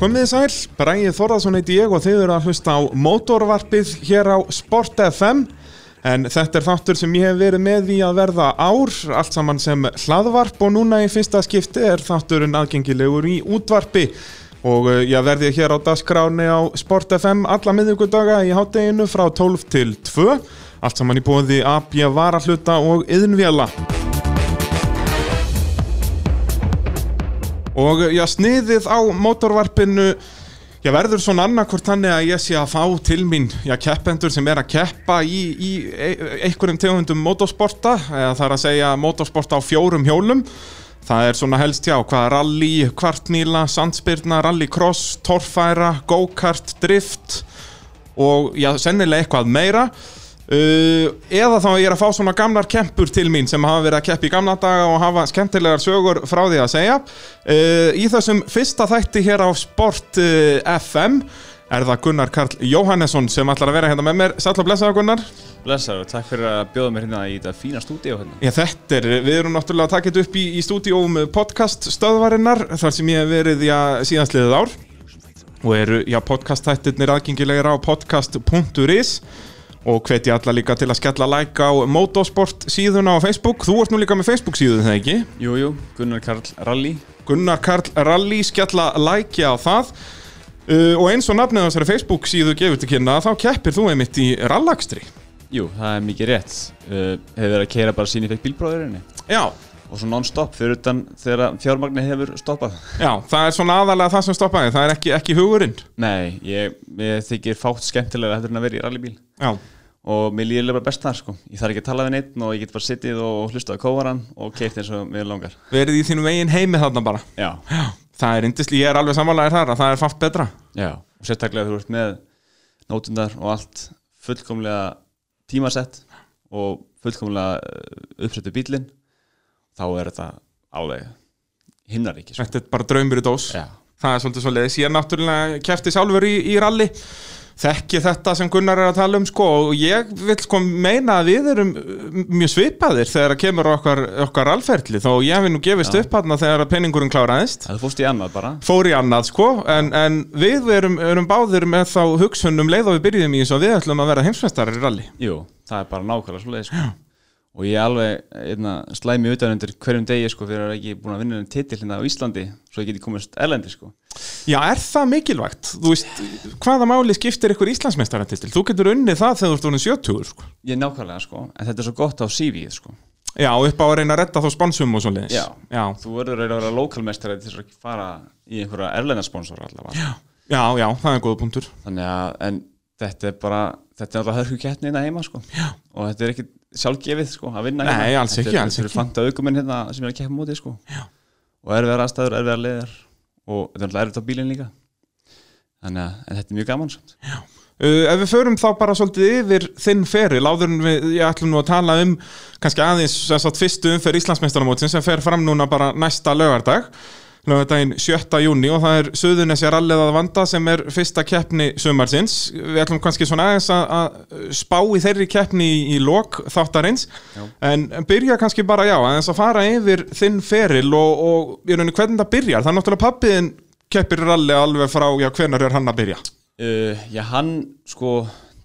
Komið þið sæl, Bræði Þorðarsson heiti ég og þið eru að hlusta á mótorvarpið hér á Sport FM en þetta er þáttur sem ég hef verið með í að verða ár, allt saman sem hlaðvarp og núna í fyrsta skipti er þátturinn aðgengilegur í útvarpi og eh, ég verði hér á dagskráni á Sport FM alla miðugudaga í hátteginu frá 12 til 2 allt saman í bóði AB Varahluta og Yðnvjala Og eh, já, sniðið á mótorvarpinu Já, verður svona annarkvort þannig að ég sé að fá til mín já, keppendur sem er að keppa í, í e- einhverjum tegundum motorsporta eða það er að segja motorsporta á fjórum hjólum Það er svona helst já, hvað rally, kvartmíla, sandspyrna, rallycross, torfæra, go-kart, drift og já, sennilega eitthvað meira uh, eða þá ég er að fá svona gamlar kempur til mín sem hafa verið að keppa í gamla daga og hafa skemmtilegar sögur frá því að segja uh, í þessum fyrsta þætti hér á Sport uh, FM er það Gunnar Karl Jóhannesson sem ætlar að vera hérna með mér Sæll og blessaða Gunnar Blessaður, takk fyrir að bjóða mér hérna í þetta fína stúdíu hérna. Já, þetta er, við erum náttúrulega að taka þetta upp í, í stúdíóum podcast stöðvarinnar þar sem ég hef verið já, síðansliðið ár og eru, já, podcast-hættirnir aðgengilegir á podcast.is og hvet ég alla líka til að skella like á motorsport síðuna á Facebook þú ert nú líka með Facebook síðu, það ekki? Jú, jú, Gunnar Karl Rally. Gunnar Karl Rally skella like á það uh, og eins og nafnið á þessari Facebook síðu gefur til kynna þá keppir þú einmitt í rallakstri Jú, það er mikið rétt. Uh, hefur verið að keira bara sín í fekk bílbróðurinni. Já, Og svo non-stop fyrir utan þegar fjármagni hefur stoppað. já, það er svona aðalega það sem stoppaði, það er ekki, ekki hugurinn Nei, ég, ég þykir fátt skemmtilega eftir en að vera í rallybíl. Já, Og mér líður bara best þar, sko. Ég þarf ekki að tala við neitt og ég get bara sittið og hlustað á kóvaran og keitt eins og mér langar. verið í þínum eigin heimi þarna bara Já, Já, það er yndisli, ég er alveg samanlægir þar að það er fátt betra já. Og sérstaklega þú ert með nótundar og allt fullkomlega tímasett og fullkomlega eh, uppsettu bílinn þá er þetta alveg himnaríki sko. Þetta er bara draumur í dós Já. Það er svolítið svolítið, ég er náttúrulega kefti sálfur í, í rally Þekki þetta sem Gunnar er að tala um sko og ég vil sko meina að við erum uh, mjög svipaðir þegar að kemur á okkar, okkar alferli þó ég hef nú gefist upp hann þegar að peningurinn kláraðist Það fórst í annað bara fór í annað sko en, en við erum, erum báðir með þá hugsunum leið og við byrjum í eins og við ætlum að vera heimsmeistarar í rally Jú, það er bara nákvæmlega svoleiði sko. og ég er alveg einna, slæmi utan undir hverjum degi sko, fyrir að vera ekki búin að vinna en titill hérna á Íslandi svo ég geti komist erlendi sko. Já, er það mikilvægt? Þú veist, hvaða máli skiptir ykkur Íslandsmeistaratitil? Þú getur unnið það þegar þú ert orðin 70 sko. Ég er nákvæmlega sko, en þetta er svo gott á CV-ið sko. Já, upp á að reyna að redda þá sponsum og svoleiðis Já. já, Þú verður að vera lokalmestari til þess að fara í einhverja erlendarsponsor allavega Já já, já, það er góða punktur þannig að, en þetta er bara þetta er alltaf hörku kettni hérna heima sko. og þetta er ekki sjálfgefið sko, að vinna Nei, hérna. alls Þetta ekki, er- alls þetta eru ekki. fanta aukuminn hérna sem er að keppa á móti sko. Já. og erfiðar aðstæður, erfiðar leðar og þetta er alltaf erfitt á bílinn líka þannig að en þetta er mjög gaman samt. Uh, ef við förum þá bara svolítið yfir þinn feril, áður en við, ég ætlum nú að tala um kannski aðeins sem sagt, fyrstu umferð Íslandsmeistaramótin sem fer fram núna bara næsta lögardag, lögardaginn 7. júni og það er Suðunesja rallið að vanda sem er fyrsta keppni sumarsins. Við ætlum kannski svona aðeins að, að spá í þeirri keppni í, í lok þáttarins Já. en byrja kannski bara já, aðeins að fara yfir þinn feril og, og í rauninni hvernig það byrjar, það er náttúrulega pappiðin keppir rallið alveg frá, já, hvenar er hann að byrja? uh, já, hann sko,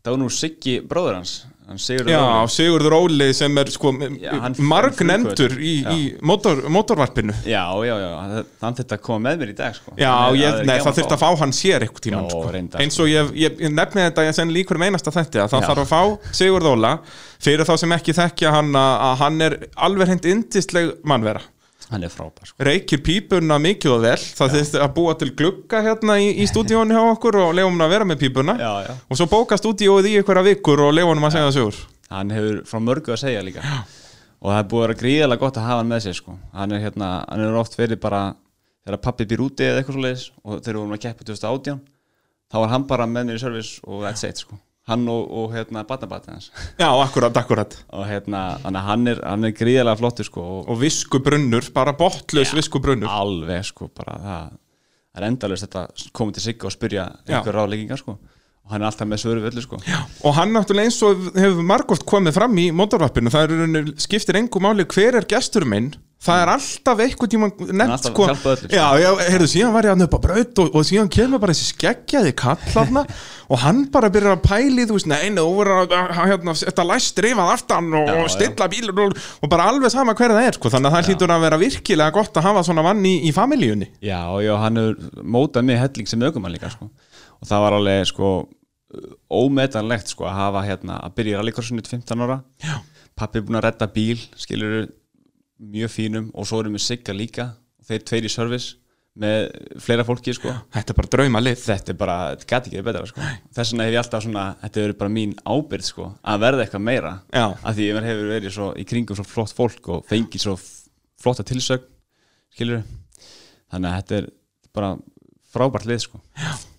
það var nú Siggi bróður hans hann Sigurður Já, Óli. Sigurður Óli sem er sko Já, hann- margnendur hann frumkvöðull. í, í motor, motorvarpinu já, já, já, hann- hann þetta kom með mér í dag sko. Já, Þannig að ég, er nei, gaman það þurft að fá hann sér einhvern tímann Já, sko. reyndar, eins og ég, ég, ég nefni þetta ég senni líkur meinast að þetta það Já. þarf að fá Sigurð Óla fyrir þá sem ekki þekkja hann að að hann er alveg hreint yndisleg mannvera hann er frábær sko. reykir pípuna mikið og vel það þurfti að búa til glugga hérna í, í stúdíónu hjá okkur og leiðum hann að vera með pípuna já, já. og svo bóka stúdíóið í einhverja vikur og leiðum hann að segja sögur hann hefur frá mörgu að segja líka og það er búið að vera gríðalega gott að hafa hann með sér sko. hann er hérna, hann er oft verið bara þegar pappi býr úti eða eitthvað svoleiðis og þegar við vorum að keppa 2018 þá var hann bara með mér í service og that's it sko. hann og, og hérna batnabatni hans Já, akkurat, akkurat og hérna, þannig að hann er, hann er gríðalega flottur sko, og og viskubrunnur, bara botlaus viskubrunnur alveg sko bara það það er endalist þetta komið til sig og spyrja Já. einhver ráleikingar sko og hann er alltaf með svöru völdu sko Já. og hann náttúrulega eins og hefur margóft komið fram í motorvarpinu, það er í rauninni- skiptir engu máli hver er gestur minn Það er alltaf eitthvað tíma er nefnt alltaf sko að hjálpa öllum, sko. Já, já, heyrðu, síðan var ég hann upp á braut og, og síðan kemur bara þessi skeggjaði kallarna og hann bara byrjar að pæli þú veist, nei, nei, þú verður að að, hérna, þetta læst rifað aftan og, Já, og stilla bílur og, og bara alveg sama hver það er sko, þannig að það hlýtur að vera virkilega gott að hafa svona vann í, í familíunni Já, já, hann hefur mótað mig helling sem aukumann líka, sko. Og það var alveg, sko, ómetanlegt, sko, að hafa, hérna, að byrja í rallycrossinu til 15 ára. Já. Pappi er búin að redda bíl, skilur mjög fínum og svo erum við Sigga líka. Þeir tveir í service með fleira fólki, sko. Þetta er bara drauma lið Þetta er bara, þetta gæti ekki verið betra, sko. Þess vegna hef ég alltaf svona, þetta hefur verið bara mín ábyrgð, sko, að verða eitthvað meira. Já. Af því ég mér hefur verið svo í kringum svo flott fólk og fengið svo f- flotta tilsögn, skilur Þannig að þetta er bara frábært lið, sko.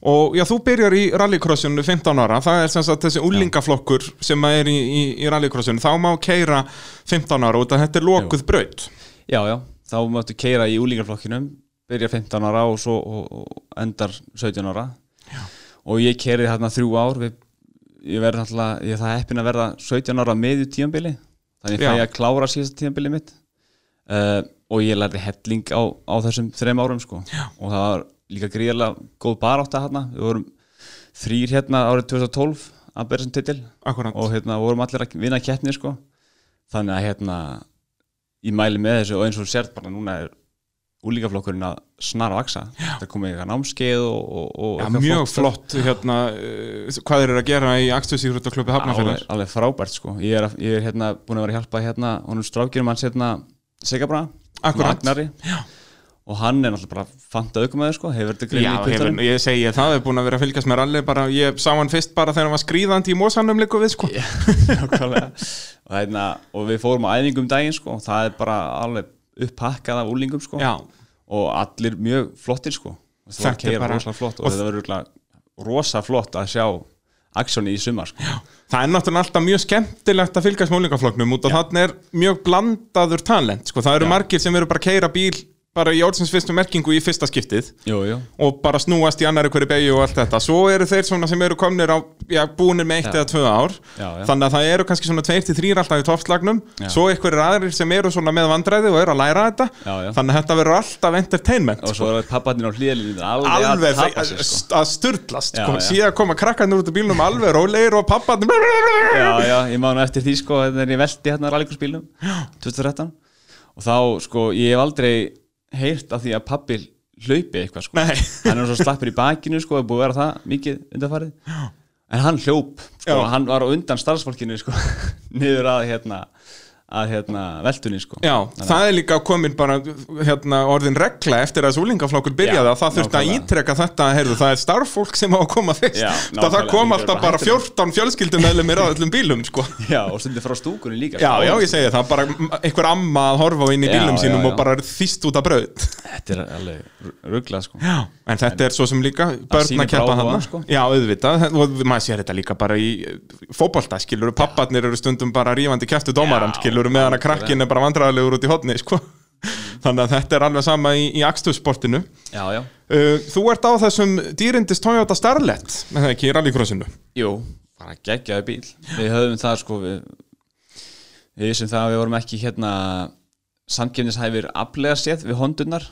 Og já, þú byrjar í rallycrossinu 15 ára, það er sem sagt þessi úlingaflokkur sem að er í, í, í rallycrossinu, þá má keira 15 ára út að þetta er lokuð braut. Já, já, þá máttu keira í úlingarflokkinum, byrja 15 ára og svo og, og endar 17 ára. Já. Og ég keiri þarna þrjú ár, við, ég verði alltaf, ég er það heppin að verða 17 ára meðu tíambili, þannig Já. fæ ég að klára síðasta tíambili mitt. Uh, og ég lærði helling á, á þessum þreim árum, sko. Já. Og það var líka gríðarlega góð barátta þarna, við vorum þrýr hérna árið 2012 að bera sem titil Akkurat. og hérna vorum allir að vinna keppni sko. þannig að hérna ég mæli með þessu og eins og þú sért bara núna er úlíkaflokkurinn að snara og aksa það komið eitthvað námskeið og, og, og Já, eitthvað mjög stuff. flott, hérna, uh, hvað þeir eru að gera í Akstuðsíkruttaklubbi alveg, Hafnarfjörðar. alveg frábært sko ég er, að- ég er hérna búin að vera að hjálpa hérna honum strákjurum hans hérna Sigabra Akkurat. Agnari og hann er náttúrulega bara fanta aukumæður sko hefur þetta eh, Já, greið í hefur, kvittanum ég segi það, það er búin að vera að fylgjast með rally bara, ég sá hann fyrst bara þegar hann var skrýðandi í mósannum líku við, sko. Nákvæmlega. og, hérna, og við fórum á æfingum daginn sko og það er bara alveg upphakkað af úlingum sko Já, og allir mjög flottir sko það var Þetta er keira bara- rosa flott og, og- og þetta verður rosa flott að sjá aksjóni í sumar sko. það er náttúrulega alltaf mjög skemmtilegt að fylgjast með úlingafloknum út og þannig er mjög blandaður talent, sko, það eru margir sem eru bara að keira bíl bara í orðsins fyrstu merkingu í fyrsta skiptið. jú, jú. og bara snúast í annari hverju beigju og allt þetta svo eru þeir svona sem eru komnir á já, búnir með eitt Já. eða tvö ár Já, já. þannig að það eru kannski svona tveir til þrýr alltaf í toppslagnum, Já. svo einhverjir aðrir sem eru svona með vandræði og eru að læra þetta Já, já. þannig að þetta verður alltaf entertainment og svo er papparnir á hlýðalínu alveg, alveg að tapa fe- sig sko. að sturdlast Já, sko. já. síðan koma krakkarnir út af bílnum alveg rólegir og pappa já, já, ég man eftir því sko þegar ég velti hérna rallikursbílum 2013 og þá sko ég hef aldrei heyrt af því að pappi hlaupi eitthvað sko Nei. hann er svo slappur í bakinu sko, er búið að vera það mikið undanfarið en hann hljóp, sko, Já. hann var á undan starfsfólkinu sko, niður að hérna, að hérna veltunni sko Já, það er líka komin bara hérna, orðin regla eftir að súlingaflokkur byrjaði Já, að það þurfti að nákvæmlega. ítreka þetta heyrðu, það er starffólk sem á að koma fyrst Já, það, það nákvæmlega, kom líka alltaf bara bara hættulegt. 14 fjölskyldumæðlumir á öllum bílum sko. Já, og stundir frá stúkunni líka Já, sko. já, ég segi það, bara m- einhver amma að horfa inn í Já, bílum já, sínum já. og bara er þýst út af braut Þetta er alveg ruggla sko. Já, en þetta er svo sem líka börn sýnir að keppa bara áhuga, hana sko. Já, auðvitað, það- og maður sér þetta líka bara í eh, fótbolta, skilur, papparnir eru stundum bara rífandi kæftu dómaran, Já, skilur meðan að krakkin er bara vandræðalegur út í hotni, sko Mm. Þannig að þetta er alveg sama í, í akstursportinu Já, já uh, Þú ert á þessum dýrindis Toyota Starlet, með það ekki í rallycrossinu Jú, bara geggjaði bíl Við höfum það sko Við, við vissum það að við vorum ekki hérna samkefnishæfir aflega séð við hondunar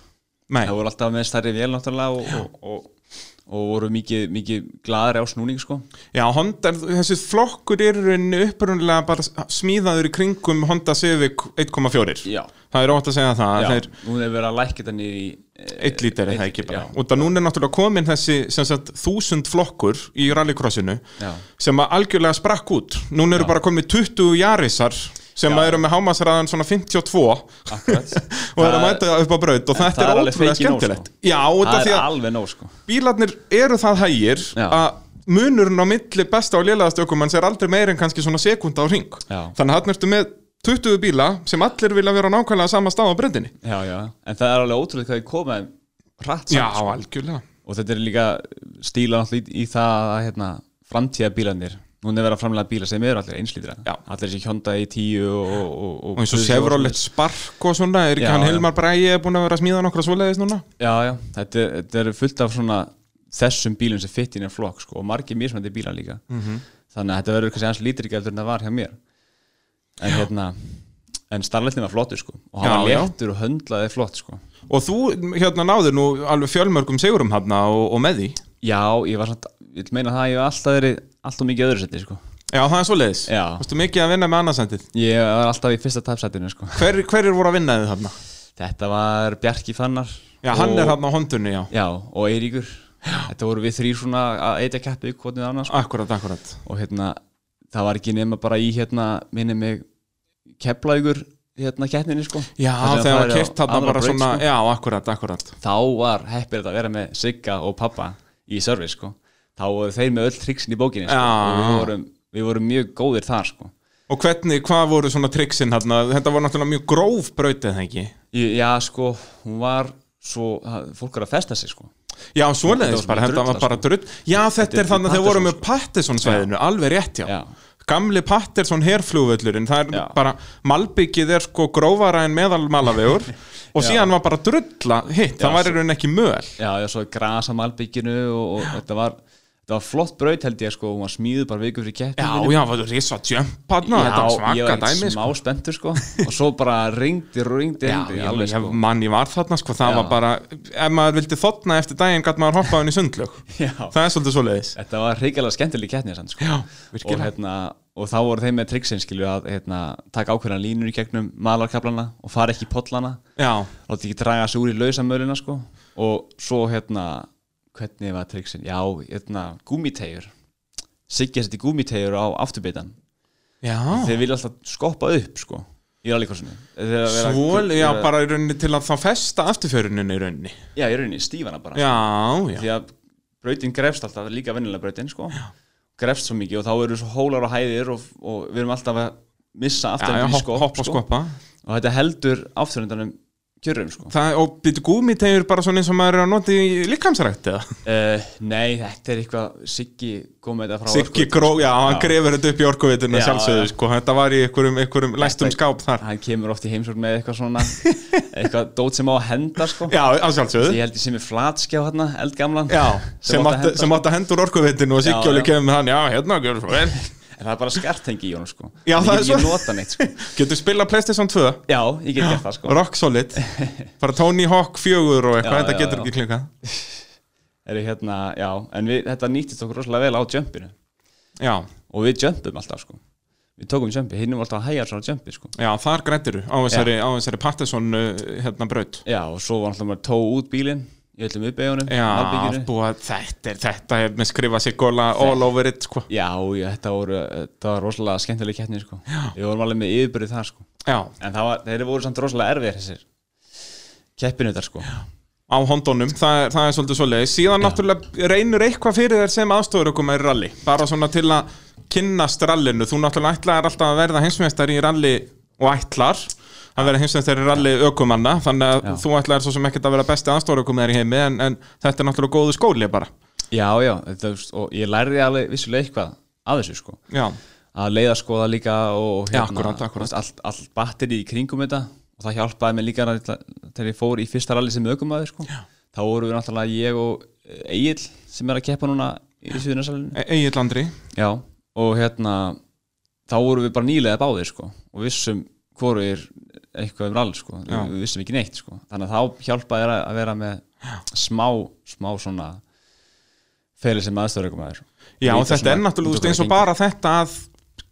Nei, Það voru alltaf með stærri vél náttúrulega og, og, og, og voru mikið, mikið gladari á snúning sko. já, Honda, þessi flokkur eru rauninni upprunlega bara smíðaður í kringum Honda Civic 1.4 Já, Það er ótt að segja það, já. það er Nú hefur verið að lækja þetta niður í eh, eitt lítir er það ekki bara já. út að núna er náttúrulega komin þessi sem sagt, þúsund flokkur í rallycrossinu Já. sem að algjörlega sprakk út núna eru bara komið 20 jarisar sem Já. eru með hámasraðan svona 52 Akkurat og eru að mæta upp á braut og En þetta það er er alveg fake í ótrúlega nóg, skemmtilegt sko. já, út Það af er því að alveg nóg sko bílarnir eru það hægir Já. að munurinn á milli besta og lélægast ökumanns er aldrei meir en kannski svona sekunda á ring Já. þannig að hann ertu með 20 bíla sem allir vilja vera á nákvæmlega sama stað á breyndinni Já, já, en það er alveg ótrúlega hvað ég kom með hratt já, saman, sko. algjörlega og þetta er líka stíla náttúrulega í- í það að hérna, framtíða bílanir núna er verið að framlega bíla sem eru allir einslítra Já. allir þessi Honda í tíu og, og, og, og eins og Chevrolet Spark og svona er ekki Já, hann já. Hilmar Bræi er búin að vera að smíða nokkra svoleiðis núna Já, já, þetta, er- þetta er fullt af svona þessum bílum sem fitt inn í flokk sko, og margir mismandi bílar líka Mhm. þannig að þetta verður kannski aðeins lítrika heldur en það var hjá mér en hérna en starleitnin var flottur sko og Já, hann var já. léttur og höndlaði flott sko Og þú hérna náður nú alveg fjölmörgum sigurum hann og, og með því já, ég var samt, ég vil meina það að ég var alltaf verið alltaf mikið í öðru seti sko Já, það er svoleiðis Já. Varstu mikið að vinna með annarsendið ég var alltaf í fyrsta tapsætinu sko Hver, Hverjir voru að vinna þið þarna? þetta var Bjarki Fannar Já, hann og, er hann á hondunni, já já, og Eiríkur þetta voru við þrýr svona að eitja keppið hvernig annars sko. Akkurat, akkurat og hérna, það var ekki nema bara í hérna, minni mig keplaðugur hérna keppninni sko Já, Þar sem það er á þegar hann kert hann aðra bara braut, svona sko. Já, akkurat, akkurat þá var heppilegt að vera með Sigga og pappa í service sko. þá voru þeir með öll triksin í bókinni sko. Já. Og við, vorum, við vorum mjög góðir þar sko. Og hvernig, hvað voru svona triksin hérna? Þetta voru náttúrulega mjög gróf brautið, það ekki? Ég- já sko, hún var svo, það- fólk var að festa sig sko. Já, Þetta var svoleiðis bara, svona þetta var drulla, bara drull Já, þetta er er þannig að þeir Patterson, voru með Patterson svæðinu, alveg rétt já, Já. Gamli Patterson herflugvöllurinn Það er Já. bara, malbyggið er sko grófara en meðalmalavegur Og síðan var bara drulla hitt, það var í rauninni ekki möl já, já, svo grasa um malbygginu og, og þetta, var, þetta var flott braut held ég sko. hún var smíðu bara viku fyrir keppni Já, já, var þú risa jump hann Þetta var ég svaka var dæmi smá sko. spenntur sko. og svo bara ringdi, ringdi, Já, ringdi ég, alveg, ég, sko. mann ég var þarna sko, það Já. var bara Ef maður vildi þotna eftir daginn, gætt maður hoppaðin í sundlög sko. Já. Það er svolítið svoleiðis Þetta var hrigalega skemmtileg keppni sann, sko. Já, og, virkilega hérna, og þá voru þeim með triksin skilju að hérna, taka ákveðna línur í gegnum malarkablana og fara ekki í pollana Já, láta ekki draga sig úr í lausamölina sko. og svo hérna hvernig var triksin? Já, hérna gúmitegjur Siggi setti gúmitegjur á afturbeitan já þeir vilja alltaf skoppa upp sko, í rallikorsinu Svol, já, já, bara í rauninni til að þá festa afturföruninu í rauninni já, í rauninni stífana bara Já, já, því að brautin grefst alltaf líka vennilega brautin sko. grefst svo mikið og þá eru svo hólar og hæðir og, og við erum alltaf að missa já, já afturhendunum í hopp, skopp hopp og sko. skoppa og þetta heldur afturhendanum kjörum sko. Það, Og býtu gúmitegjur bara svona eins og maður er að nota í líkamsrækt eða uh, nei, þetta er eitthvað Siggi kom með þetta frá Siggi Orkuveitu, Gró, sko. já, hann grefur þetta upp í orkuvitunni Já, sjálfsögðu, já. sko, þetta var í einhverjum, einhverjum læstum Þetta- skáp þar hann kemur oft í heimsókn með eitthvað svona eitthvað dót sem á að henda sko. Já, að ég sjálfsögðu held ég sem er flatskjá hérna, eldgamlan Já, átti sem að átti henda, sem átti að hendur orkuvitinu og Já, Siggi Óli já. kemur með hann, já, hérna, gjör svo vel en það er bara skartengi í honum sko. Já, Hann það er getur ekki svo. nota neitt sko. Getur spila Playstation 2, já, ég get gert það sko. rock solid bara Tony Hawk 4 og eitthvað, Já, þetta já, já. getur ekki klinkað eru hérna, já, en við, þetta nýttist okkur rosalega vel á jumpinu Já, og við jumpum alltaf sko við tókum jumpi, hinn var alltaf að hægja svona jumpi sko já, þar grættiru á þessari, á þessari Patterson uh, hérna braut já og svo var alltaf maður að tóa út bílinn í öllum uppeigunum, Já, búa, þetta er þetta er með skrifa sig góla all over it sko. já, já, þetta voru þetta var rosalega skemmtileg keppni sko já. við vorum alveg með yfirbyrðið það sko Já, en það var, þeir voru samt rosalega erfið þessir keppinuðar sko já. á hondunum, það, er- það er svolítið svolítið síðan náttúrulega reynur eitthvað fyrir þér sem aðstofur okkur með rally, bara svona til að kynnast rallinu, þú náttúrulega ætlaðir alltaf að verða heimsmeistar í rally og ætlar að vera heimsmeistar í rally ökumanna, þannig að Já. þú ætlaðir svo sem ekkert að vera besti aðstofur okkur með þér í heimi en, en þetta er náttúrulega góðu skóli bara já, já, þetta, þú veist, og ég lærði alveg vissulega eitthvað að þessu sko Já, að leiða skoða líka og hérna, Já, akkúrat, akkúrat. veist, allt, allt batteri í kringum þetta og það hjálpaði mig líka að- þegar ég fór í fyrsta rally sem aukumæður sko. þá voru við náttúrulega ég og Egil sem er að keppa núna í Suðunarsalinu e Egil Andri já, og hérna þá voru við bara nýlega báðir sko, og vissum hvoru er eitthvað um rally sko. Já. við vissum ekki neitt sko. þannig að þá hjálpaði þér að að vera með smá, smá svona fyrir sem aðstöður aukumæður Já, og þetta er náttúrulega þú veist, eins og bara þetta að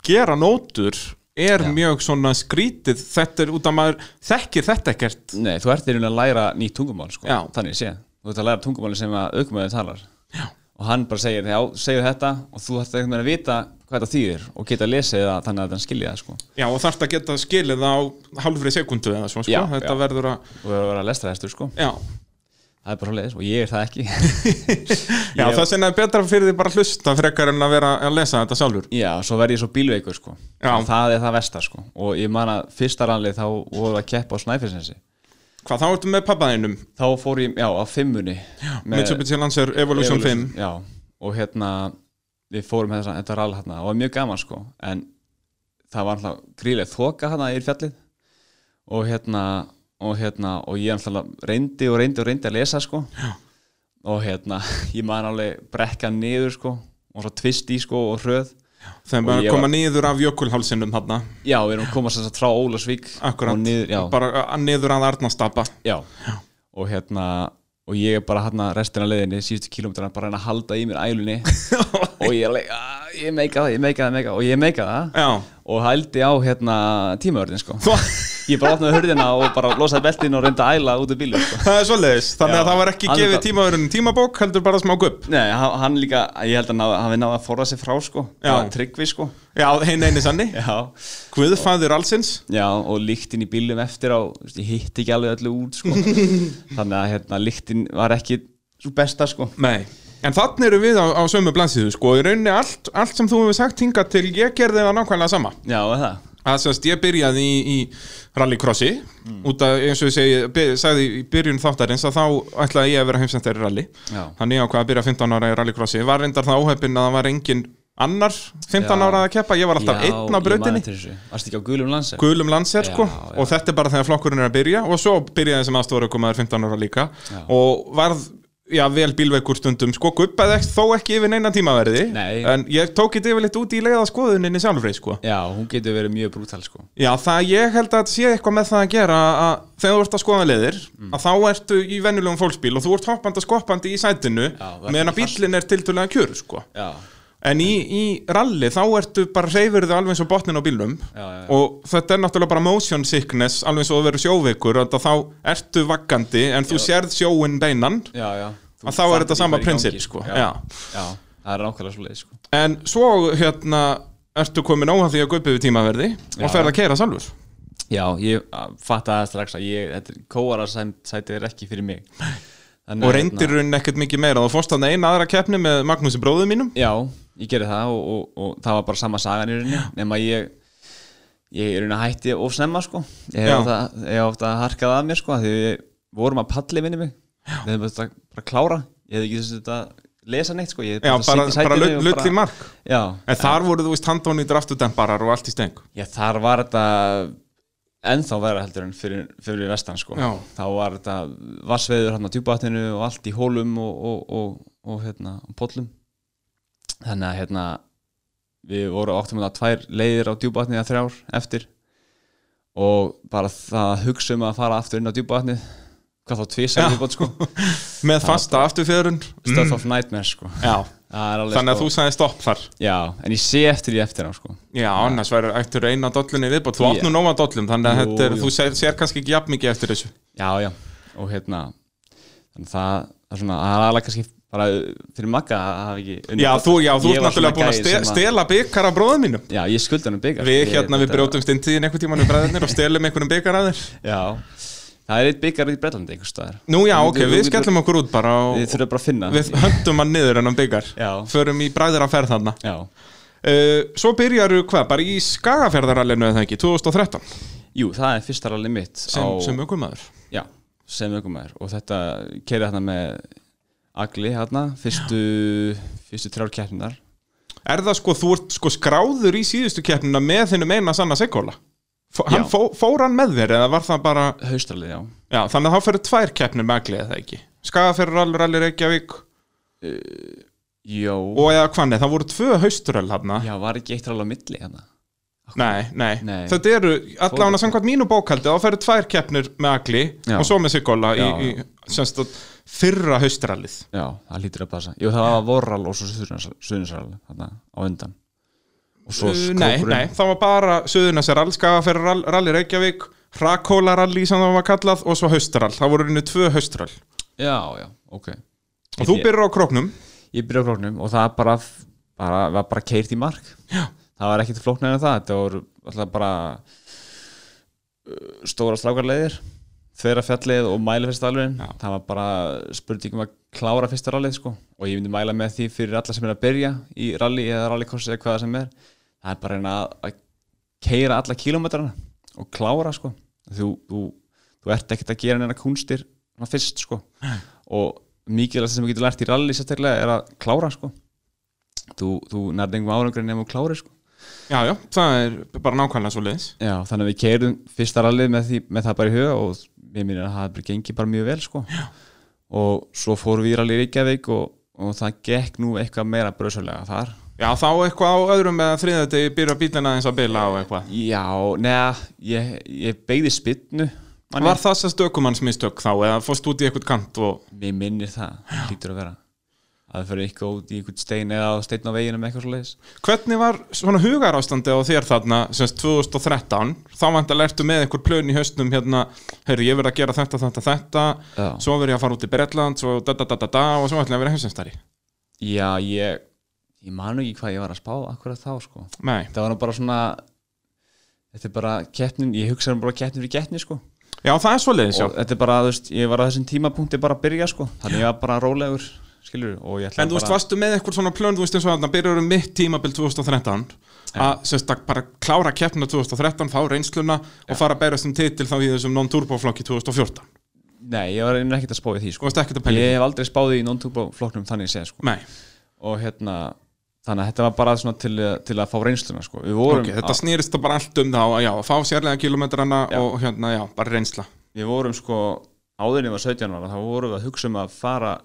gera nótur er mjög svona skrítið þetta er út af maður þekkir þetta ekkert Nei, þú ert í raun að læra nýtt tungumál sko. Já. Þannig sé, þú ert að læra tungumáli sem að aukumöður talar já. og hann bara segir, já, segir þetta og þú ert eitthvað að vita hvað þetta þýðir og geta að lesa það þannig að hann skilja það sko. Já, og þarf að geta skilið á hálfri sekundu eða svo, sko, Já, þetta já. verður að og vera að vera lestrahestur sko. Já, það er bara leis og ég er það ekki já Ég- það sinna er betra fyrir því bara að hlusta frekar en að vera að lesa þetta sjálfur Já, svo verð ég svo bílveikur sko. Já. Og það er það versta sko. og ég man að fyrsta rallið þá voru að keppa á Snæfellsnesi Hvað þá ertu með pappaðinum? þá fór ég, já, á fimmunni Mitsubishi Lancer Evolution 5 Já, og hérna við fórum þess að þetta rall hérna og það var mjög gaman sko en það var alltaf gríðlega þoka hérna í fjallið og hérna og hérna og ég alltaf reyndi og reyndi og reyndi að lesa sko já. og hérna ég man alveg brekka niður sko og svo tvist í sko og hröð þegar ég maður var- koma niður af jökulhálsinum þarna, já, við erum komast þess að frá Ólasvík akkurat, og niður, já, bara að- niður að Arnastapa já. og hérna og ég er bara hérna restina af leiðinni síðustu kilómetrana bara að reyna að halda í mér ælunni og ég er alveg, "Ah, ég meika það, ég meika það, meika það og ég meika það Já, og hældi á hérna tímaörðin sko Þú- ég bara opnaði hurðina og bara losaði beltin og reyndi að æla út af bílum sko. það er svoleiðis, þannig Já, að það var ekki alveg gefið það. tímaverunum tímabók, heldur bara smá gupp Nei, hann hann líka, ég held að ná, hann við náði að forða sér frá sko, Já. það var tryggvi sko Já, hinn eini sanni, Já, Guðfæðir allsins já og líktin í bílum eftir á, þú veist, ég hitti ekki alveg öllu út sko Þannig að hérna, líktin var ekki svo besta sko Nei En þannig eru við á, á sömu blansíðu sko, í rauninni allt, allt sem þú hefur sagt hingað til ég gerði það nákvæmlega sama Já, er það, að semst ég byrjaði í, í rallycrossi Mm. út af eins og ég segi, by- sagði í byrjun þáttarins að þá ætlaði ég að vera heimsendar í rally Já. þannig ég ákvað að byrja 15 ára í rallycrossi var reyndar það óhefinn að það var engin annar 15 Já. ára að keppa, ég var alltaf já, einn á ég man brautinni eftir þessu Varst ekki á gulum landse? gulum landsér Já, sko já. og þetta er bara þegar flokkurinn er að byrja og svo byrjaði sem aðstofaraukumaður 15 ára líka og varð já, vel bílveikur stundum sko guppaði ekki, þó ekki yfir neina tímaverði Nei. en ég tók þetta yfirleitt út í leiða skoðuninni sjálfrið sko Já, hún getur verið mjög brútal sko Já, það ég held að sé eitthvað með það að gera að þegar þú ert að skoða leiðir Mm. að þá ertu í venjulegum fólksbíl og þú ert hoppandi og skoppandi í sætinu það er meðan að ekki bílinn er tiltölulega kjör sko. Já, en í, í rally þá ertu bara reyfurðu alveg eins og botnin á bílnum já, já, og þetta er náttúrulega bara motion sickness alveg eins og þú verður sjóveikur að þá ertu vaggandi en þú sérð sjóin beinan já, já Þú að þá er fattar þetta ekki hvað sama er í gangi, prinsip sko. Já, Já. já, það er nákvæmlega svo sko en svo hérna ertu komin óhald því að guppi við tímaverði Já. og ferð að keira sjálfur Já, ég að, fattaði það strax að ég, þetta kóara sætið er ekki fyrir mig Þannig, og að, reyndir raunin ekkert mikið meira þá fórst hann eina aðra keppni með Magnúsi bróðu mínum hérna, Já, ég gerði það og, og, og það var bara sama sagan í rauninni nema ég, ég er rauninni hætti of snemma sko Ég Já. hef ofta- ég hef ofta harkað að mér sko af því við vorum að palli minni mig já. Við hefum þetta bara að klára Ég hef ekki þess að lesa neitt sko Ég hef já, bara, setið í bara sætinu lull og lull í mark Já, en þar voru þú veist handóni draftudemparar og allt í steng Já, þar var þetta ennþá vera heldur en fyrir, fyrir vestan sko. Já. þá var þetta vassveður hann á djúbatninu og allt í hólum og, og, og, og hérna, og pollum þannig að hérna við vorum áttum að tvær leiðir á djúbatnið að þrjár eftir og bara það hugsa um að fara aftur inn á djúbatnið hvað þá tvisa djúbat sko Mm. með fasta afturfjörun stuff of nightmares sko já, Það er alveg, þannig að sko, þú sagði stopp þar já, en ég sé eftir því eftir á sko já, annars verður eftir eina dollunni viðbót þú átt nú nóga dollum, þannig Jú, að þetta er, jú. þú sér, sér kannski ekki jafn mikið eftir þessu Já, já, og hérna þannig að það það er svona, það er alveg kannski bara fyrir magga að hafa ekki unnið já, þetta. þú, já, þú Ég ert var svona náttúrulega búin að gæi ste- sem stela byggar af bróðu mínum Já, ég skulda hann um byggar við hérna, við brjótumst inn tíðin einhvern tímann við bræðinir og stelum einhvern byggar að þér Já, það er eitt byggar í Breitlandi einhvers staðar nú já, Við- ok, við skellum okkur út bara og, Við þurfum bara að finna við höndum hann niður hennan byggar Já. förum í bræðir að ferð þarna Já, uh, svo byrjaru hvað, bara í skagaferðarallinu eða ekki, 2013 jú, það er fyrsta rally mitt á, sem, sem aukumæður Já, sem ökum er og þetta keiri hérna með Agli hérna, fyrstu fyrstu trjár keppnar er það sko, þú ert sko skráður í síðustu keppnina með þinnum eina sanna segkóla hann Já. fó, fór hann með þér eða var það bara haustralið, já já, þannig að þá fyrir tvær keppnir með agli eða ekki skagaferðarallur, allir Reykjavík Jó, og eða hvað neð, það voru tvö hausturöll hann já, var ekki eitt rally á milli hérna Nei, nei, Nei. þetta eru allan að samkvæmt mínu bókaldi þá ferðu tvær keppnir með Agli Já. og svo með Sigóla í, Já, í semst að fyrra haustrallið Já, það lítur að passa Jú, það var Vorral og svo Suðunarsal þarna á undan Og svo Uh, Nei, nei, kókurinn það var bara Suðunarsarall, Skagaferrarall, Rally Reykjavík Rakólaralli sem það var kallað og svo haustrall, það voru einu tvö haustrall Já, já, ok og þú Ég- byrjar á króknum Ég byrja á klóknum og það bara, bara var bara keirt í mark Já Það var ekkit flóknar en það Þetta voru alltaf bara uh, stóra slákarleiðir Þverra fjallið og mælifestalurinn Já. Það var bara spurning um að klára fyrsta rallið sko Og ég myndi mæla með því fyrir alla sem er að byrja í rally eða rallykorsi eða hvaða sem er Það er bara að reyna að- að keira alla kílómetrana og klára sko þú, þú, þú ert ekkert að gera neina kunstir svona fyrst sko og mikilvægt sem þú getur lært í rally sérstaklega er að klára sko þú, þú nærði engum árangur nefnum að klára sko Já, já, það er bara nákvæmlega svo leiðis Já, þannig að við keirum fyrsta rallið með, því, með það bara í huga og mér minnir að það hafi bara gengið bara mjög vel sko. og svo fórum við í rallið í Reykjavík og, og það gekk nú eitthvað meira bröðsarlega þar Já, Já, þá eitthvað á öðrum eða þriðjadegi byrja bílina aðeins að bila og eitthvað. Já, neða, ég, ég beigði spinnu manni. Var það sérst ökumannsmistök þá eða fórst út í eitthvað kant og... Mér minnir það, lítur að vera að það fyrir eitthvað út í eitthvað stein eða á stein á veginum eitthvað svo leiðis Hvernig var svona hugar á þér þarna semst 2013? Þá vantilega ertu með einhver plön í hausnum hérna, herru, ég verð að gera þetta, þetta, þetta, Já. svo verð ég að fara út í Bretland, svo da, da, da, da, da, og svo ætla ég að vera heimsumstari. Já, ég, ég man ekki hvað ég var að spá akkurat þá sko Nei. Það var nú bara svona Þetta er bara keppnin, ég hugsaði bara keppnin fyrir keppni sko Já, það er svoleiðis, já. og þetta er bara, þú veist, ég var á þessum tímapunkti bara að byrja sko, þannig ég var bara rólegur skilur, og ég ætla En þú veist, bara varstu með eitthvað svona plön, þú veist eins og þarna byrjar um mitt tímabil 2013 að semst að bara klára keppna 2013, fá reynsluna og fara að berast um titil þá í þessum non-turbo flokki 2014. nei, ég var einnig ekkert að spá í því Þú sko. veist ekkert að pæli. ég hef aldrei spáði í non-turbo flokknum þannig séð sko. Nei, og hérna, þannig að þetta var bara svona til, til að fá reynsluna sko. við vorum, ok, þetta snýrist það bara allt um þá að já, að fá sérlega kilometrana og hérna, já, bara reynsla. við vorum sko áðurinn ég var 17 ára, þá vorum við að hugsa um að fara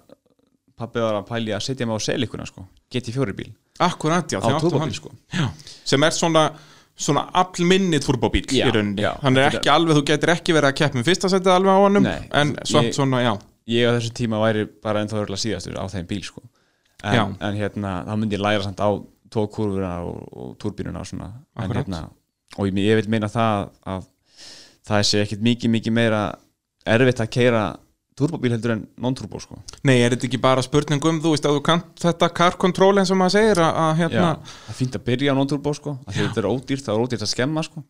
pappi var að pæli að setja mig á selikuna sko, get í fjóri bíl Akkurat, já, á þið áttu turbóbíl hann. sko Já, sem er svona svona allminni turbóbíl í Já, rauninni. já. Hann er Þetta- ekki alveg, þú getur ekki verið að keppum fyrsta setið alveg á honum, Nei, en samt ég- svona, já, ég á þessum tíma væri bara ennþá örgulega síðastur á þeim bíl sko. Já. en, en hérna, þá myndi ég læra samt á tókurvuna og, og túrbínuna og svona en, Akkúrat. hérna, og ég, ég vil meina það að það sé ekkit mikið mikið meira erfitt að keira turbóbíl heldur en non-turbó sko. Nei, er þetta ekki bara spurning um, þú veist, að þú kant þetta car control eins og maður segir að, að Já, hérna, það er fínt að byrja á non-turbó sko, af því þetta er ódýrt, það er ódýrt að skemma sko.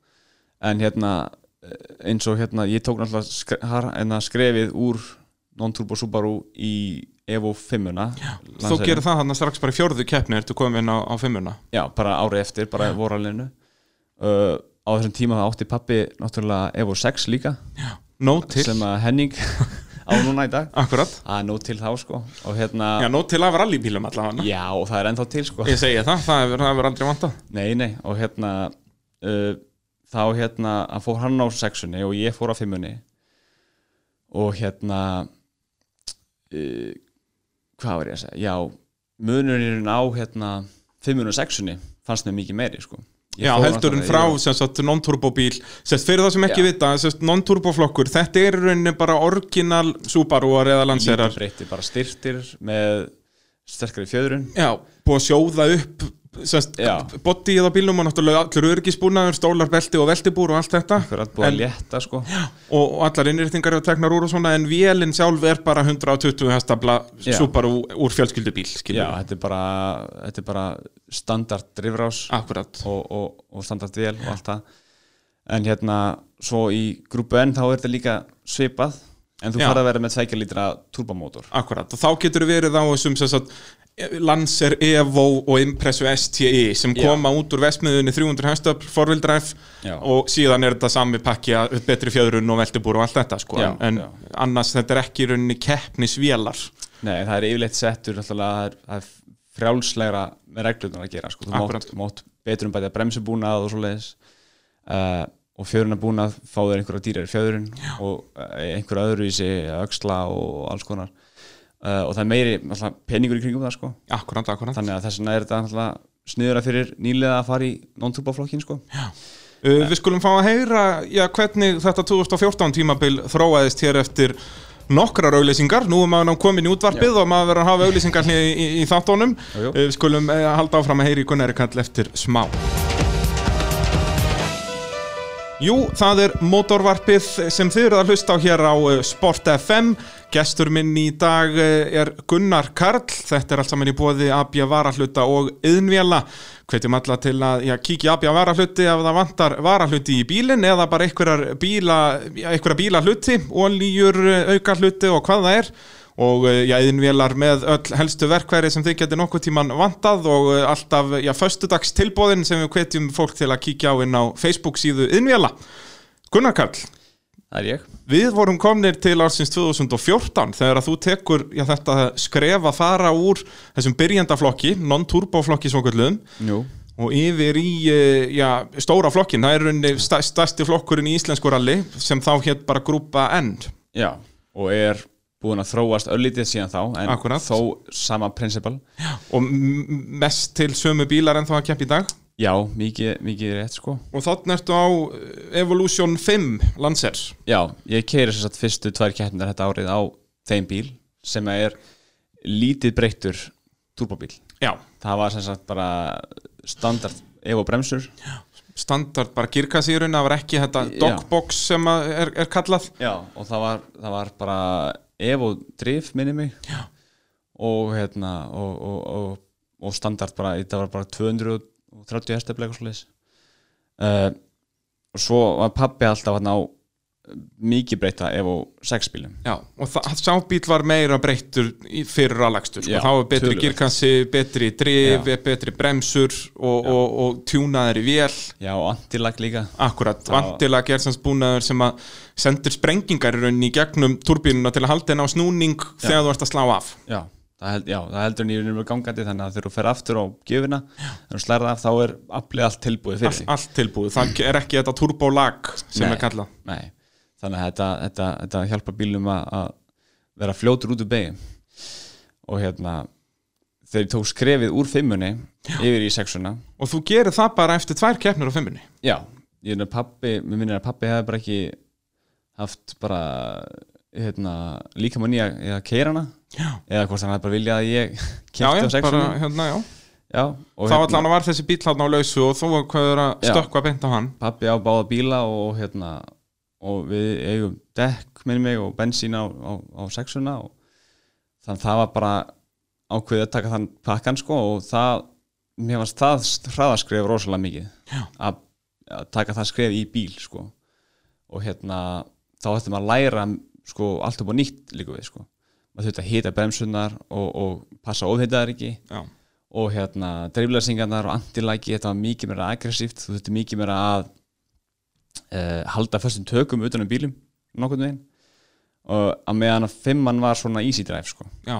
en hérna eh, eins og hérna, ég tók náttúrulega skre, har, hérna, skrefið úr non-turbó Subaru í Evo 5-una þú gerir það þarna strax bara í fjórðu keppni, ertu komin inn á, á fimmuna. já, bara ári eftir, bara voralinu uh, á þessum tíma það átti pappi náttúrulega Evo 6 líka Nó til, sem að Henning á núna í dag akkurat. að nó til þá sko og hérna, já, Já, nó til af rallybílum allavega. og það er ennþá til sko Ég segi það, það hefur, það hefur aldrei vantað. nei, nei, og hérna uh, þá hérna að fór hann á 6-unni og ég fór á 5-unni og hérna uh, hvað var ég að segja já, munurinn á hérna 5-unni og 6-unni fannst mér mikið meiri sko Ég Já, fór heldurinn náttúrulega- frá, ég- sem sagt, non-turbo bíl, sem sagt, fyrir það sem ekki Já. vita, sem sagt, non-turbo flokkur, þetta er í rauninni bara orginal Subaruar eða lítið Lancerar. breytti, bara styrtir með sterkari fjöðrun Já, búið að sjóða upp, sem Já. sagt, bodyið á bílnum og náttúrulega allur örgisbúnaður, stólar, belti og veltibúr og allt þetta. fyrir að búa En- að létta sko og, og allar innrýttingar eru teknar úr og svona en vélinn sjálf er bara 120 hestabla Já. Subaru úr fjölskyldubíl já, skilur við. þetta er bara, þetta er bara standard drifrás Akkurat og, og, og standard vél og allt það en hérna, svo í grúpu N þá er þetta líka svipað en þú Já. farið að vera með 2 litra turbomótor Akkurat, og þá getur verið á þessum sem sagt, Lancer Evo og Impressu STI E sem Já. koma út úr vestmiðunni 300 hestöfl, four-wheel drive Já. og síðan er þetta sami pakki að betri fjöðrun og veltibúr og allt þetta sko. Já, en já. annars þetta er ekki í rauninni keppnisvélar nei, það er yfirleitt settur náttúrulega, það er, það er frjálslegra með reglunar að gera sko. þú mátt, Akkúrat. mátt betur um bæti að bremsubúnað og svoleiðis uh, og fjörunabúnað fá þér einhverja dýrar fjörun og uh, einhverja öðru í sig öxla og alls konar uh, og það er meiri alltaf, peningur í kringum það sko. Akkurat, akkurat þannig að þess vegna er þetta alltaf sniðura fyrir nýlega að fara í non-tubaflokkin sko. Uh, Við skulum fá að heyra já, hvernig þetta 2014 tímabil þróaðist hér eftir nokkrar auðlýsingar, nú er maður nú kominn í útvarpið og maður verður að hafa auðlýsingar í, í, í þáttunum Jú, jú. Uh, Við skulum eh, halda áfram að heyra í Gunnari Kall eftir smá Jú, það er motorvarpið sem þið eruð að hlusta á hér á eh, Sport FM Gestur minn í dag eh, er Gunnar Karl Þetta er allt saman í bóði AB Varahluta og Yðnvjala Hvetjum alla til að já, kíkja AB Varahluti ef það vantar varahluti í bílinn eða bara einhverjar bíla, já, einhverja bílahluti, olíjur, aukahluti og hvað það er og eh, já, yðinvélar með öll helstu verkværi sem þið geti nokkuð tíman vantað og eh, alltaf já, föstudags tilbóðin sem við hvetjum fólk til að kíkja á inn á Facebook síðu yðinvéla. Gunnar Karl, það er ég við vorum komnir til ársins 2014 þegar að þú tekur já, þetta skref að fara úr þessum byrjendaflokki, non-turboflokki svokvöldluðum Jú. og yfir í eh, já, stóra flokkin, það er rauninni stær- stærsti flokkurinn í íslensku ralli sem þá hétt bara grúpa N. Já, og er búin að þróast öllítið síðan þá en Akkúrat. þó sama prinsipal og m- mest til sömu bílar en þá að keppa í dag já, mikið, mikið rétt sko og þannig ertu á eh, Evolution 5 Lancer Já, ég keiri þess að fyrstu tvær keppnir þetta árið á þeim bíl sem er lítið breyttur turbóbíl. já, Það var sem sagt bara standard Evo bremsur. standard bara girkasýrun það var ekki þetta Já. dogbox sem að er, er kallað Já, og það var, það var bara Evo drif minni mig. Já. Og hérna, og, og, og, og standard bara, þetta var bara 230 hestaflega eitthvað svoleiðis. Uh, og svo var pappi alltaf hann á mikið breyta Evo 6 bílum. Já, og það, sá bíl var meira breyttur í- fyrir allagstur, sko. Já, þá var betri töluvert. girkansi, betri drif, betri bremsur og, og, og tjúnaðir í vél, Já, og antilag líka. akkurat, vantilega er sanns búnaður sem að sendir sprengingar í rauninni í gegnum turbínuna til að halda henn á snúning þegar þú ert að slá af. Já, það, held, já, það heldur nýjum nýjum gangandi þannig að þegar þú fer aftur á gjöfina þegar þú slærða af þá er aflið allt tilbúið fyrir All, allt tilbúið, það er ekki þetta turbolag sem Nei. er kallað. þig Nei, þannig að þetta, þetta, þetta hjálpa bílum að, að vera fljótur út úr begin og hérna þegar ég tók skrefið úr fimmunni yfir í sexuna Og þú gerir það bara eftir tvær keppnir á fimmunni. Já, ég er að pappi, mér minnir að pappi hefði bara ekki haft bara hérna, líka mann í að, í að keira hana Já. eða hvort hann hefði bara viljað að ég Já, já, kefti á bara, sexuna hérna, já. Já, og hérna- Þá allan var þessi bíl hann á lausu og þú hvaður að Já. stökkva beint á hann. pappi á báða bíla og hérna og við eigum dekk með mig og bensín á, á, á sexuna og þannig það var bara ákveðið að taka þann pakkan sko og það, mér varst það hraðaskref rosalega mikið Já. að, að taka það skref í bíl sko og hérna þá ætti maður að læra sko allt upp á nýtt líka við sko maður þurfti að hita bremsunar og, og passa ofhitaðar ekki Já. og hérna dreiflæsingarnar og antilæki þetta var mikið meira aggressíft þú þurfti mikið meira að uh, halda föstum tökum utan um bílum nokkurn veginn og að meðan að fimmann var svona easy drive sko. Já,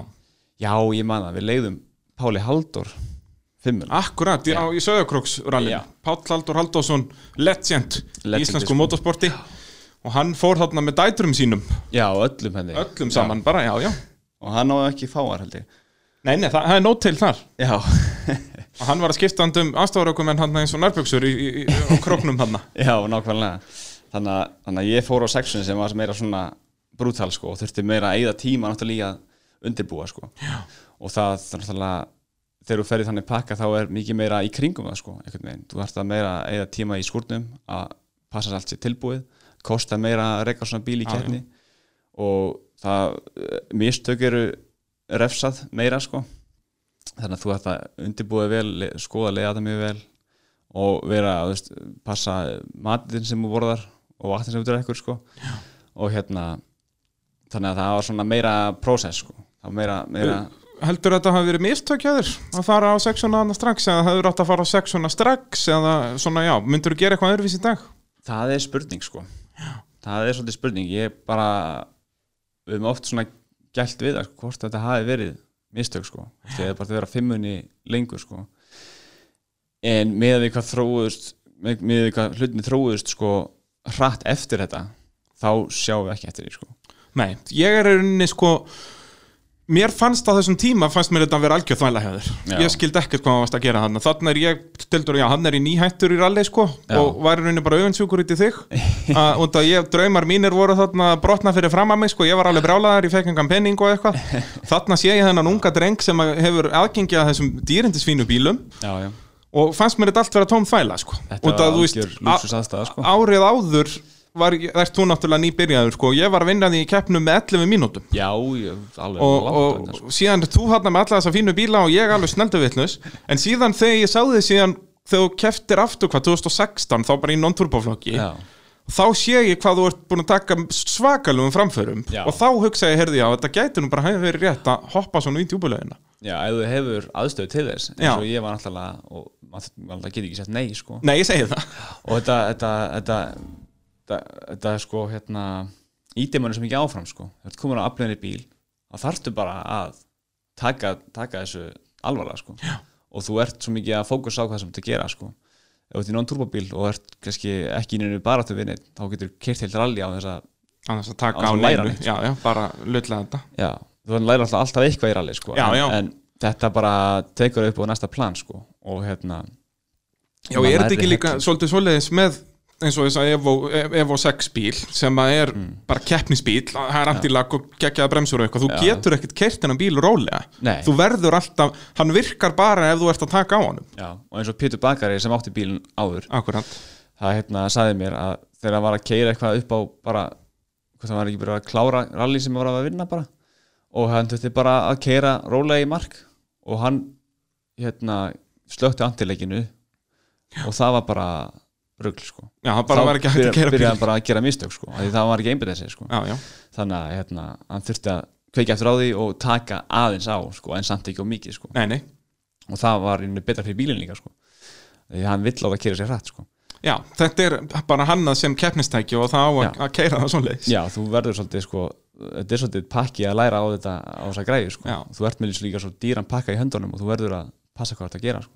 já ég man það, við leiðum Páli Halldór fimmun akkurat, já, í Söðakróksrallinu Já. Páll Haldur Halldórsson, legend í Legend, íslensku sko. motorsporti og hann fór þarna með dætrum sínum já öllum henni öllum saman bara, já, já og hann náði ekki fáar held ég Nei, nei, það, það er nót til þar já, og hann var að skipta hann um aðstofarökum en hann eins og nærbjöksur í, í, í, á króknum hann já nákvæmlega þannig að, þannig að ég fór á sexun sem var meira svona brútal sko, og þurfti meira að eigða tíma náttúrulega í að undirbúa sko. og það það er náttúrulega þegar þú ferði þannig pakka þá er mikið meira í kringum það sko, einhvern veginn, þú þarft að meira að eigða tíma í skúrnum, að passa að allt sér tilbúið, kosta meira að reyka svona bíl í Já, keppni og það, eh, mistök eru refsað meira sko þannig að þú þarft að undirbúið vel le- skoða leiða þetta mjög vel og vera að veist, passa matinn sem þú borðar og vatnin sem þú drekkur sko Já. og hérna þannig að það var svona meira prósess sko, það var meira, meira Heldur þetta hafi verið mistökjaður að fara á sexuna hana strax eða hefur átt að fara á sexuna strax eða svona, já, myndur þú gera eitthvað öðruvís í dag? Það er spurning sko Það er svolítið spurning Ég bara Við höfum oft svona gælt við það sko, Hvort þetta hafi verið mistök sko Þegar bara að vera fimmunni lengur sko En með við hvað þróuðust Með með við hvað hlutinni þróuðust sko Hratt eftir þetta Þá sjáum við ekki eftir því sko Nei, ég er í rauninni sko Mér fannst á þessum tíma fannst mér þetta að vera algjöð þvæla hefur Já. Ég skildi ekkert hvað hann varst að gera hann Þannig er ég, stildur, já, hann er í nýhættur í rally sko Já. og var í rauninni bara öfinsjúkur út í þig að, og það ég, draumar mínir voru þarna að brotna fyrir fram að mig sko, ég var alveg brjálaðar ég fekk engan penning og eitthvað Þarna sé ég þennan unga dreng sem að hefur aðgengi að þessum dýrindisvínu bílum Já, já og fannst mér þetta allt vera tóm þvæla sko Þetta Út að, var þú veist, algjör a- lúksus aðstæða sko Árið áður var, ert þú náttúrulega nýbyrjaður sko Ég var að vinna því í keppnum með 11 mínútum Já, ég, alveg og, langt á og, undan, sko. og síðan ert þú hann með alla þessa fínu bíla og ég alveg sneldu vitlaus en síðan þegar ég sá þig síðan þegar þú keftir aftur hvað 2016 þá bara í non-turboflokki Já, þá sé ég hvað þú ert búin að taka svakalugum framförum Já. og þá hugsa ég, heyrði já, þetta gæti nú bara hefði verið rétt að hoppa svona í djúbulegina já, ef þú hefur aðstöðu til þess Já. eins og ég var náttúrulega og maður maður getur ekki sett nei sko Nei, ég segi það og þetta þetta, þetta, þetta, þetta er sko hérna ídæmanur sem ekki áfram sko þú ert komin á aflöðinni bíl þá þarftu bara að taka, taka þessu alvarlega sko Já. og þú ert svo mikið að fókus á hvað sem þetta gera sko ef þú ert í non-turbóbíl og ert kannski ekki í nynnu baráttu við neitt þá getur kert heilt rally á þess að annars að taka Annars á að læra neinu neitt, sko. já, já, bara lötla þetta já, þú verður að læra alltaf, alltaf eitthvað í rally sko. Já, en, já. en þetta bara tekur upp á næsta plan sko. og hérna Já, maður er þetta lærir ekki líka helling. svolítið svoleiðis með eins og þess að Evo, Evo 6 bíl sem að er Mm. bara keppnisbíl það er aftilag og geggjaða bremsur og eitthvað þú Já. getur ekkert kert hennan bíl rólega Nei. þú verður alltaf, hann virkar bara ef þú ert að taka á honum já, og eins og Pétur Bakari sem átti bílinn áður Akkurat, það hérna sagði mér að þegar hann var að keira eitthvað upp á bara hvort hann var ekki bara að klára rally sem hann var að vinna bara og hann þurfti bara að keira rólega í mark og hann hérna slökti antileikinu og það var bara rugl sko já, það bara var ekki hægt að byrja- kera bíl byrjaði hann bara að gera mistök sko af því það var ekki einbyrðið sig sko Já, já, þannig að hérna, hann þurfti að kveikja eftir á því og taka aðeins á sko, en samt ekki á mikið sko. nei, nei og það var einu betra fyrir bílinn líka sko. því hann vill á það að kera sér hratt sko. Já, þetta er bara hannað sem keppnistæki og það á Já. að, að keira það svoleiðis já, þú verður svolítið sko, þetta er svolítið pakki að læra á þetta á þessa græði sko. Já. þú ert með eins og líka svo dýran pakka í höndunum og þú verður að passa hvað þetta að gera sko.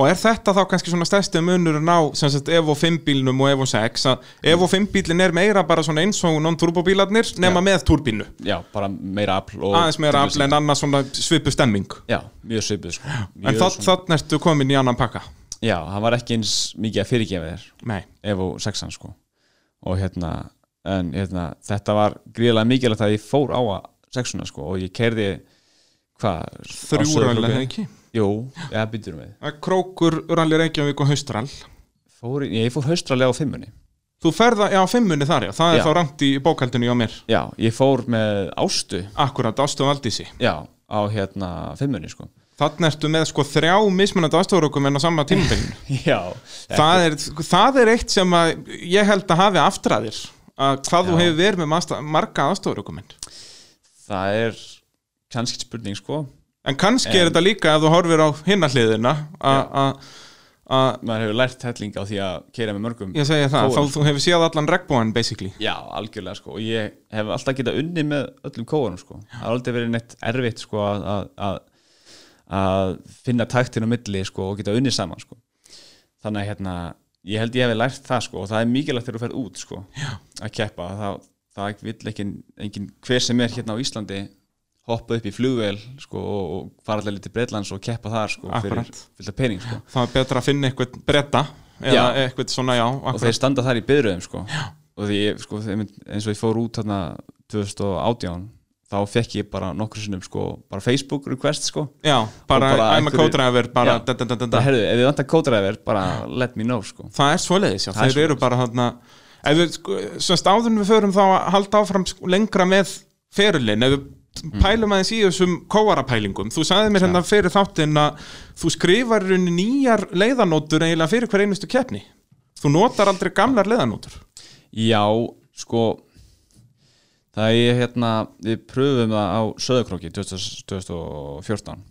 Og er þetta þá kannski svona stærsti munurinn á sem sagt Evo 5 bílnum og Evo 6 að Evo 5 bílinn er meira bara svona eins og non-turbo bílarnir nema með turbínu já, bara meira afl og aðeins meira afl en annars svona svipu stemming já, mjög svipuð sko. en mjög það, þannig ertu komin í annan pakka já, hann var ekki eins mikið að fyrirgefa þér nei, Evo 6 sko. og hérna, en, hérna þetta var gríðlega mikilvægt að ég fór á að 6 sko, og ég kerði hvað? á þrjúralli Sauðárkróki? hefði ekki Jú, eða býturum við Að krókur, ralli Reykjavík og haustrall fór, í- Ég fór haustralega á fimmunni þú ferða, já, fimmunni þar já það Já. er þá rangt í bókaldinu hjá mér Já, ég fór með ástu akkurat ástu valdísi Já, á hérna fimmunni sko þannig ertu með sko þrjá mismunandi ástofurökum en á sama tímabeginu Já, það, er, það er eitt sem að ég held að hafi aftraðir að hvað þú Já. hefur verið með masta, marga ástofurökuminn það er kannski spurning sko en kannski er þetta líka ef þú horfir á hinnahliðina að maður hefur lært helling á því að keira með mörgum Ég segi það, Kóin. þá þú hefur séð allan regnbóðan basically Já, algjörlega sko og ég hef alltaf getað unni með öllum kóðunum sko það har aldrei verið neitt erfitt sko að, að, að, að finna taktin á milli sko og geta unni saman sko þannig að hérna ég held ég hefði lært það sko og það er mikilvægt þegar þú ferð út sko Já. að keppa það, það vill ekki engin hver sem er hérna á Íslandi hoppa upp í flugvél sko og, og fara allir til Breitlands og keppa þar sko fyrir Akkurat. fylgta pening sko Það er betra að finna eitthvað bretta eða Já. eitthvað svona, já, og akkurat þeir standa þar í byrðum sko. og því ég, sko, þeim- eins og ég fór út þarna 2018 þá fekk ég bara nokkru sinnum sko, bara Facebook request sko. Já, bara, og bara I'm a einhverju- co-driver bara, Já. da, da, da, da, það da. herðu, ef þið vantar kódræðver bara let me know sko. Það er svoleiðis, já, Það er þeir eru bara þarna Ef við, sko, sem stáðum við förum þá að halda áfram sko, lengra með ferilinn, ef við pælum aðeins í þessum kóarapælingum, þú sagði mér hérna fyrir þáttinn að þú skrifar í rauninni nýjar leiðanótur eiginlega fyrir hver einustu keppni þú notar aldrei gamlar leiðanótur já, sko það er hérna við pröfum það á Söðukróki 2014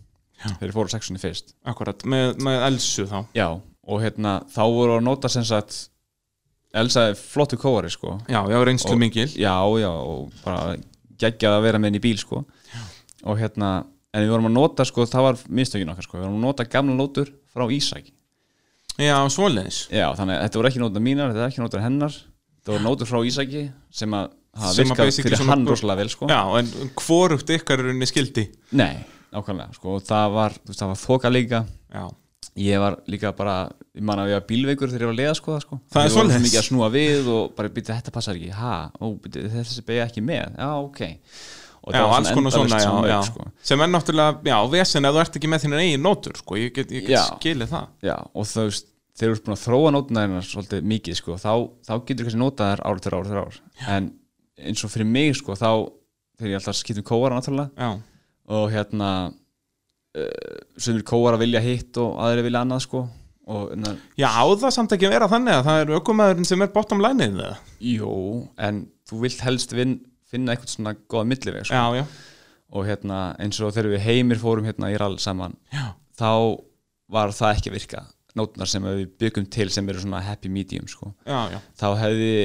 já. þeir fóru sexunni fyrst akkurat, með, með elsu þá já, og hérna þá voru að nota sem sagt Elsa er flottu kóari sko já, já, reynslu Og- mingil já, já, og bara geggjað að vera með henni í bíl sko. og hérna, en við vorum að nota sko, það var mistökin okkar, sko. við vorum að nota gamla nótur frá Ísæk Já, svoleiðis já, þannig að þetta voru ekki nótur mínar, þetta er ekki nótur hennar þetta voru nótur frá Ísæki sem að hafa Sem að virkað basically fyrir svona- hann rosalega vel sko. Já, en hvorugt ykkar er unni skildi nei, nákvæmlega, sko, og það var þú veist, það var þoka líka Já, ég var líka bara, ég man að ég var bílveikur þegar ég var að leiða sko það sko Það er Ég var svoleiðis. mikið að snúa við og bara býta þetta passar ekki, ha, ó, býta, þessi beigja ekki með já, ok og já það var alls konar endalaust svona já, samveik, já. Sko. Sem er náttúrulega, já, vesen að þú ert ekki með þínu eigin nótur sko. Ég get, ég Já. get skilið það já, og þú veist, þeir eru búin að þróa nótuna hennar svolítið mikið sko, þá, þá getur kannski notað þær ár til ár til ár en eins og fyrir mig sko, þá þegar ég alltaf skiptum um kóara náttúrulega Já, og hérna uh, sömur kóara vilja hitt og aðri vilja annað sko og, na, já á það samt ekki að vera þannig að það er aukumæðurinn sem er bottom line eða Jú, en þú vilt helst vin, finna eitthvað svona góða milliveg sko. Já, já, og hérna, eins og þegar við heimir fórum hérna í rall saman já, þá var það ekki að virka nótnar sem við byggum til sem eru svona happy medium sko. já, já þá hefði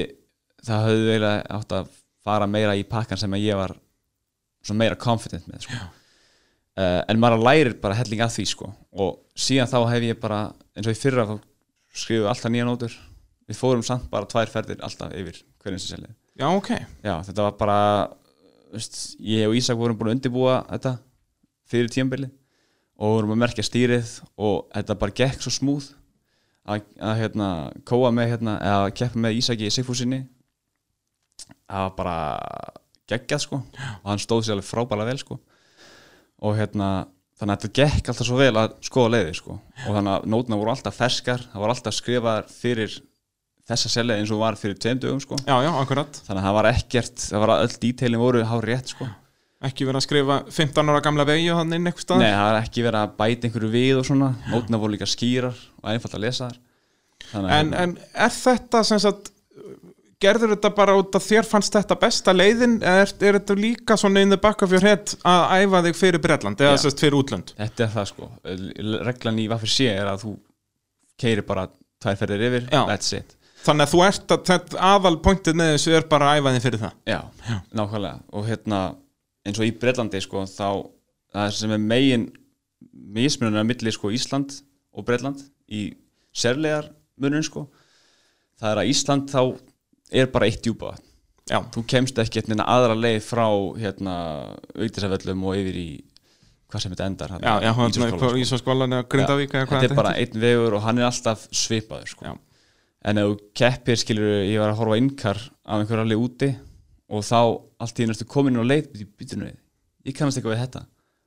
það hefði eiginlega átt að fara meira í pakkan sem að ég var svona meira confident með sko. uh, en maður lærir bara helling að því sko. og síðan þá hef ég bara eins og í fyrra þá skrifu alltaf nýja nótur við fórum samt bara tvær ferðir alltaf yfir hverjum sem selið Já, ok. Já, þetta var bara veist, ég og Ísak vorum búin að undirbúa þetta fyrir tímabili og vorum að merkja stýrið og þetta bara gekk svo smúð að, að hérna, kóa með hérna, eða keppa með Ísaki í Sigfúsinni það var bara geggjað sko og hann stóð sér alveg frábæla vel sko og hérna þannig að þetta gekk alltaf svo vel að skoða leiði sko og þannig að nótna voru alltaf ferskar það voru alltaf skrifaðar fyrir þessa selja eins og var fyrir tveim dögum sko Já, já, akkurat. þannig að það var ekkert, það var öll dítelin voru hár rétt sko Ekki verið að skrifa 15 ára gamla vegi og þannig inn eitthvað staðar. Nei, það var ekki verið að bæta einhverju við og svona, nótna voru líka skýrar og einfalt að lesa þar þannig En, að en er þetta sem sagt gerður þetta bara út að þér fannst þetta besta leiðin eða er, er þetta líka svona in the back of your head að æfa þig fyrir Bretland eða Já. sérst fyrir útlönd þetta er það sko reglan í vaffir sé er að þú keiri bara tvær ferðir yfir Já. that's it, þannig að þú ert að þetta aðal pointið með þessu er bara að æfa þig fyrir það já, nákvæmlega og hérna, eins og í Bretlandi sko, þá, það er sem er megin mismunum að milli sko Ísland og Bretland í sérlegar munun sko það er að Ísland þá er bara eitt djúpa vatn Já, þú kemst ekki eitthvað aðra leið frá hérna, auðvitaðsaföllum og yfir í hvað sem þetta endar já, já Ísaskóla, Ísaskólan, sko. Ísaskólan eða Grindavík eða hvað þetta er bara einn vegur og hann er alltaf svipaður sko. Já. en ef þú keppir skilur ég var að horfa á innkar af einhverju alveg úti og þá allt í næstu komin og leit í bytunum við, ég kannast eitthvað við þetta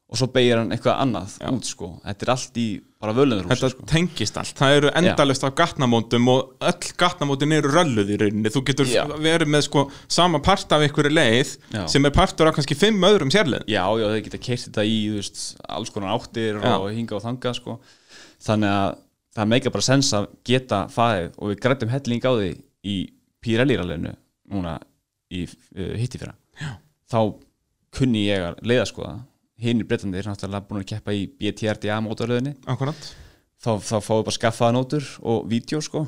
og svo beigir hann eitthvað annað út sko. þetta er allt í bara völundur Þetta tengist allt, það eru endalist af gatnamótum og öll gatnamótin eru rölluð í rauninni, þú getur Já. verið með sko sama part af einhverju leið Já. sem er partur af kannski fimm öðrum sérleið Já, já, þeir geta keirt þetta í þú veist, alls konar áttir Já. og hinga og þanga sko. þannig að það meika bara sens að geta farið og við grættum helling á því í Píralýraleginu núna í uh, hittifyrra þá kunni ég að leiða sko það hinn í Breitlandi er náttúrulega búin að keppa í BTRDA mótarleðinni Akkurat þá, þá fáum við bara skaffaða nótur og vídeo sko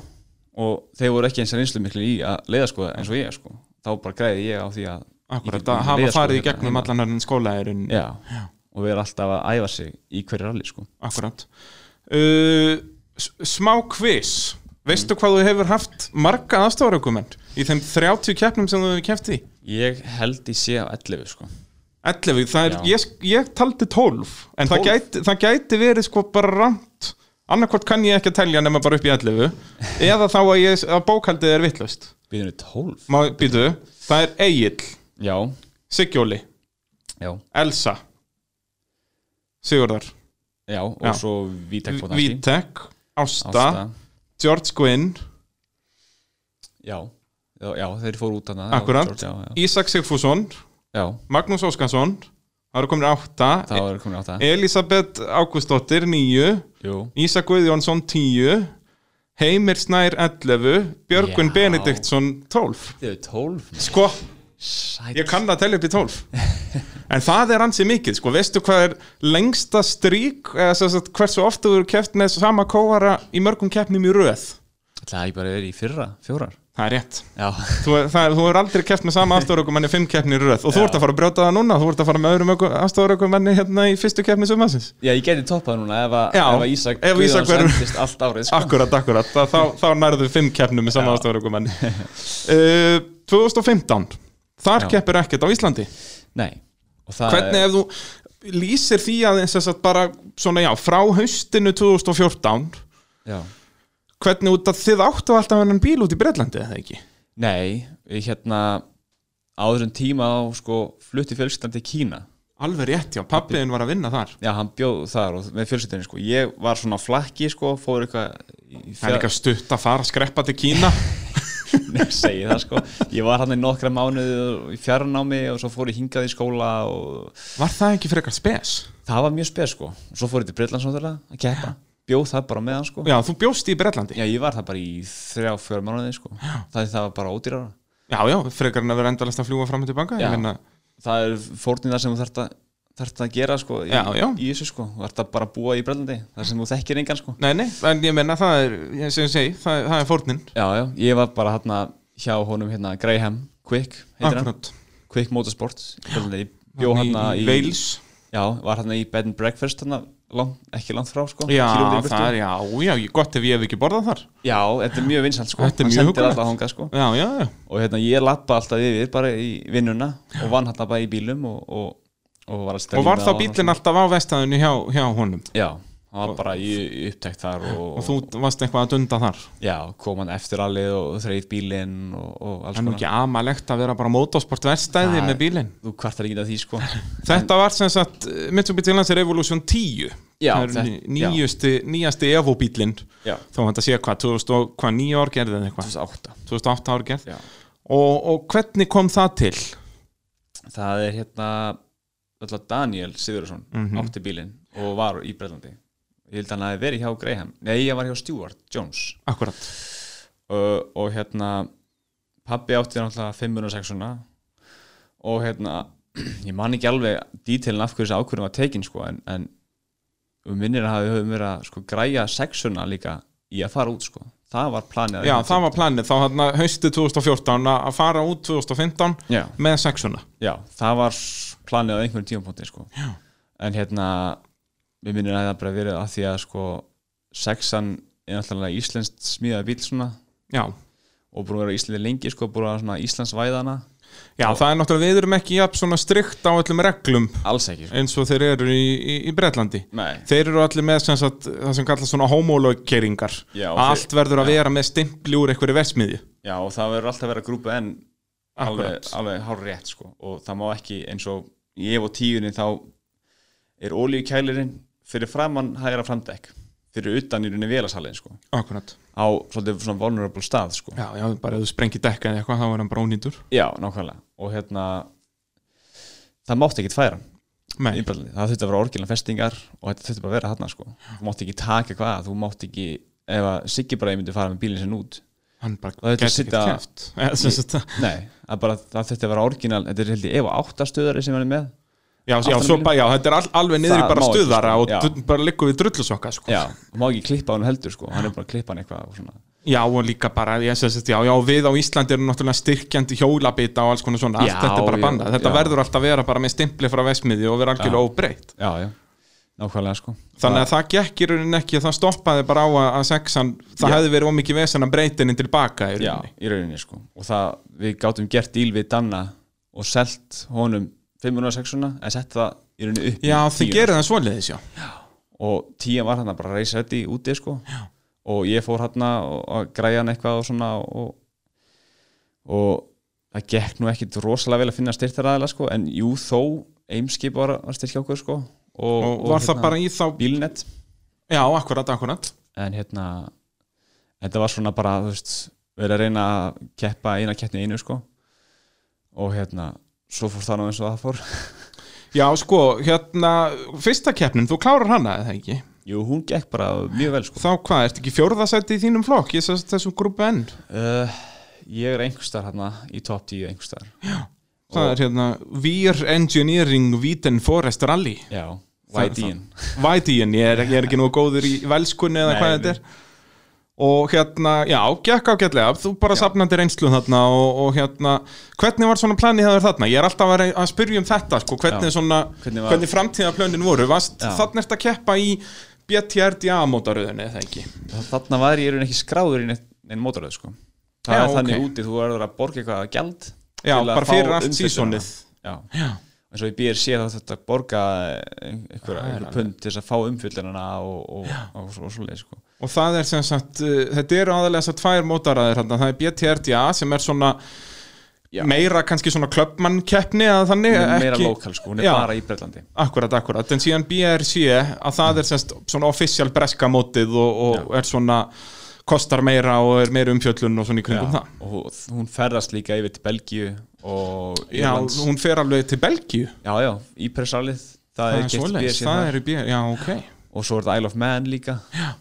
og þeir voru ekki eins og reynslu miklu í að leiða sko eins og ég sko þá bara græði ég á því að Akkurat, Ég get að hafa leiða, sko, farið í hérna, gegnum heima. allan hérna skólaðurinn já, og vera alltaf að æfa sig í hverju rally sko Akkurat uh, s- Smá quiz Mm. Veistu hvað þú hefur haft marga aðstofaraukumenn í þeim 30 keppnum sem þú hefur keppt í? Ég held í sé á 11 sko 11, það er, Já. ég, ég taldi 12 en það 12? gæti, það gæti verið sko bara rand annarkvort kann ég ekki að telja nema bara upp í 11 eða þá að, ég, að bókaldið er vittlust Býðinu 12? Má, býtu, það er Egil Já, Siggjóli, já, Elsa Sigurðar já og Já. svo Vítek Bótanski Vítek, Ásta, George Gwynn, já. já, já, þeir fóru út hana Akkúrat. já, já. Ísak Sigfússon já, Magnús Óskarsson það eru komin átta, það var komin átt að Elisabeth Ágústóttir níu, Jú, Ísak Guðjónsson tíu, Heimir Snær 11, Björgun Já. Benediktsson 12 þið eru 12 Sko, Sæt ég kann að telja upp í 12 En það er ansi mikið, sko, veistu hvað er lengsta strík eða sem sagt, hversu oft þú eru keft með sama kóara í mörgum keppnum í röð Það er bara verið í fyrra, fjórar Það er rétt Já, Þú, það, er- þú er aldrei keft með sama afstofurökumenni fimm keppni í röð og þú ert að fara að brjóta það núna þú ert að fara með öðrum afstofurökumenni hérna í fyrstu keppni sumasins já ég geti toppað núna ef, að, Já, ef að Ísak ef Ísak Guðjóns verður- endist allt árið sko. Akkurat, akkurat, þá, þá, þá nærðu fimm keppnum með sama afstofurökumenni uh, 2015 Þar Já. keppir ekkert á Íslandi Nei Og það Hvernig er, ef þú lýsir því að eins og bara svona já, frá haustinu 2014 já. hvernig út að þið áttu alltaf hennan bíl út í Bretlandi eða ekki? Nei, við hérna á þessum tíma á sko flutti fjölskyldandi Kína Alveg rétt, já, pappiðin var að vinna þar Já, hann bjóð þar og með fjölskyldinni sko. Ég var svona á flakki sko, fór eitthvað í Það er líka stutt að fara að skreppa til Kína fjörn, segi það sko. Ég var hann í nokkra mánuði og í fjarnámi og svo fór ég hingað í skóla og Var það ekki frekar spes? það var mjög spes sko. Og Svo fór ég til Breitlands náttúrulega að keppa, bjóð það bara með hann sko. Já, þú bjóst í Bretlandi Já, Já, ég var það bara í þrjá, fjör mánuði sko. Það, það var bara ódýrara. já, frekar en að vera endalast að fljúa fram og tilbaka Já. ég meina, Það er fórnir það sem þú þarft að þarft að gera sko í, Já, já. í þessu sko þú þarft að bara búa í Breitlandi þar sem þú þekkir engan sko Nei, nei, en ég menna það er, ég- sem ég segi, það, það er fórnin já já, ég var bara hérna hjá honum hérna Graham Quick heitir hann Akkurat Quick Motorsport í Breitlandi. ég bjó hann í í Wales já, var hann í Bed and Breakfast hann langt, ekki langt frá sko, Já, kílómetri í burtu. það er, já, já, ég- gott ef ég hef ekki borðað þar já, þetta er mjög vinsalt sko, Þetta er hann mjög sendir huggulegt. alla þangað sko Já, já, já, og hérna ég lappa alltaf yfir bara í vinnuna og vann hérna bara í bílum og, og, og var að stelja og var þá um- bílinn alltaf á vestæðinu hjá, hjá honum já, hann var bara í, í upptækt þar og, og þú varst eitthvað að dunda þar já, kom hann eftir alveg og þreif bílinn og, og alls Það er nú konar ekki amalegt að vera bara mótorsport verstæði Það- með bílinn þú kvartar ekki að því sko Þetta var sem sagt eh, Mitsubishi Lancer Evolution 10 Já, það er þetta- ný- nýjusti, nýjasti Evo-bílinn já, þó hann að sé hvað, 2000 og- hvað nýja ár gerði eða eitthvað 2008 2008 ár gerð já. og, og hvernig kom það til? það er hérna alltaf Daniel Sigurðarsson Mhm. átti bílinn og var í Breitlandi ég held að hann hafi verið hjá Graham nei, ég var hjá Stuart Jones Akkurat uh, og hérna pabbi átti náttúrulega 506 og hérna ég man ekki alveg dítilin af hverju þessi ákvörðum var tekin sko, en, en um minnir að hafi höfum verið að sko, græja sexuna líka í að fara út sko. það var planið að- Já, það var planið þá hérna hann hausti 2014 að að fara út 2015 já, með sexuna já, það var planið á einhverjum tímapunkti sko. Já. en hérna við minnir að það bara verið að því að sko, sexan er náttúrulega íslenskt smíðað bíl svona, Já, og búin að vera á Íslandi lengi sko, búin að svona Íslands væðana Já það er náttúrulega, við erum ekki jafn svona strikt á öllum reglum alls ekki sko. eins og þeir eru í, í, í Bretlandi Nei, Þeir eru allir með sem sagt, það sem kallast svona homologeringar Já, að þeir- allt verður að vera með stimpli úr einhverju versmiði Já, og það verður alltaf að vera grúpa N alveg, Akkurat. alveg hár rétt sko. og það má ekki eins og í ef og tíunni þá er olíukælirinn fyrir framann hægra framdekk fyrir utan í rauninni vélasalinn sko. Akkurat á svolítið svona vulnerable stað sko. Já, já, bara ef þú sprengir dekka eða eitthvað þá er hann bara ónýtur Já, nákvæmlega og hérna það mátti ekki færa hann Nei, í Bretlandi. það þurfti að vera orginlega festingar og þetta þurfti bara að vera hann sko. þú mátti ekki taka hvað, þú mátti ekki ef að Siggi bara myndi fara með bílinn sinn út hann bara Það er gæti til að ekkert sitja- kæft sem sagt það- Nei, það, bara, það þurfti að vera orginal þetta er held ég ef áttastöðari sem hann er með Já, Aftan já, á svo bílinn. bara, já, þetta er all, alveg niður í Það bara má ekki, stuðara sko. og Já. dr- bara liggur við drullusokka sko. Já, það má ekki klippa hann heldur sko, hann er bara að klippa hann eitthvað og svona. Já, og líka bara, ég sé að já, já, við á Íslandi erum náttúrulega styrkjandi hjólabita og alls konar svona, Já, allt þetta er bara já, bannað þetta já. verður alltaf að vera bara með stimpli frá vesmiði og vera algjörlega óbreytt Já, já, nákvæmlega sko. Þannig að það gekk í rauninni ekki, það stoppaði bara á að, að sexan, það hefði verið ómikið vesen að breyta henni tilbaka í Já, rauninni. í rauninni sko. Og það, við gátum gert díl við Danna og selt honum 506-una en sett það í rauninni upp Já, í þið tíuna. gerir það svoleiðis, já. Og tíja var hann bara reisa þetta í úti sko. Já. Og ég fór hann að græja hann eitthvað og svona og, og það gekk nú ekkit rosalega vel að finna styrtaræðilega sko, en jú þó, Eimskip var að styrkja okkur sko. Og, hérna- Og, var það bara í þá, Bílnett já, akkurat, akkurat. en hérna þetta var svona bara, þú veist verið að reyna að keppa eina keppni í einu sko og hérna svo fór það nú eins og það fór Já, sko, hérna, fyrsta keppnin, þú klárar hana eða ekki? Jú, hún gekk bara mjög vel sko Þá hvað, ertu ekki fjórðasætti í þínum flokk, ég sérst þessum grúpu enn? uh, Ég er einhverstaðar hérna í top 10 einhverstaðar Það er hérna, Veer Engineering Viten Forest Rally. Já, Það- YD-in Vætíin, ég er, ég er ekki nú góður í velskunni eða Nei, hvað nei. þetta er og hérna, já, gekk ágætlega þú bara safnandi reynslu þarna og, og hérna, hvernig var svona planið þaður þarna? Ég er alltaf að, rey- að spyrja um þetta sko, hvernig Já. svona, Hvernig hvernig, var- framtíðaplönin voru Vast, Já. þarna ert að keppa í BTRDA mótaröðunni, eða ekki? Þarna var ég í rauninni ekki skráður í einn mótoröð sko Það Já, er þannig ok. úti, þú verður að borga eitthvað gjald Já, til að bara fá fyrir allt umfjöllunina. sísonið Já, Já, eins og í BRC þá þetta borga eh, einhverja er einhver alveg. pund til þess að fá umfyllunina og, og, og, og, og svoleið sko. og það er sem sagt uh, þetta eru aðalega þessar tvær mótaræðir þarna, það er BTRDA sem er svona Já. meira kannski svona klöppmann keppni að þannig, hún er meira ekki lokal sko, hún er Já. bara í Breitlandi Akkurat, akkurat, en síðan BRC að það er semst svona official breska mótið og, og er svona kostar meira og er meira umfjöllun og svona í kringum það og hún ferðast líka yfir til Belgíu og Já, Írlands hún fer alveg til Belgíu já, já, ípressalið það Það er er gert í svoleiðis, BRC það þar. er í BRC, já, ok og svo er það Isle of Man líka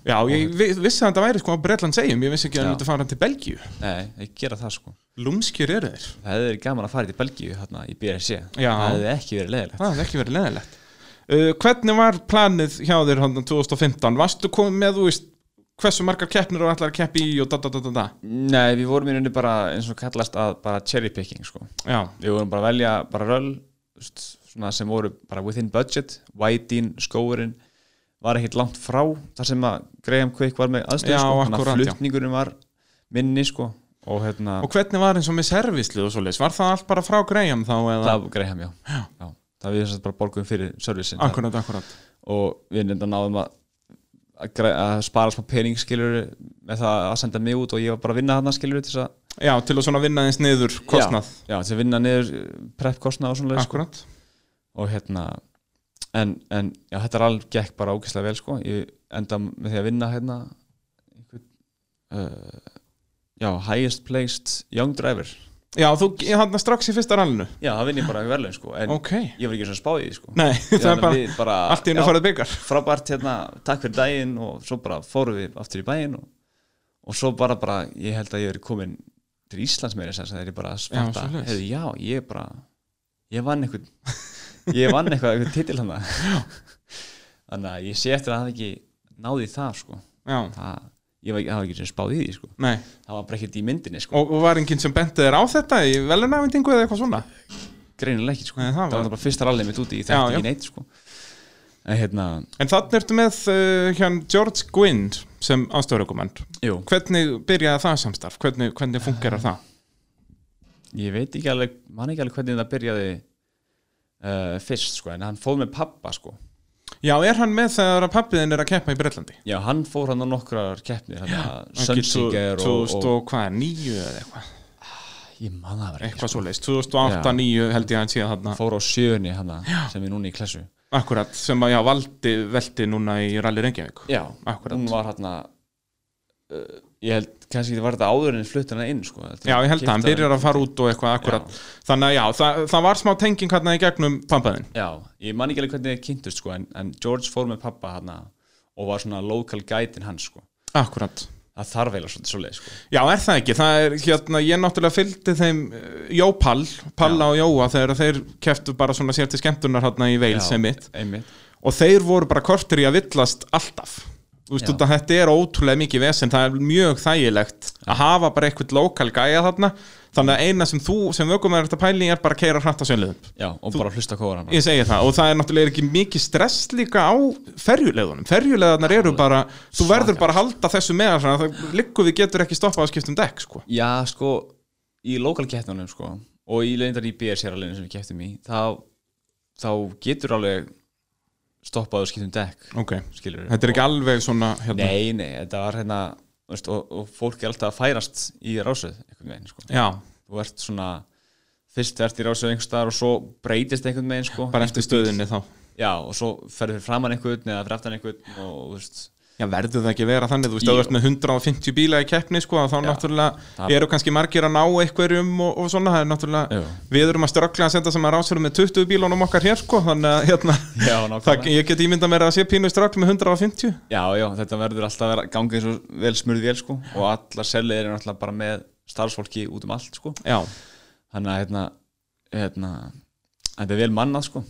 Já, ég vi- vissi að þetta væri sko að Bretland segjum, ég vissi ekki að Já. hann myndi fara til Belgíu nei, þeir gera það sko Lúmskir eru þeir, það hefði verið gaman að fara til Belgíu hérna í BRC Já. það hefði ekki verið leðilegt það hefði ekki verið leðilegt uh, Hvernig var planið hjá þér hann 2015? Varstu komið með, þú veist, hversu margar keppnir og allar að keppi í og da da da da da nei, við vorum í rauninni bara eins og kallast að bara cherry picking sko Já, við vorum bara að velja bara röll þú veist, svona sem voru bara within budget, whitein, skóurinn var ekkit langt frá þar sem að Graham Quick var með aðstöð Já, sko, akkúrat, að já. flutningurinn var minni sko og hérna, Og hvernig var eins og með servislið og svoleiðis? Var það allt bara frá Graham þá eða? það var Graham já, já. það við þess að bara borgum fyrir servicin Akkurat, akkurat. og við nefnda náðum að að græ- að spara smá pening skilur með það að senda mig út og ég var bara að vinna þarna skilur til þess að Já, til að svona vinna eins niður kostnað. já, já, til að vinna niður prep kostnað og svona sko. Akkurat. og hérna en, en já, þetta er alveg gekk bara ógeðslega vel sko. ég enda með því að vinna hérna einhvern, uh, já, highest placed young driver Já, þú, ég hann strax í fyrsta rallinu. já, það vinn ég bara í verðlaun sko. en Ok. ég var ekki svona spáð í því sko. Nei, það er Þannig að bara við bara allt í hennu já, farið byggar. frábært hérna, takk fyrir daginn og svo bara fórum við aftur í bæinn og, og svo bara bara, ég held að ég er komin til Íslands meira þess að það er ég bara að svarta, svoleiðis. heyrðu, já, ég bara ég vann einhvern ég vann eitthvað, einhvern titil hann þannig að ég sé eftir að það ekki náði í það, sko Já, það, ég var, það var ekki sem spáð í því, sko nei. það var bara ekkert í myndinni, sko, Og, og var enginn sem benti þér á þetta í velunafendingu eða eitthvað svona? greinilega ekki, sko Nei, það það var, var- það bara fyrsta rallið mitt úti, ég Já, þekkti já. ekki neitt, sko en hérna, En þannig ertu með uh, hérna George Gwynn sem ástöðurökumend. jú Hvernig byrjaði það samstarf? Hvernig, hvernig fungerar það? ég veit ekki alveg, man ekki alveg hvernig það byrjaði uh, fyrst sko, en hann fóð með pappa sko Já, er hann með þegar að pappiðin er að keppa í Breitlandi? já, hann fór hann á nokkrar keppnir hann að Sunseeker og, 2000 og, og hvað, 9 eða eitthvað ég man það verið eitthvað svo leist, 2008, 9 held ég að hann sé þarna fór á sjöunni hann sem er núna í klessu akkurat, sem að já, valdi velti núna í Rally Reykjavík já, Akkúrat. hún var hann að uh, ég held kannski þetta var þetta áður en flutt hana inn sko já, ég held að hann byrjar að fara út og eitthvað akkurat, þannig að já, það, það var smá tenging hérna í gegnum pampaðin já, ég man ekki alveg hvernig þið kynntust sko en, en George fór með pappa hann og var svona local guide-in hans sko akkurat, það þarf eiginlega svolítið svolítið sko já, er það ekki það er, hérna, ég náttúrulega fylgdi þeim eh, Jópall, Palla og Jóa þegar þeir keftu bara svona sér til skemmtunar hérna í Veils Já, einmitt einmitt og þeir voru bara kortir í að villast alltaf þú veist Já. út að þetta er ótrúlega mikið vesen það er mjög þægilegt að hafa bara eitthvað lokal gæja þarna þannig að eina sem þú sem vökum er þetta pæling er bara að keira hrætt á sönliðum Já, og bara hlusta kóra hann ég segi það og það er náttúrulega ekki mikið stress líka á ferjuleiðunum ferjuleiðunar eru bara þú verður bara að halda þessu með þannig að það liggur við getur ekki stoppað að skipta um dekk sko. Já, sko, í lokalkeppnunum sko, og í leindar í BR-séralinu sem við kepptum í, þá, þá getur alveg stoppað og skiptum dekk, ok, skilur þetta er ekki alveg svona hérna. Nei, nei, þetta var hérna þú veist, og, og fólk er alltaf að færast í rásuð einhvern veginn, sko. já, Þú ert svona fyrst ert í rásuð einhvers staðar og svo breytist einhvern veginn, sko. bara eftir stöðinni þá Já, og svo ferður fyrir framann einhvern eða fyrir aftan einhvern og, þú veist, Já, verður það ekki að vera þannig, þú veist, Jú. ef þú ert með 150 bíla í keppni, sko, að þá náttúrulega Það- eru kannski margir að ná einhverjum og, og svona, það er náttúrulega, Jú. við erum að ströggla að senda sem að rásfjörum með 20 bílunum okkar hér, sko, þannig að, hérna, Já, það, nákvæmlega. ég get ímyndað mér að sé pínu ströggl með 150. Já, já, þetta verður alltaf að vera gangið eins og vel smurð vél sko og allar selliðir eru náttúrulega bara með starfsfólki út um allt sko Já, þannig að hérna, hérna þetta er vel mannað sko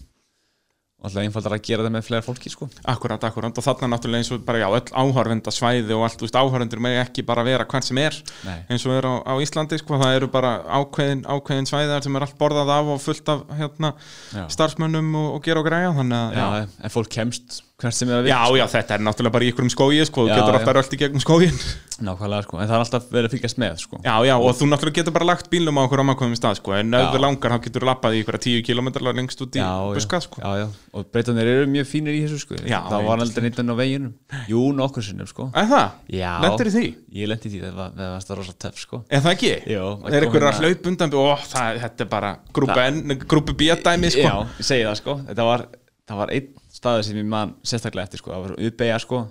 og alltaf einfaldar að gera þetta með fleira fólki sko akkurat, akkurat, og þarna náttúrulega eins og bara, já, öll áhörvenda svæði og allt, þú veist, áhörvendur með ekki bara vera hvern sem er, Nei. eins og er á, á Íslandi, sko, það eru bara ákveðin, ákveðin svæðar sem er allt borðað af og fullt af, hérna, Já. starfsmönnum og, og gera og græja, þannig að, Já, en fólk kemst hvert sem er að við Já, já, þetta er náttúrulega bara í ykkurum skói sko, þú Já, getur já. alltaf rölt í gegnum skóin Nákvæmlega sko, en það er alltaf verið að fylgjast með sko Já, já, og þú náttúrulega getur bara lagt bílum á okkur ámakvæmum stað, sko, en ef Já. þú langar þá getur þú lappað í ykkur 10 km lengst út í buska, sko. já, já, og breytanir eru mjög fínir í þessu sko Já, Það var aldrei nýttan á veginum Jú, nokkur sinnum sko Er það? Já, Lendir í því? Ég lendi í því, það var, það var rosa töff sko Er það ekki? Jó, að koma Er ykkur að hérna- hlaup undan, ó, það, þetta er bara grúpa N, grúpa B dæmi, sko. Já, ég segi það sko Þetta var, það var einn staður sem ég man sérstaklega eftir sko Það var uppeyja sko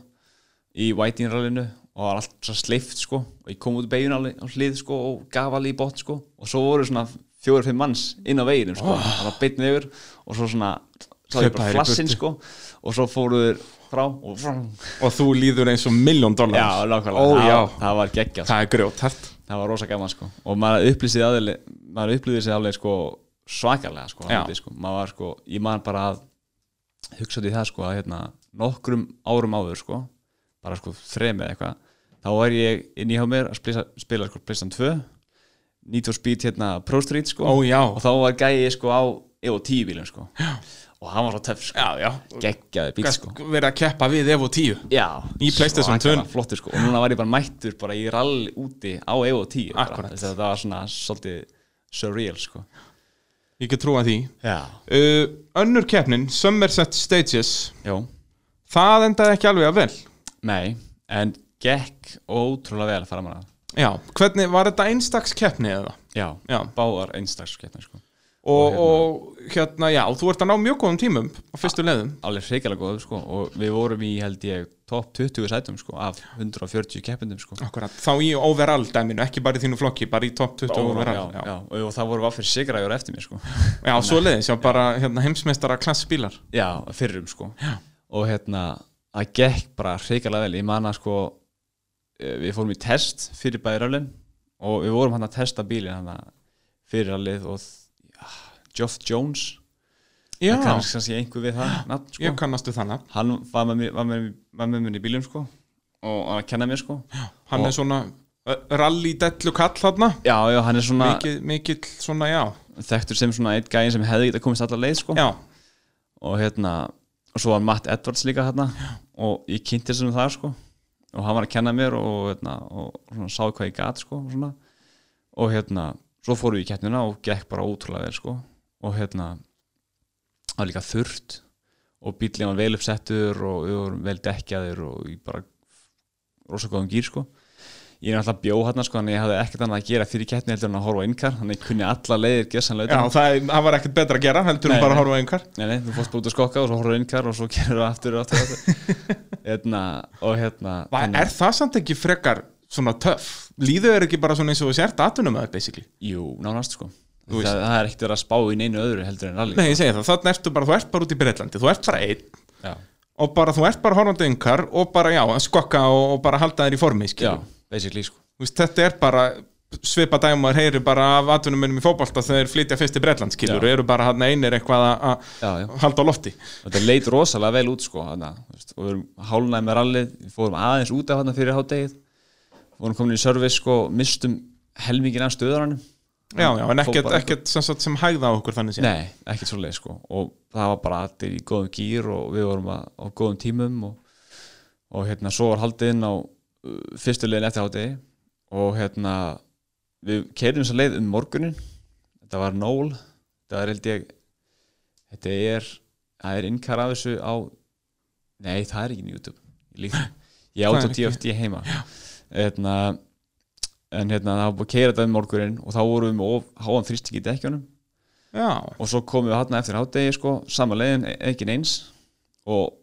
í Whiting-rallinu og það var allt svo sleift sko og ég kom út í beiguna alveg á hlið sko og gaf alveg í botn sko og svo voru svona fjóri-fimm manns inn á veginum sko það var beittn yfir og svo svona svo ég Ah. Hlaupa bara þeir í flassinn burtu. sko og svo fóru þeir frá og Og þú líður eins og miljón dólar. Já, nákvæmlega, Ó, það, já, það var geggjað sko. það er grjótart. það var rosa gaman sko og maður upplýsið aðeins maður upplýsið sig alveg sko svakalega sko, Já. alveg, sko. maður var sko, ég man bara að hugsa til það sko að hérna, nokkrum árum áður sko bara sko þrem eða eitthvað þá var ég inn í hjá mér að spila, spila sko Playstation 2 Need for Speed hérna Pro Street sko Ó, já. og þá var gæi sko á Evo 10 bílum sko já. og hann var svo töff sko, já, já geggjaði bíl Gast sko verið að keppa við Evo 10 Já, Í PlayStation 2. svakalega flottur sko og núna var ég bara mættur bara í rall úti á Evo 10 bara. Akkurat. Þess að þetta var svona svolítið surreal sko Ég get trúa því Já, uh, Önnur keppnin, Somerset Stages já Það endaði ekki alveg að vel Nei, en gekk ótrúlega vel fram að Já, hvernig, var þetta einstaks keppni eða? Já, Já. báðar einstakskeppni sko Og, og hérna, já, þú ert að ná mjög góðum tímum á fyrstu leiðum alveg hrikilega góð sko og við vorum í held ég top 20 sætum sko af 140 keppindum sko Akkurat, þá í overall dæminu, ekki bara í þínu flokki, bara í top 20 já, overall já. og og það voru vaffir sigraður eftir mér sko Já, svo leiðis, já, bara hérna, heimsmeistara klassbílar já, fyrrum sko Já. og hérna, það gekk bara hrikilega vel, ég man að sko eh, við fórum í test fyrir bæði röflin og við vorum hann að testa bílin hann að fyrir að lið og já, Geoff Jones Já, það kannast kannski einhver við það nafn, sko. ég kannastu þannig hann var með, mér- var, með, var með mér í bílum sko og hann að kenna mér sko Hann Og- er svona rally dellu kall þarna já, já, hann er svona Mikill, mikill svona, já þekktur sem svona eitt gæðin sem hefði getað komist allar leið sko Já, og hérna og svo var Matt Edwards líka hérna og ég kynnti sem það sko og hann var að kenna mér og, hérna, og svona, sá hvað ég gat sko og, svona. og hérna, svo fórum við í keppnina og gekk bara ótrúlega vel sko og hérna það var líka þurrt og bíllinn var vel uppsettur og við vorum vel dekkjaðir og ég bara rosa góðum gýr sko ég er alltaf bjó hérna sko en ég hafði ekkert annað að gera fyrir keppni heldur en að horfa á innkar þannig að ég kunni alla leiðir um gessanlega já það, er- það var ekkert betra að gera heldur Nei, en bara nei. að horfa á einhver Nei, nei, þú fórst bara út að skokka og svo horfður innkar og svo gerir þú aftur og aftur og aftur hérna, og hérna Va, þannig- Er það samt ekki frekar svona töff? Líðu er ekki bara svona eins og þú sért atunum að basically Jú, nánast sko það, Þú veist. það er ekkert verið að spá í neinu öðru heldur en rally Nei, ég segi það, þannig ertu bara, þú ert bara út í Breitlandi Þú ert bara einn Já, og bara þú ert bara horfandi yngar og bara já, að skokka og, og bara halda þér í formi já, skilur. basically sko Þú veist, þetta er bara svipa dæmar heyri bara af atvinnumönnum í fótbolta þegar þeir flytja fyrst í Bretland skilur Já. og eru bara hann einir eitthvað að- Já, já, að halda á lofti og þetta leit rosalega vel út sko hana, veist, og við erum hálnaði með rallið við fórum aðeins út af hana fyrir hádegið vorum komin í service sko mistum helmingin af stöðaranum já, já, en Fór ekkert, bara- ekkert sem, sagt sem hægða á okkur þannig séð Nei, ekkert svoleið sko og það var bara allir í góðum gýr og við vorum að, á góðum tímum og, og hérna svo var haldið inn á uh, fyrstu leiðin eftir hátegi og hérna við keirum þess að leið um morgunin þetta var nól þetta er held ég þetta er, það er innkar af þessu á nei það er ekki inn í YouTube ég, líka, ég Það át er á ekki. DFT heima hérna en hérna það var búið að keira þetta um morgunin og þá vorum við með of háan þrýsting í dekkjunum já, og svo komum við hann eftir hádegi sko, sama leiðin, e- engin eins og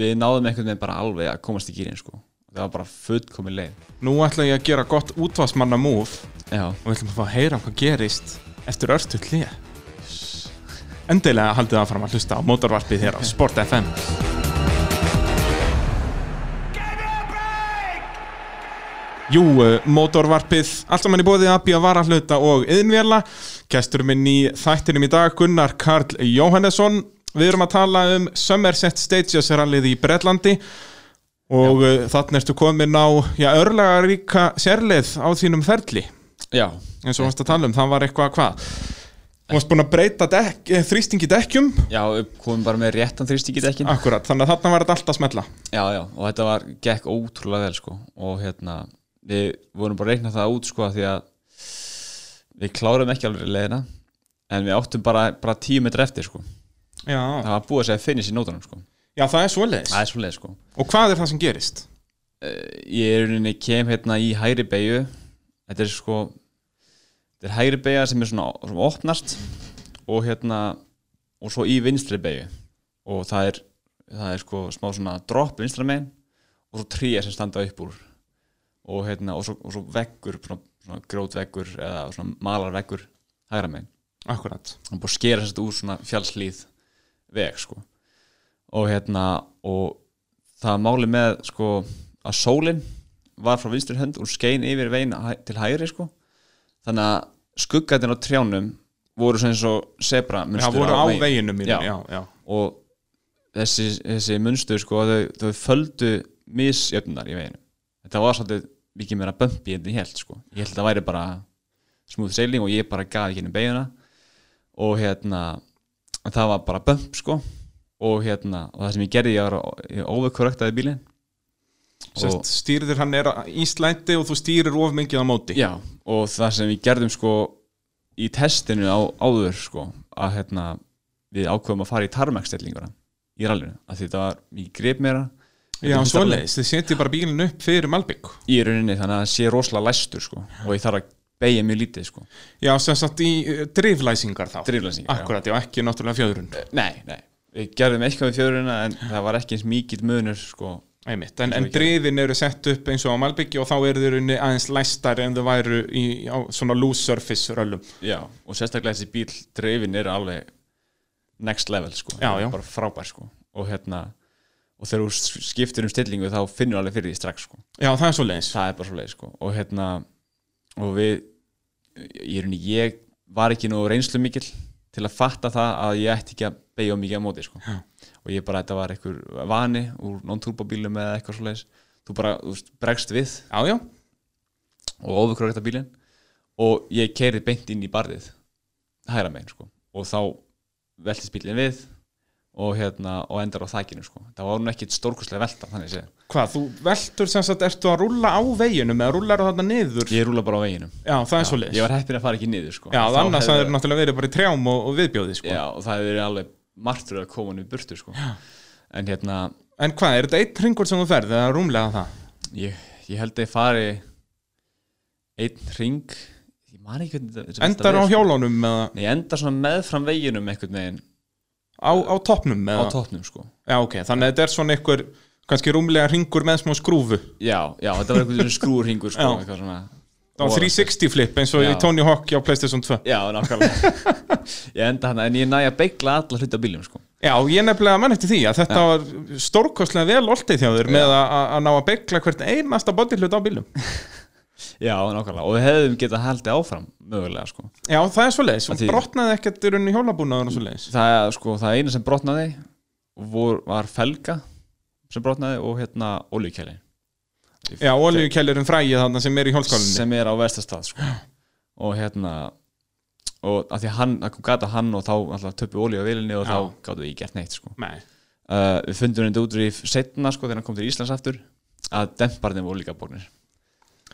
við náðum einhvern veginn bara alveg að komast í gýrin sko. það var bara fullkomin leið nú ætla ég að gera gott útvarsmanna múf já, og við ætlum að fá að heyra hvað gerist eftir örtu hlýja endilega haldið áfram að hlusta á mótorvarpið hér á Sport FM Jú, eh, mótorvarpið, allt saman í bóði að býja varahluta og yðinvjala. Gestur minn í þættinum í dag, Gunnar Karl Jóhannesson. Við erum að tala um Somerset Stages rallið í Bretlandi og já. þannig ertu komin á já, örlega ríka sérlið á þínum ferli já, eins og varst að tala um, það var eitthvað hvað Þú varst búin að breyta dekk, eh, þrýsting í dekkjum já við komum bara með réttan þrýstík í dekkin Akkurat, þannig að þarna var þetta allt að smetla já, já, og þetta var, gekk ótrúlega vel sko. og hérna við vorum bara að reikna það út sko, af því að við klárum ekki alveg leiðina en við áttum bara, bara tíu metri eftir sko. Já, það var búið að segja finnis í nótunum sko. já það er svoleiðis það er svo leið sko. Og hvað er það sem gerist? ég er í rauninni kem hérna í hægri beigju þetta er sko þetta er hægri beigja sem er svona sem opnast og hérna og svo í vinstri beigju og það er, það er sko smá svona dropp vinstra megin og svo tríja sem standa upp úr og hérna og svo, og svo veggur svona, svona grótveggur eða svona malarveggur hægra megin Akkurat hann búið að skera þess að úr svona fjallslíð veg sko og hérna og það máli með sko að sólin var frá vinstri hönd og skein yfir veginn hæ- til hægri sko þannig að skuggatinn á trjánum voru sem svo zebra Já, munstur voru á veginum mínum, Já. já, já, og þessi, þessi munstur sko þau, þau földu misjöfnunar í veginu þetta var svolítið mikið meira bömpi en ég held sko ég held að það væri bara smúð seiling og ég bara gaf ekki henni beiguna og hérna en það var bara bump sko og hérna, og það sem ég gerði ég var óveikkorrektaði bílinn Sest, stýrðir hann er að- í slætti og þú stýrir of mikið á móti Já, og það sem við gerðum sko í testinu á, áður sko að hérna við ákveðum að fara í tarmakstellinguna í rallinu, að því þetta var, ég grep mér að Já, svoleiðis, þið setjið bara bílinn upp fyrir Malbygg í rauninni þannig að það sé rosalega læstur sko og ég þarf að beigja mjög lítið sko Já, sem sagt í eh, driflæsingar þá driflæsingar, Akkurat, já, ekki náttúrulega fjöðrun já. Nei, nei, við gerðum eitthvað við fjöruna en það var ekki eins mikill munur sko Einmitt, en, en drifin eru sett upp eins og á Malbyggi og þá eru þeir unni aðeins læstari en þau væru í á, svona loose surface röllum Já, og sérstaklega þessi bíl dreifin er alveg next level sko, Já, Hann er já. bara frábær sko og hérna og þegar þú skiptir um stillingu þá finnur alveg fyrir því strax sko, Já, það er svoleiðis það er bara svo sko og hérna og við, ég, rauninni, ég var ekki nú reynslu mikill til að fatta það að ég ætti ekki að beigja of mikið á móti sko Já. og ég bara, þetta var einhver vani úr non-turbobílum eða eitthvað svo þú bara, þú veist, bregst við Já, já, og ofurkrökta bílinn og ég keiri beint inn í barðið hægra megin sko og þá veltist bílinn við og hérna og endar á þakinu sko það var nú ekkit stórkurslega velta þannig sé hvað, þú veltur sem sagt, ertu að rúlla á veginum eða rúllar þarna niður ég rúla bara á veginum Já, það er svoleiðis ég var heppin að fara ekki niður sko Já, Þá annars það hefði- er náttúrulega verið bara í trjám og, og viðbjóði sko. já, og það hefur verið alveg martur að koma niður burtu sko já. en hérna En hvað, er þetta eitt hringur sem þú ferð eða rúmlega það? ég, ég held að ég fari einn ring ég man ekki hvernig þetta- þetta Endar á velta verið, sko. hjólunum eða Nei, ég endar svona meðfram veginum einhvern veginn á, á toppnum á eða? toppnum sko Já, ok, þannig að þetta er svona einhver kannski rúmlega hringur með smá skrúfu Já, já, þetta var einhvern skrúrhingur sko, Já. eitthvað svona á 360 flip eins og Já. í Tony Hawk á Playstation 2 Já, nákvæmlega Ég enda hana, en ég næ að beigla alla hluta bílum sko. Já, ég nefnilega mann eftir því að þetta var stórkostlega vel oltið hjá þér með að, að- að ná að begla hvert einasta bodyhlut á bílum Já, nákvæmlega, og við hefðum getað haldið áfram mögulega, sko Já, það er svoleiðis, Að og því- brotnaði ekkert í rauninni hjólabúnaður og svoleiðis Það, sko, það eina sem brotnaði vor, var felga sem brotnaði og hérna olíukæli Já, olíukælirinn fræið þarna sem er í hjólskálinni sem er á vestastað sko. og hérna og að því að hann, það kom gata hann og þá alltaf töpu olíu á vilinni og Já. þá gáttu við ekki gert neitt sko. Nei, uh, við fundum þetta út í setna sko þegar hann kom til Íslands aftur að demparnir voru líka bornir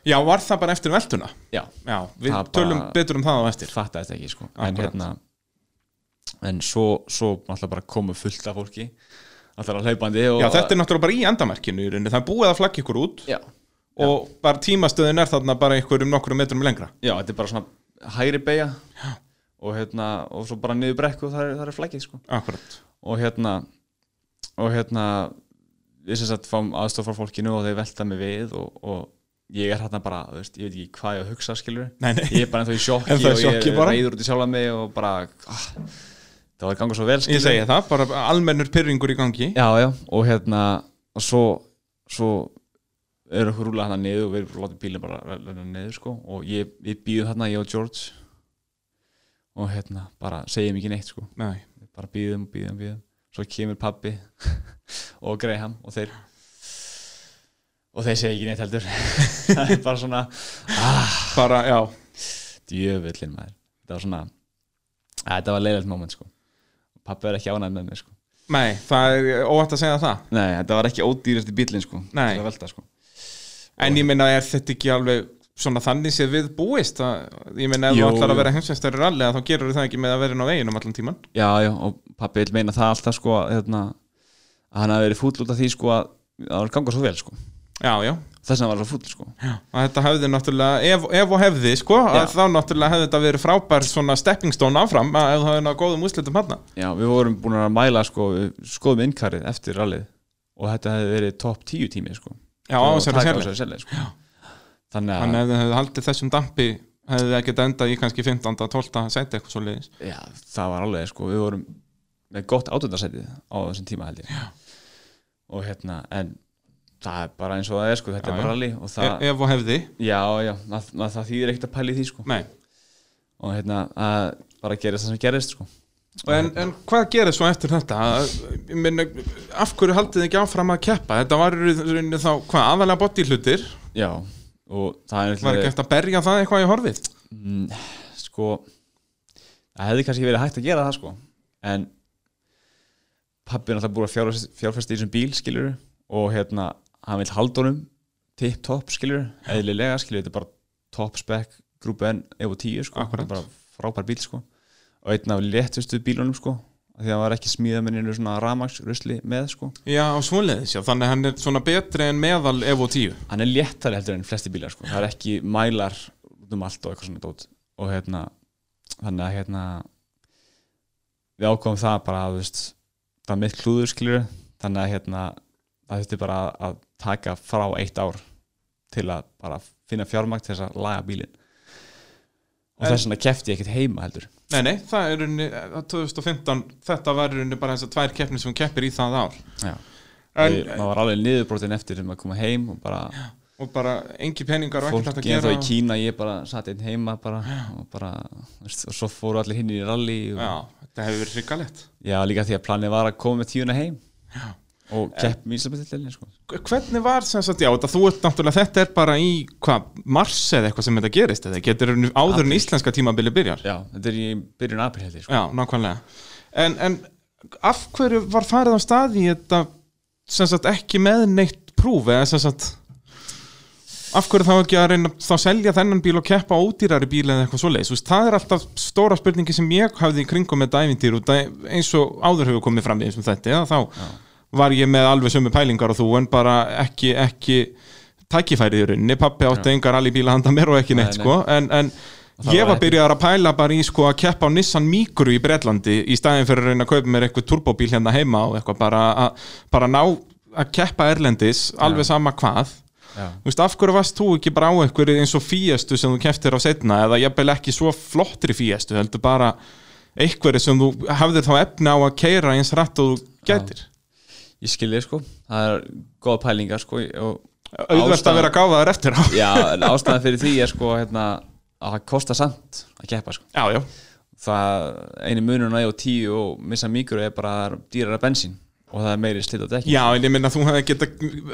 Já, var það bara eftir veltuna já, Já, við Það bara- tölum betur um það á eftir fatta þetta ekki sko en Akkúrat. hérna en svo, svo alltaf bara komu fullt af fólki alltaf hlaupandi og Já, þetta er náttúrulega bara í endamarkinu í rauninni, það er búið að flagga ykkur út já, og bara tímastöðin er þarna bara einhverjum nokkrum metrum lengra já, þetta er bara svona hægri beigja og hérna, og svo bara niður brekku og það er, það er flækið sko Akkurat og hérna og hérna við sem sagt fáum aðstof frá fólkinu og þeir velta mig við og, og ég er hérna bara, þú veist, ég veit ekki hvað ég á að hugsa skilur Nei, nei. ég er bara ennþá í sjokki Ennþá í og sjokki ég bara. reyður út í sjálfa mig og bara ah, það var að ganga svo vel Ég skilurðu. segi það, bara almennur pyrringur í gangi já, já, og hérna og svo, svo er okkur rúla hérna niður og við erum látið bílinn bara hérna niður sko og ég, við býðum hérna, ég og George og hérna, bara segjum ekki neitt sko Nei. Við bara býðum, býðum, býðum svo kemur pabbi og Graham og þeir og þeir segja ekki neitt heldur það er bara svona Bara, já, djöfullin maður það var svona, að, þetta var leilægt moment sko pabbi var ekki ánægð með mér sko nei, það er óvægt að segja það nei, þetta var ekki ódýrasti bílinn sko Nei. til að velta sko En ég minna, er þetta ekki alveg svona þannig séð við búist að, Ég minna, ef Jú, þú ætlar jú. að vera heimsveistari ralli þá gerur það ekki með að vera inn á veginum allan tíman já, já, og pabbi vil meina það alltaf sko að, hérna, að hann hafi verið fúll út af því sko að það var að ganga svo vel sko Já, já, þess að hann var svo fúll sko og þetta hefði náttúrulega, ef, ef og hefði sko, að Já. þá náttúrulega hefði þetta verið frábær svona stepping stone áfram að ef það hefði náðu góðum úslitum hann Já, við vorum búin að mæla sko, við skoðum innkarið eftir rallið og þetta hefði verið topp 10 tími sko. Já, á Og þessari taka á sérleik þessari sérleik, sko. Þannig að Þannig að ef þau hefðu haldið þessum dampi hefðu það getað endað í kannski 15. 12. seti eitthvað svo leiðis já, það var alveg sko, við vorum með gott átöndarsætið á þessum tíma held ég já. og hérna, en það er bara eins og það er sko, þetta Já, er bara já. rallið og það, E, Ef og hefði, já, já, það, það, það þýðir ekkert að pæli því sko. nei og hérna, að bara gerist það sem gerist sko. Og En, en hvað gerði svo eftir þetta? Ég Minna, af hverju haldið þið ekki áfram að keppa? Þetta var í rauninni þá, hvað, aðalega bodyhlutir? Já, og það er Var ekki eftir að berja það eitthvað í horfið? Mm, sko það hefði kannski verið hægt að gera það sko en pappi er alltaf búið að fjárfesta, fjárfesta í þessum bíl skilur og hérna hann vil halda honum tip top skilur eðlilega skilur þetta er bara top spec grúpu N Evo 10 sko Þetta Akkúrat. er bara frábær bíl sko og einn af léttustu bílunum sko af því að hann var ekki smíða með nýju svona ramax rusli með sko Já, á svoleiðis, já, þannig að hann er svona betri en meðal Evo 10 hann er léttari heldur en flesti bílar sko. það er ekki mælar út um allt og eitthvað svona dót og hérna þannig að hérna við ákváðum það bara að þú veist, það er mitt hlúður skilur þannig að hérna það þurfti bara að, að taka frá eitt ár til að bara finna fjármagn til þess að laga bílinn og En- þess vegna kefti ég ekkert heima heldur Nei, nei, það er eh, unni, 2015 þetta var unni bara þess að tvær keppnir sem hún keppir í það ár Já. En, Ég- maður var alveg niðurbrotin eftir um að koma heim og bara og bara engi peningar og ekkert fólk hægt að geða þá gera í Kína ég bara satt einn heima bara, og bara veist, og svo fóru allir hinn í rally og, Já, þetta hefur verið hrikalegt Já, líka því að planið var að koma með tíuna heim og kepp mjög sem þetta sko. Hvernig var sem sagt, já, þetta, þú ert náttúrulega þetta er bara í, hvað, mars eða eitthvað sem þetta gerist, eða getur áður en íslenska tímabili byrjar Já, þetta er í byrjun apríl heldur sko. Já, nákvæmlega En, en af hverju var farið á staði þetta sem sagt ekki með neitt prúf eða sem sagt af hverju þá ekki að reyna þá selja þennan bíl og keppa á ódýrari bíl eða eitthvað svoleiðis Þú veist, það er alltaf stóra spurningi sem ég hafði í kringum með dævindýr út að eins og áður hefur komið fram í þessum þetta eða þá var ég með alveg sömu pælingar og þú en bara ekki, ekki tækifærið í rauninni, pappi átti engar alveg bíla handa mér og ekki neitt Nei, nei. sko en, en það ég var var byrjaðar að pæla bara í sko að keppa á Nissan Micro í Bretlandi í staðin fyrir að reyna að kaupa mér eitthvað turbóbíl hérna heima og eitthvað bara að bara ná að keppa Erlendis alveg sama hvað Já. Þú veist, af hverju varst þú ekki bara á einhverju eins og fíestu sem þú keftir á setna eða jafnvel ekki svo flottri fíestu heldur bara einhverju sem þú hafðir þá efni á að keira eins rætt og þú gætir Ég skil þig sko, það er góða pælingar sko, og auðvert Ástæðan- að vera gáðaður eftir á Já, en ástæðan fyrir því er sko hérna, að það kostar samt að keppa sko. já, já, það einu munurinn að ég og tíu og missa mikro er bara að það er dýrara bensín og það er meiri slit á dekki já, en ég minna þú hefði geta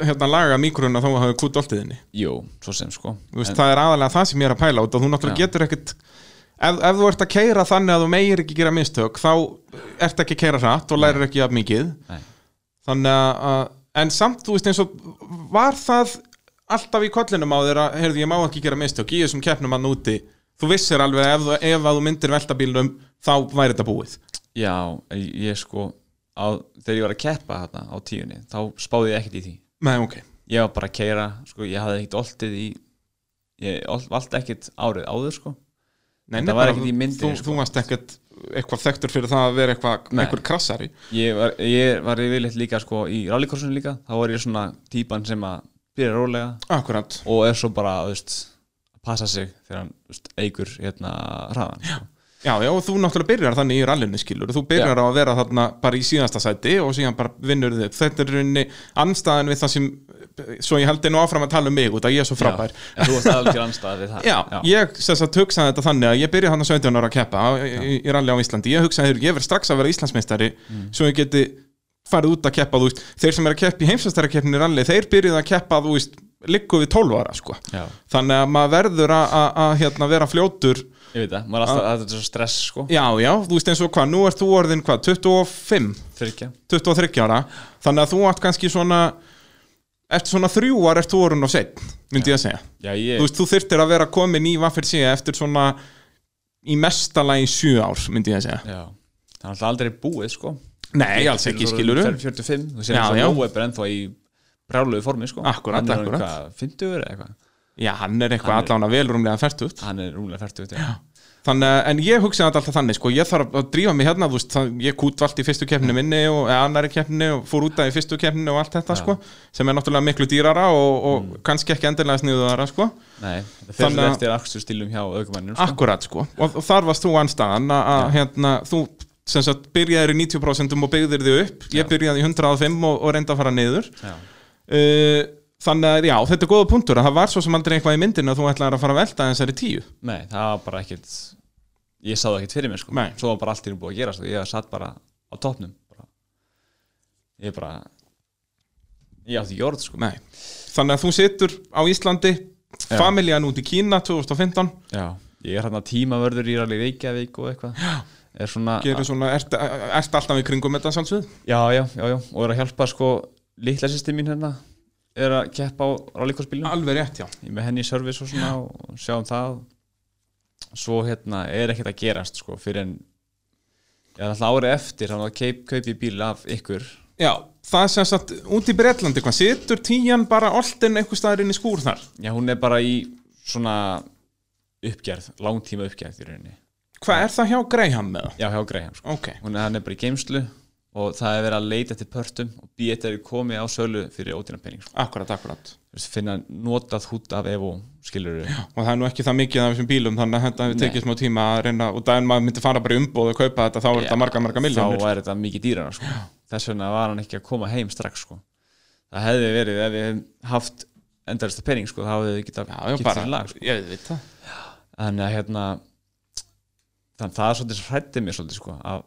hérna laga mikrona þá hafði kút alltiðinni Jú, svo sem sko Þú veist, það er aðalega það sem ég er að pæla út og þú náttúrulega getur ekkert ef, ef þú ert að keira þannig að þú meir ekki gera mistök þá ert ekki að keira hratt og lærir ekki af mikið Nei. þannig að, að en samt, þú veist, eins og var það alltaf í kollinum á þér að heyrðu, ég má ekki gera mistök í þessum keppnum hann úti þú vissir alveg að ef, þú- ef að þú myndir velta bílnum þá væri þetta búið Já, ég, ég sko á, þegar ég var að keppa þarna á tíunni þá spáði ég ekkert í því Nei, ok, ég var bara að keira sko, ég hafði ekkert oltið í ég ol- valdi ekkert árið áður sko. Nei, Þetta nei, var bara ekkert í myndinni, þú, sko. þú varst ekkert eitthvað þekktur fyrir það að vera eitthvað Nei. einhver krassari ég var, ég var yfirleitt líka sko, í rallycrossunum líka, þá var ég svona típan sem að byrja rólega Akkurat, og er svo bara þú veist, að passa sig þegar hann þú veist, eigur hérna hraðan sko. Já, já, og þú náttúrulega byrjar þannig í rallinu skilur þú byrjar á að vera þarna bara í síðasta sæti og síðan bara vinnur þið upp þetta er rauninni anstæðan við það sem svo ég held einu áfram að tala um mig út að ég er svo frábær Já, en þú varst algjör anstæða við það Já, ég sess að hugsaði þetta þannig að ég byrja hann að 17 ára að keppa í, í- í rally á Íslandi, ég hugsaði heyrðu, ég verð strax að vera Íslandsmeistari svo ég geti farið út að keppa, þú veist, þeir sem er að keppa í heimsastærakeppinu rally, þeir byrjuð að keppa, þú veist liggu við 12 ára, sko Já. þannig að maður verður að, að, að hérna, vera fljótur ég veit það, maður er alltaf þetta er svo stress sko, já, já, þú veist eins og hvað, nú ert þú orðin hvað, 25 þyrkja 23 ára þannig að þú átt kannski svona eftir svona þrjú ár ert þú orðin og seitt myndi ég að segja Já, ég, þú veist, þú þyrftir að vera komin í vaffir síða eftir svona í mesta lagi sjö ár, myndi ég að segja Já, það er alltaf aldrei búið sko Nei, alls ekki, skilur Fer- 45, þú sér Já, að já. Lóa er bara ennþá í brjáluðu formi sko Akkúrat, Hann er orðinn akkúrat. hvað, 50 eða eitthvað Já, hann er eitthvað allan að velrumlega fertugt Hann er rúmlega 40 já. Þannig, að- en ég hugsaði þetta alltaf þannig, sko, ég þarf að drífa mig hérna, þú veist, það, ég kútvalt í fyrstu keppni minni og eða annari keppni og fór út að í fyrstu keppni og allt þetta, sko, sem er náttúrulega miklu dýrara og, og kannski ekki endilega sniðuðara, sko. Nei, það Þannig fyrir að- eftir akstustílum hjá aukumanninu sko. Akkurat sko, og, og þar varst þú anstæðan að að, hérna, þú sem sagt byrjaðir í 90% og byggðir þig upp ég byrjaði í 105 og, og reyndi að fara niður Já, uh, þannig að já, þetta er góða punktur að það var svo sem aldrei eitthvað í myndinu að þú ætlaðir að fara að velta þessari tíu Nei, það var bara ekkert Ég sá það ekkert fyrir mér sko Nei. Svo var bara allt í einu búið að gera sko. Ég satt bara á topnum bara. Ég bara Ég átti jórð sko Nei. þannig að þú situr á Íslandi Já. familjan út í Kína 2015 Já, ég er hérna tímavörður í rally Reykjavík og eitthvað er svona Gerir svona, ert, ert alltaf í kringum þetta sjálfsvið? já, já, já, já, og er að hjálpa sko litla sýsti mín hérna er að keppa á rallíkorsbílum Alveg rétt, já. ég er með henni í service og svona og sjáum það svo hérna er ekkert að gerast sko fyrir en ég er alltaf árið eftir þannig að keip, kaupi ég bíl af ykkur Já, það er sem sagt út í Bretlandi, hvað, situr tíjan bara oltinn einhver staðar inn í skúr þar? já hún er bara í svona uppgerð, langtíma uppgerð í rauninni Hvað er það hjá Greyham með það? já hjá Greyham sko Ok, hún er hann er bara í geimslu og það er verið að leita til pörtum og býta er komið á sölu fyrir ódýran pening sko. akkurat, akkurat. Þú veist, finna notað hút af Evo skilur Og það er nú ekki það mikið af þessum bílum, þannig að þetta hefur Nei. tekið smá tíma að reyna, og það er maður myndi fara bara í umbóð og kaupa þetta, þá er þetta marga, marga miljónir. þá er þetta mikið dýrana sko. þess vegna var hann ekki að koma heim strax sko. það hefði verið ef við hefðum haft endarista pening sko, þá hefði við getað Já, já, getað bara, sér lag sko. ég veit það. þannig að hérna þannig að það er svolítið sem hrætti mér svolítið sko, að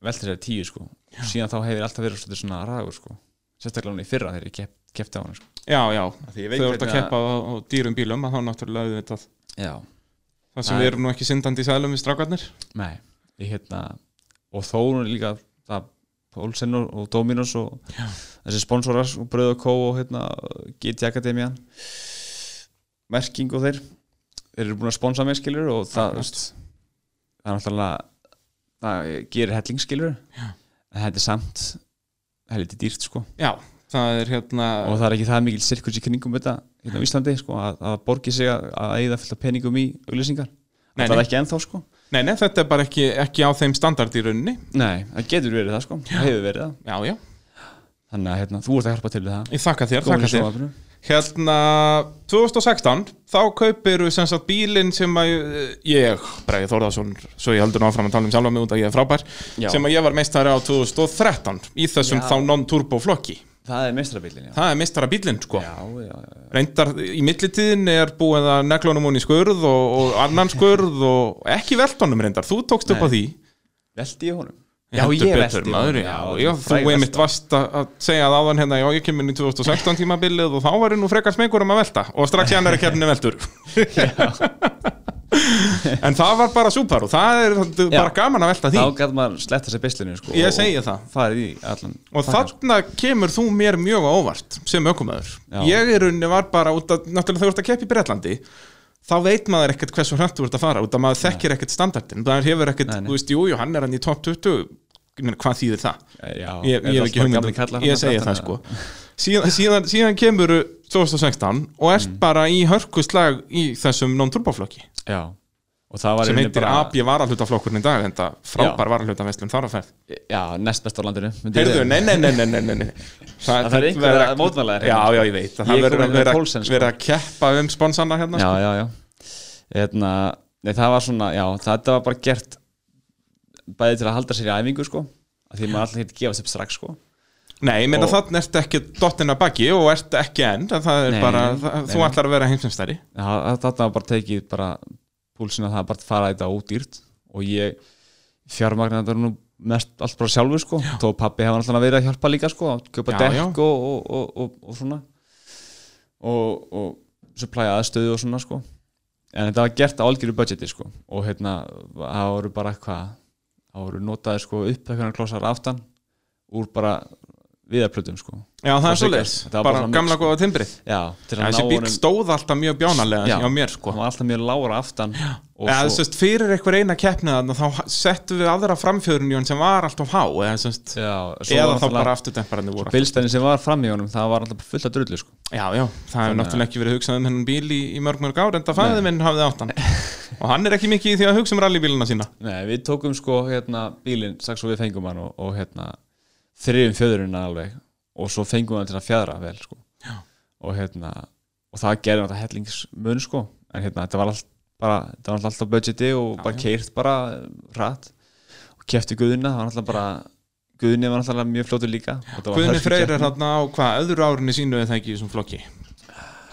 velta sér tíu sko. síðan þá hefur alltaf verið svolítið svona ragur sko. sérstaklega hún í fyrra þegar ég kep, kepti á hann sko. Já, já, því ég þau veit eru að hvernig að- keppa á, á dýrum bílum, að þá náttúrulega auðvitað. já, Það sem Nei. við erum nú ekki syndandi í sæðlum við strákarnir. nei ég, hérna, og þó hún er líka það Olsen og og Dominos og þessi sponsorar og Bröð og Kó og hérna, GT Akademian merking og þeir þeir eru búin að sponsa mig skilur og það, þú veist, það er náttúrulega það gerir helling skilur Já. en þetta er samt helviti dýrt sko Já, það er hérna... og það er ekki það mikil sirkus í kringum þetta hérna á Íslandi sko að, að borgi sig að, að eigða fullt af peningum í auglýsingar Nei, það nei. er ekki ennþá sko Nei, nei, þetta er bara ekki, ekki á þeim standard í rauninni. Nei, það getur verið það sko, það hefur verið það Já, já. Þannig að hérna, þú ert að hjálpa til við það Ég þakka þér, Góður þakka í þér. sjónvarpinu. Hérna, 2016, þá kaupir við sem sagt bílinn sem að eh, ég, Bregi Þórðarsson, svo ég heldur nú áfram að tala um sjálfa mig út að ég er frábær, Já. sem að ég var meistari á 2013 í þessum Já. þá non-turbo flokki. Það er mestrabílinn, já. Það er meistara bílinn, sko. Já, já, já Reyndar í millitíðin er búið að neglunum hún í skurð og, og annan skurð og ekki veltonum reyndar, þú tókst upp Nei. á því. Velti ég honum? Heldur betur, maður, já, já, þú einmitt varst að að segja að áðan hérna, já, ég kem inn í 2016 tímabilið og þá var ég nú frekar smegur um að velta og strax í annari keppni veltur en það var bara súpar og það er það er Já. bara gaman að velta því Þá gæt maður sletta sér beislinu, sko Ég og- segi og það. Farið í allan sko. og þarna kemur þú mér mjög á óvart sem ökumæður Já. ég er unni var bara út að, náttúrulega þú ert að keppa í Bretlandi þá veit maður ekkert hversu hrætt þú ert að fara út að maður þekkir ekkert standardin maður hefur ekkert, Nei, nei. þú veist, jú, jú, hann er hann í top 20 Ég meina, hvað þýðir það? Eh, Já, ég, ég hef ekki hugmynd um- ég segi það sko síðan, síðan, síðan kemur 2016 og Mm. ert bara í hörkuslag í þessum non-turboflokki Já Og það var í sem rauninni heitir bara- AB varalhutaflokkurinn í dag en það frábær varalhutafestlun þar á ferð Já, næst best á landinu myndi ég Heyrðu, segja. nei, nei, nei, nei, nei, nei, nei. Það þarf einhver verður að mótmæla þér Já, hérna, sko. já, ég veit að Það Ég er verður komin að með vera, Paulsen, sko. vera að keppa um sponsana hérna Já, já, já Hérna, nei, það var svona, já, þetta var bara gert Bæði til að halda sér í æfingu, sko af Því maður alltaf hitt gefast upp strax, sko Nei, ég meina Og- þannig ertu ekki dottin að baki og ert ekki enn það er Nei, bara, nei, það, nei, þú nei. ætlar að vera heimsumstæri þetta var bara tekið bara púlsinn að það bara fara þetta ódýrt og ég fjármagnar þetta nú mest allt bara sjálfur sko þó að pappi hefur alltaf verið að hjálpa líka sko að köpa Já, já. dekk og, og, og, og, og svona og, og supply aðstöðu og svona sko en þetta var gert á algjöru budgeti sko og hérna það voru bara eitthvað það voru notaði sko upp eitthvað klósar aftan úr bara viðarplötum sko Já, það Og er svo Siggas, leis, þetta var bara bara svona mix, gamla sko. góða timbrið já, til að Þessi ná bíl honum- stóð alltaf mjög bjánalega Já. hjá mér sko hann var alltaf mjög lágra aftan og Eða, svo- svo... sest, fyrir einhver eina keppni þarna þá settum við aðra framfjörun í hann sem var alltaf há eða, sest, Já, svo var eða þá náttúrulega bara afturtemparandi voru bílstæðin sem var fram í honum, það var alltaf fullt af drullu sko. já, já, það hefur Þannig að- náttúrulega ekki verið hugsað um hennan bíl í, í mörg mörg ár en það fæði minn hafði átt hann og hann er ekki mikið í því að hugsa um rallybílina sína Nei, við tókum sko hérna bílinn, strax og við fengum hann og, og hérna þriðum fjöðurinn alveg og svo fengum hann til að fjadra vel sko. og hérna og það gerði þetta hellingsmun sko en hérna þetta var allt bara, þetta var náttúrulega alltaf budgeti og Já, já. bara keirt bara rætt og kefti guðuna, það var alltaf bara guðunni var alltaf mjög fljótur líka og þetta var Guðni hörku Freyr er keppni. hann á hvað öðru árinu sínu eða ekki í þessum flokki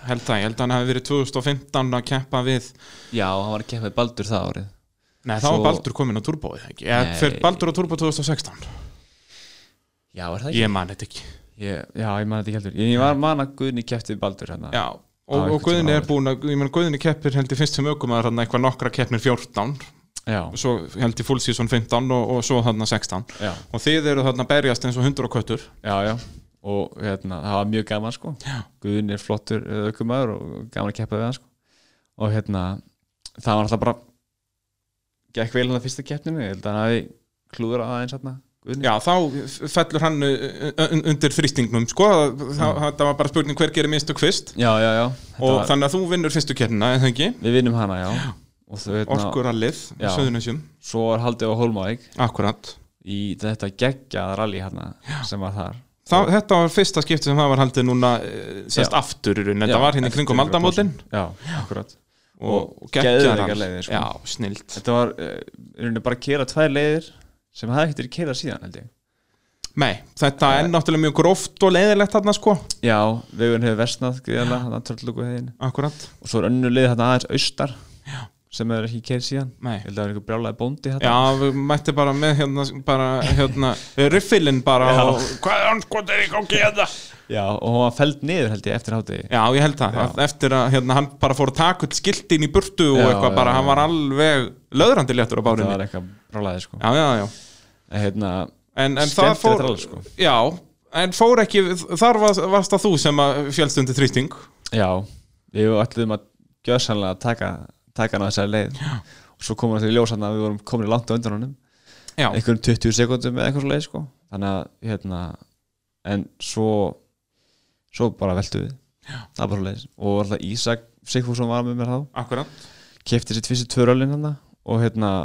held það, ég held að hann hafi verið 2015 að keppa við Já, hann var að keppa við Baldur það árið Nei, þá Svo- var Baldur komin á turbóið ekki Eða Nei. fer Baldur á turbó 2016 Já, er það ekki? Ég man þetta ekki Ég, já, ég man þetta ekki heldur Ég, ég var man að Guðni kefti við Baldur hérna Já, Á og, og einhvern Guðni tímann er búin að, ég menn Guðni keppir held ég fyrst sem aukum að hann eitthvað nokkra keppnir 14 já, svo held ég full season 15 og, og svo þarna 16 já, og þið eru þarna að berjast eins og hundur og köttur já, já og hérna, það var mjög gaman sko Já. Guðin er flottur aukumæður og gaman að keppa við hann sko og hérna, það var alltaf bara gekk vel hann að fyrsta keppninu ég held að hann hafi klúður að aðeins hérna Guðin, Já, þá f- fellur hann uh, un- undir þrýstingnum, sko það, það var bara spurning hver gerir mistök fyrst já, já, já Mm. Þetta og var, þannig að þú vinnur fyrstu kérna, eða ekki við vinnum hana, já, og þau hérna, Orkurallið, Já. Söðunisjum, svo var haldið á Holmavík akkurat í þetta geggjað rally hérna sem var þar Þa, Þetta var fyrsta skipti sem það var haldið núna eh, sérst Já. aftur, í rauninni. þetta Já, var hérna í kringum eftir aldamótin Já, akkurat og, Og og geggjaðar. geðveikar leiðir, sko. Já, snilt Þetta var eh, í rauninni bara að kera tvær leiðir sem hafði ekkert verið keira síðan held ég Nei, þetta er náttúrulega mjög gróft og leiðilegt þarna, sko Já, vegurinn hefur versnað gríðarlega, þannig að trölllugu heiðin Akkurat, og svo er önnu leið þarna aðeins austar Já. sem er ekki keira síðan nei Ég held að það var einhver brjálæði bóndi Já, þetta við mætti bara með hérna, bara, hérna, riffilinn bara Já. og hvað er hann sko þegar ég gangi hérna? Já, og hún var feld niður held ég eftir hátegi Já, ég held það, Já. eftir að hérna, hann bara fór að taka upp skiltin í burtu og Já, eitthvað já, bara, já. hann var alveg löðrandi léttur á Það bárinni var eitthvað brjálæði sko Já, já, já En hérna, En, en það Skemmtilegt fór, rall, sko. já, en fór ekki, þar var, varst það þú sem að fjölst undir þrýsting já, við ætlum að gjössanlega að taka, taka hann á þessari leið Já. og svo komum við ljósann að við vorum komin langt á undan honum Já, einhverjum 20 sekundum eða eitthvað svo leið sko. þannig að hérna en svo svo bara veltu við það var bara leið og alltaf Ísak Sigfússon var með mér þá akkurat kefti sér tvissi tvörölin hann og hérna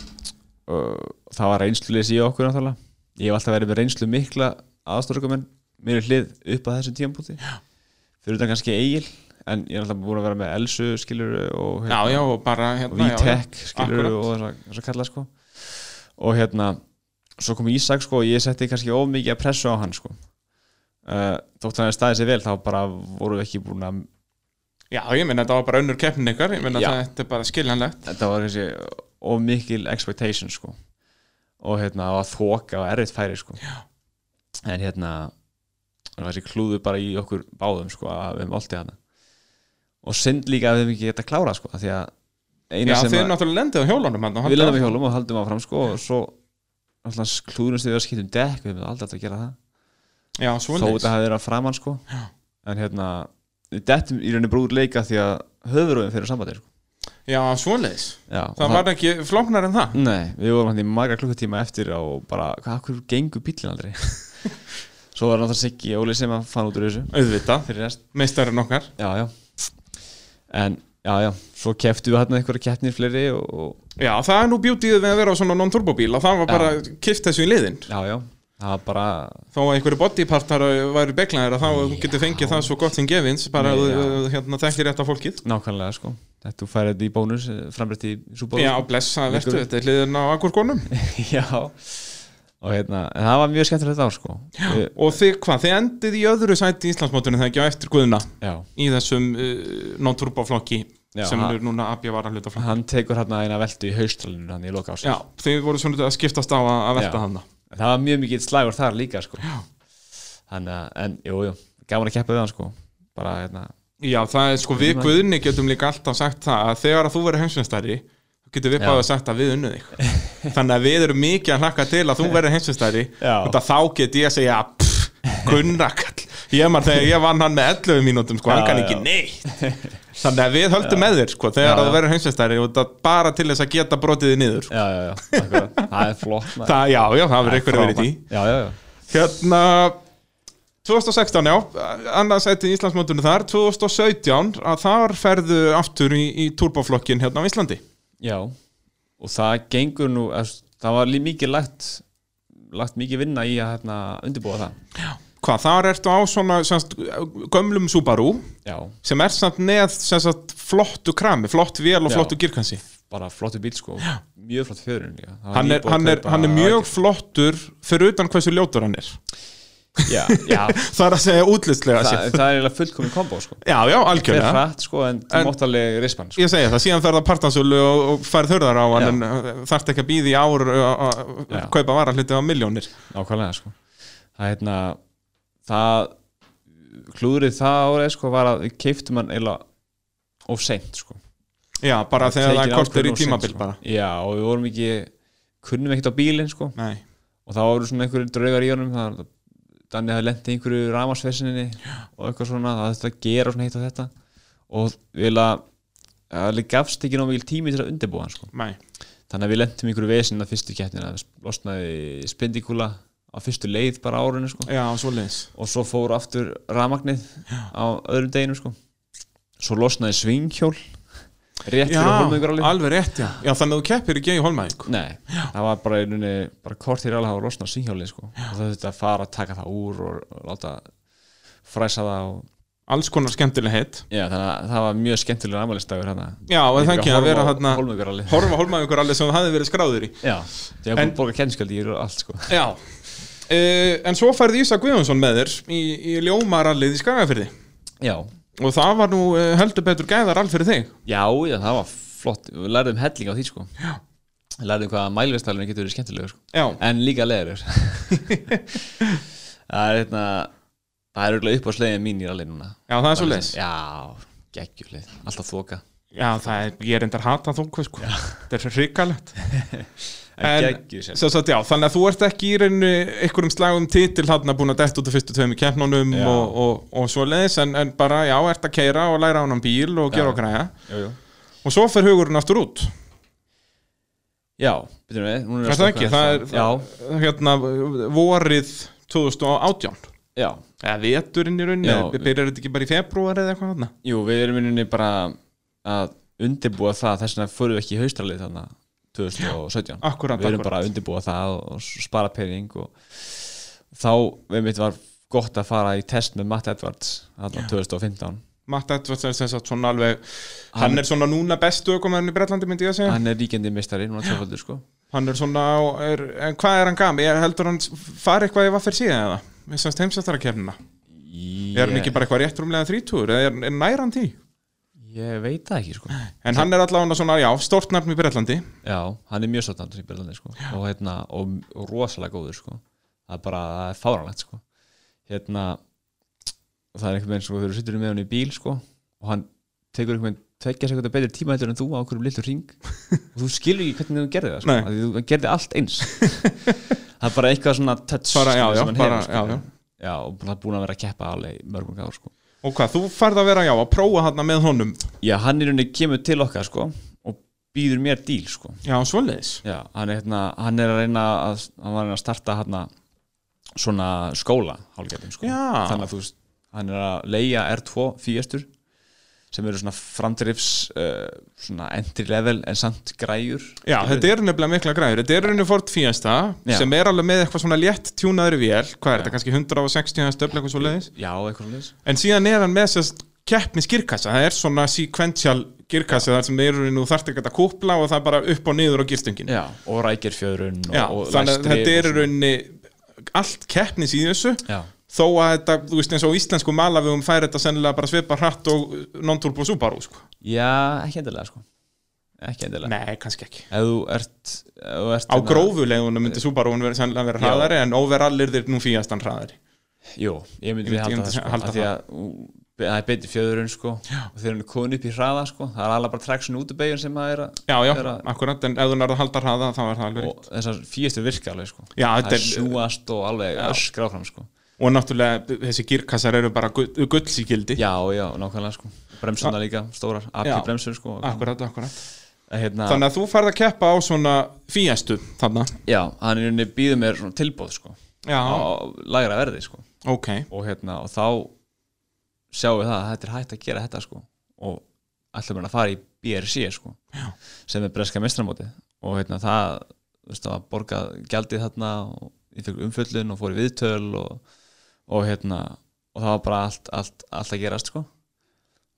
uh, það var reynsluleis í okkur náttúrulega ég hef alltaf verið með reynslu mikla aðstórkumenn mér er hlið upp að þessum tíðanbúti fyrir utan kannski Egil en ég er alltaf búin að vera með Elsu skilur og Já, já, og bara og hérna, já, já. Vitek skilur Akkurat. og þess að, þess að kalla sko og hérna svo kom Ísak sko og ég setti kannski of mikið að pressu á hann sko uh, þótt hann hefði staðið sér vel þá bara voru við ekki búin að Já, ég meina þetta var bara önnur keppnin ykkar, ég meina Já. þetta er bara skiljanlegt þetta var kannski of mikil expectation sko og hérna það var þoka og erfitt færi sko Já. en hérna það var þessi klúðu bara í okkur báðum sko að við höfum oltið hana og synd líka að við höfum ekki geta klárað sko af því að Já, eina sem þið að- er náttúrulega lendið á hjólunum hann, við lendum í hjólum og haldum áfram sko og svo alltaf klúðnumst við að skipta um dekk við hefum aldrei átt að gera það Já, þó svoleiðis þetta hafi verið að framann sko Já. en hérna við dettum í rauninni brúður leika því að höfuröðum fyrir sambandi sko. Já, svoleiðis Já, og Það var ekki flóknar en það Nei, við vorum hann í marga klukkutíma eftir og bara, hvað, hvað gengur bílinn aldrei svo var náttúrulega Siggi Óli sem að fann út úr þessu Auðvitað, fyrir rest meistarinn okkar Já, já en, já, já, svo keftu við hann einhverja keppnir fleiri og, og Já, það er nú bjútið við að vera á svona non-turbo bíl og það var bara kift þessu í liðin já, já, það var bara þó að einhverju bodypartar væri beglaðir að þá þú getur fengið það svo gott sem gefins bara að Já. þú, hérna, þekkir rétt af fólkið nákvæmlega sko þetta þú færið þetta í bónus, framrætt í súból Já, blessa, vertu, Liggur. þetta er liðin á akkurkonum já og hérna, en það var mjög skemmtilegt ár sko já, Og þið, hvað, þið endið í öðru sæti í Íslandsmótunum þegar ekki á eftir guðuna já. í þessum uh, non-turbo flokki Já, sem ha- er núna abja varahluta flokki hann tekur hann eina veltu í haustralinu hann í loka ás Já, þið voru svona að skiptast á að, að velta Já. hana það var mjög mikið slagur þar líka sko. þannig að, en jú, jú gaman að keppa við hann sko bara hérna, Já, það er sko, við Hvernig var- guðinni getum líka alltaf sagt það að þegar að þú verður heimsveistari þá getum við Já. báðið sagt að við unnið þig þannig að við erum mikið að hlakka til að þú verður heimsveistari Já. og þá get ég að segja pff, Gunnrakall, ég maður þegar ég vann hann með 11 mínútum, sko, hann Já, kann já. ekki neitt þannig að við höldum með þér, sko, þegar Já, að já. þú verður heimsveistari og það bara til þess að geta brotið þið niður sko. já, já, já, akkurat. það er flott maður. það, já, já, það verður eitthvað verið í því já, já, já, Hérna 2016, já, annarsæti í Íslandsmótinu þar, 2017 að þar ferðu aftur í, í turboflokkin hérna á Íslandi já og það gengur nú, er, það var líka mikið lagt lagt mikið vinna í að hérna, undirbúa það Hvað, þar ertu á svona semst, gömlum Subaru já, sem er samt með semst, flottu krami, flott vél og Já. flottu girkansi bara flottu bíl sko mjög flott fjörun líka Það var hann er, nýbúið að hann, er, kaupa- hann er mjög flottur fyrir utan hversu ljótur hann er já, já, Það er að segja útlistlega það, sér það er eiginlega fullkomin kombo sko Já, já, fyrir algjörlega hratt sko, en til En- móttaleg rispan sko. Ég segja það, síðan ferða partansölu og, og færð hörðar á hann en uh, þarft ekki að býði í ár uh, að Já. kaupa varahluti á miljónir nákvæmlega sko það hérna það klúðrið það árið sko var að við keiftum hann eiginlega of seint sko já, bara þegar það Tekin er kortur í ákvörðun of tímabil seint, sko. bara já, og við vorum ekki, kunnum ekkert á bílinn sko. Nei, og þá voru svona einhverju draugar í honum það, Danni hafði lent í einhverju rámasvesinni og eitthvað svona, það þetta gera svona hitt og þetta og við að það gafst ekki nóg mikil tími til að undirbúa hann sko. nei, þannig að við lentum í einhverju vesin að fyrstu keppnina, það losnaði spindikúla á fyrstu leið bara á árinu sko. já, svoleiðis og svo fór aftur ramagnið á öðrum deginum sko. svo losnaði svinghjól rétt Já, fyrir holmengur alveg rétt, já, já þannig að þú keppir ekki í holmæðing Nei, það var bara, einunni, bara kort hér alveg að losna svinghjólið sko. og það þurfti að fara að taka það úr og og láta fræsa það og... Alls konar skemmtileg heitt Já, þannig að það var mjög skemmtilega ammælistagur hérna. Já, en það ekki að vera hérna Holmengur alveg Horfa holmæðingur alveg sem það hefði verið skráður í Já, ég var búin að borga kenniskjaldi í allt sko. Já E, En svo færði Ísa Guðjónsson með þér í, í ljómarallið í Skagafyrði Já, og það var nú eh, heldur betur gæðarall fyrir þig já, já, það var flott Við lærðum helling á því sko. Já. Lærðum hvað mælvistalunni getur verið skemmtilegur sko. Já, en líka leður það er hérna það er auðvitað upp á slegin mín í rally núna já það er svo leis já, geggjulið, alltaf þoka Já, það er, ég er endar hata þungu sko. Þetta er svo hrikalegt en En- geggjuð sem Sem sagt, já, Þannig að þú ert ekki í reynu einhverjum slagum titil hann að búin að detta út af fyrstu tveim í keppnunum Já. og, og, og svo leiðis en, en bara, já, ert að keira og læra á hann bíl og Já. gera og græja jú, jú. og svo fer hugurinn aftur út já, byrjum við núna Er að það slökkva ekki? Það er aðeins á- hérna vorið 2018 já, já, eða veturinn í rauninni, Já. við byrjar þetta ekki bara í februar eða eitthvað hann jú, við erum minni bara að undirbúa það þess vegna fórum við ekki í haustralið þannig 2017 við Akkurat, erum akkurat bara að undirbúa það og- og spara pening og þá, við mitt var gott að fara í test með Matt Edwards þarna 2015 Matt Edwards er sem sagt svona alveg Hann- hann er svona núna bestu ökumæðin í Bretlandi myndi ég að segja hann er ríkjandi mistari, núna tvöfaldur sko Hann er svona á, er, en hvað er hann gam? Ég heldur hann fari eitthvað í vaffir síðan eða? Við semst heimsættara kemna. ég, Er hann ekki bara eitthvað rétt rúmlega þrítúr? Eða er, er nær hann því? ég veit það ekki sko En hann er allavega svona, já, stórt nafn í Bretlandi. já, hann er mjög svolítið í Byrlandi sko og, hérna, og, og rosalega góður sko það er bara, það er fáranlegt sko hérna það er einhvern veginn sko, þegar þú sittur með hann í bíl sko og hann tekur einhvern veginn tveggja sekundar betri tíma heldur en þú á okkur um lillu ring og þú skilur ekki hvernig þú gerði það sko Nei. af því þú gerði allt eins það er bara eitthvað svona touch Bara, já, skilur, já, sem hann bara, hefur, sko. já, já. já, og það er búin að vera að keppa alveg í mörgum gáður sko Og hvað, þú færð að vera, já, að prófa hann með honum. Já, hann í rauninni kemur til okkar sko og býður mér díl sko Já, svoleiðis. Já, hann er, hérna, hann er að reyna að, hann var að reyna að starta hérna svona skóla hálfgerðum sko Já. þannig að þú veist, hann er að leia R2 fíastur sem eru svona framdrifs uh, svona entry level en samt græjur Já, þetta er nefnilega mikla græður. Þetta er rauninu Ford Fiesta Já. sem er alveg með eitthvað svona létt tjúnaður vél. Hvað er þetta, kannski 160 stöfl, eitthvað svoleiðis? Já, eitthvað svona þess En síðan er hann með þess keppnis girkassa, það er svona sequential girkassa þar sem eru nú þarft ekki að kúpla og það er bara upp og niður á girstungin. Já, og rækir fjöðrun og, Já, og þannig að lestri og þetta er í svona. rauninni allt keppnis í þessu Já, þó að þetta, þú veist eins og á íslensku malavegum fær þetta sennilega bara svipa hratt og non-turbo Subaru sko. Já, ekki endilega sko ekki endilega Nei, kannski ekki. Ef þú ert, ef þú ert Á hérna- grófulegunum myndi Subaruun verið sennilega vera Já. hraðari en overallir þeir nú fíastan hraðari. Jú, ég myndi ég Ég myndi- ég halda myndi það sko, halda halda því að ú, be- það er betið fjöðurinn sko og þegar hann er komin upp í hraða sko það er alveg bara treksun út í beigjan sem það er að Já, já, Er að- akkurat, en ef þú nærðu að halda hraða þá er það alveg. og þessar fýjastur virka alveg sko Já, það þetta er er, sjúast og alveg öskra áfram sko og náttúrulega þessi girkassar eru bara gull, gullsíkildi. Já, já, nákvæmlega sko bremsuna líka, stórar, AP Já. bremsur sko og- Akkurat, akkurat. En hérna, Þannig að þú færð að keppa á svona fíestu þarna. já, hann er unni býður mér svona tilbóð sko Já. á lægra verði sko Ok. og hérna, og þá sjáum við það að þetta er hægt að gera þetta sko og ætlum við að fara í BRC sko Já. sem er breska mestramóti og hérna það, þú veist, það var borgað gjaldið þarna og ég fekk umföllun og fór í viðtöl og, og hérna og það var bara allt, allt, allt að gerast sko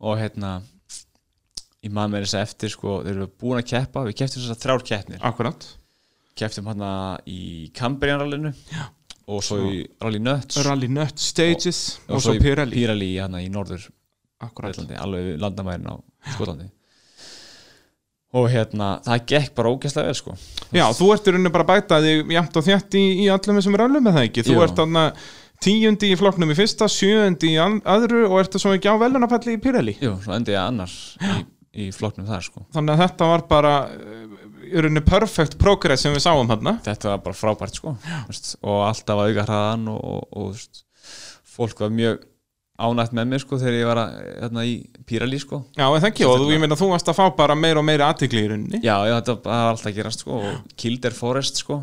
og hérna ég maður með þess að segja eftir sko þeir eru búin að keppa, við keftum þess að þrjár keppnir Akkurat. keftum hérna í Cambrian-rallinu og svo í Rally Nuts Rally Nut Stages og, svo í Pirelli. Pirelli hérna í norður Akkurat. Bretlandi, alveg við landamærin á Skotlandi og hérna, það gekk bara ógæslega vel sko Já, þú ert í rauninu bara að bæta þig jæmt og þjætt í, í allum þessum rallum með það ekki. Þú Jú. ert þarna tíundi í flokknum í fyrsta, sjöundi í an- öðru og ertu svo ekki á velunapalli í Pirelli. Jú, svo endi ég annars í í flokknum þar sko þannig að þetta var bara eh, í rauninni perfect progress sem við sáum þarna þetta var bara frábært sko veist, og alltaf að auka hraðan og, og, og veist, fólk var mjög ánægt með mig sko þegar ég var að, hérna, í Pírali sko já, en það ekki, og þú, ég meina þú varst að fá bara meira og meira aðtikli í rauninni já, já þetta var- það var alltaf að gerast sko og Kilder Forest sko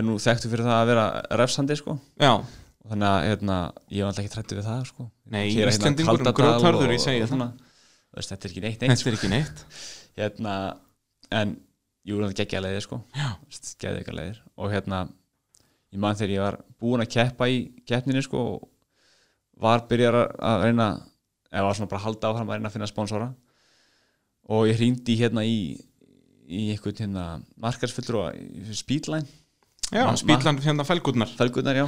er nú þekktu fyrir það að vera refsandi sko já, Og þannig að hérna, ég var alltaf ekki trættu við það sko Nei, Keyra, Íslendingur um Kaldadal grjótharður, og- ég segi og það. svona. Þú veist, þetta er ekki neitt eins þetta er ekki neitt hérna, en jú, það geggja leiðir sko geggja ykkar leiðir og hérna, ég man þegar ég var búinn að keppa í keppninni sko og var byrjar að- að reyna eða var svona bara að halda áfram að reyna að finna sponsora og ég hringdi hérna í í einhvern hérna markarsfullur og speedline já, Ma- spýtlan hérna felgurnar Felgurnar, já.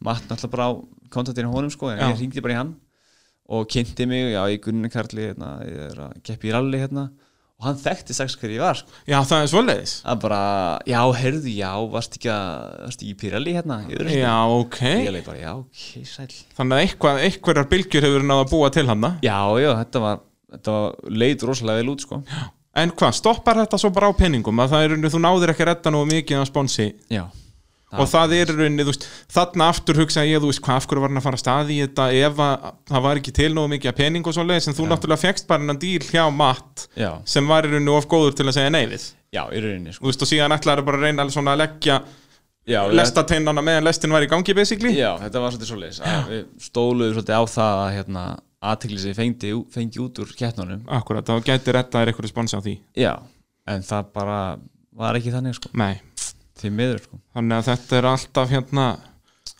Matt náttúrulega bara á kontaktinu honum sko, en Já. ég ringdi bara í hann og kynnti mig, já, ég Gunnar Karli hérna, ég er að keppi í ralli hérna og hann þekkti sex hver ég var sko. já, það er svoleiðis hann bara, já, heyrðu, já, varst ekki að, varst ekki í pyrralli hérna í öðru sinni?" já, ok, ég leik bara, já, ok, sæl þannig að eitthvað, einhverjar bylgjur hefur náða að búa til hana já, já, þetta var, þetta var leit rosalega vel út, sko en hvað, stoppar þetta svo bara á peningum að það er í rauninni, þú náðir ekki að redda nú mikið á sponsi já, og það er í rauninni, þú veist, þarna aftur hugsa ég, þú veist, hvað af hverju var hann að fara af stað í þetta ef að, það var ekki til nógu mikið að pening og svoleiðis, en þú náttúrulega fegst bara hennan díl hjá Matt já, sem var í rauninni of góður til að segja nei við já, í rauninni, þú sko veist, og síðan ætlaði bara að reyna alveg svona að leggja já, lestateinana meðan lestin var í gangi basically Já, þetta var svolítið svoleiðis að við stóluðum svolítið á það að hérna, aðtegli sem fengi, fengi út úr keppnunum Akkurat, þá gæti rettaðir eitthvað responsi á því Já, en það bara var ekki þannig sko, Nei, því miður sko þannig að þetta er alltaf hérna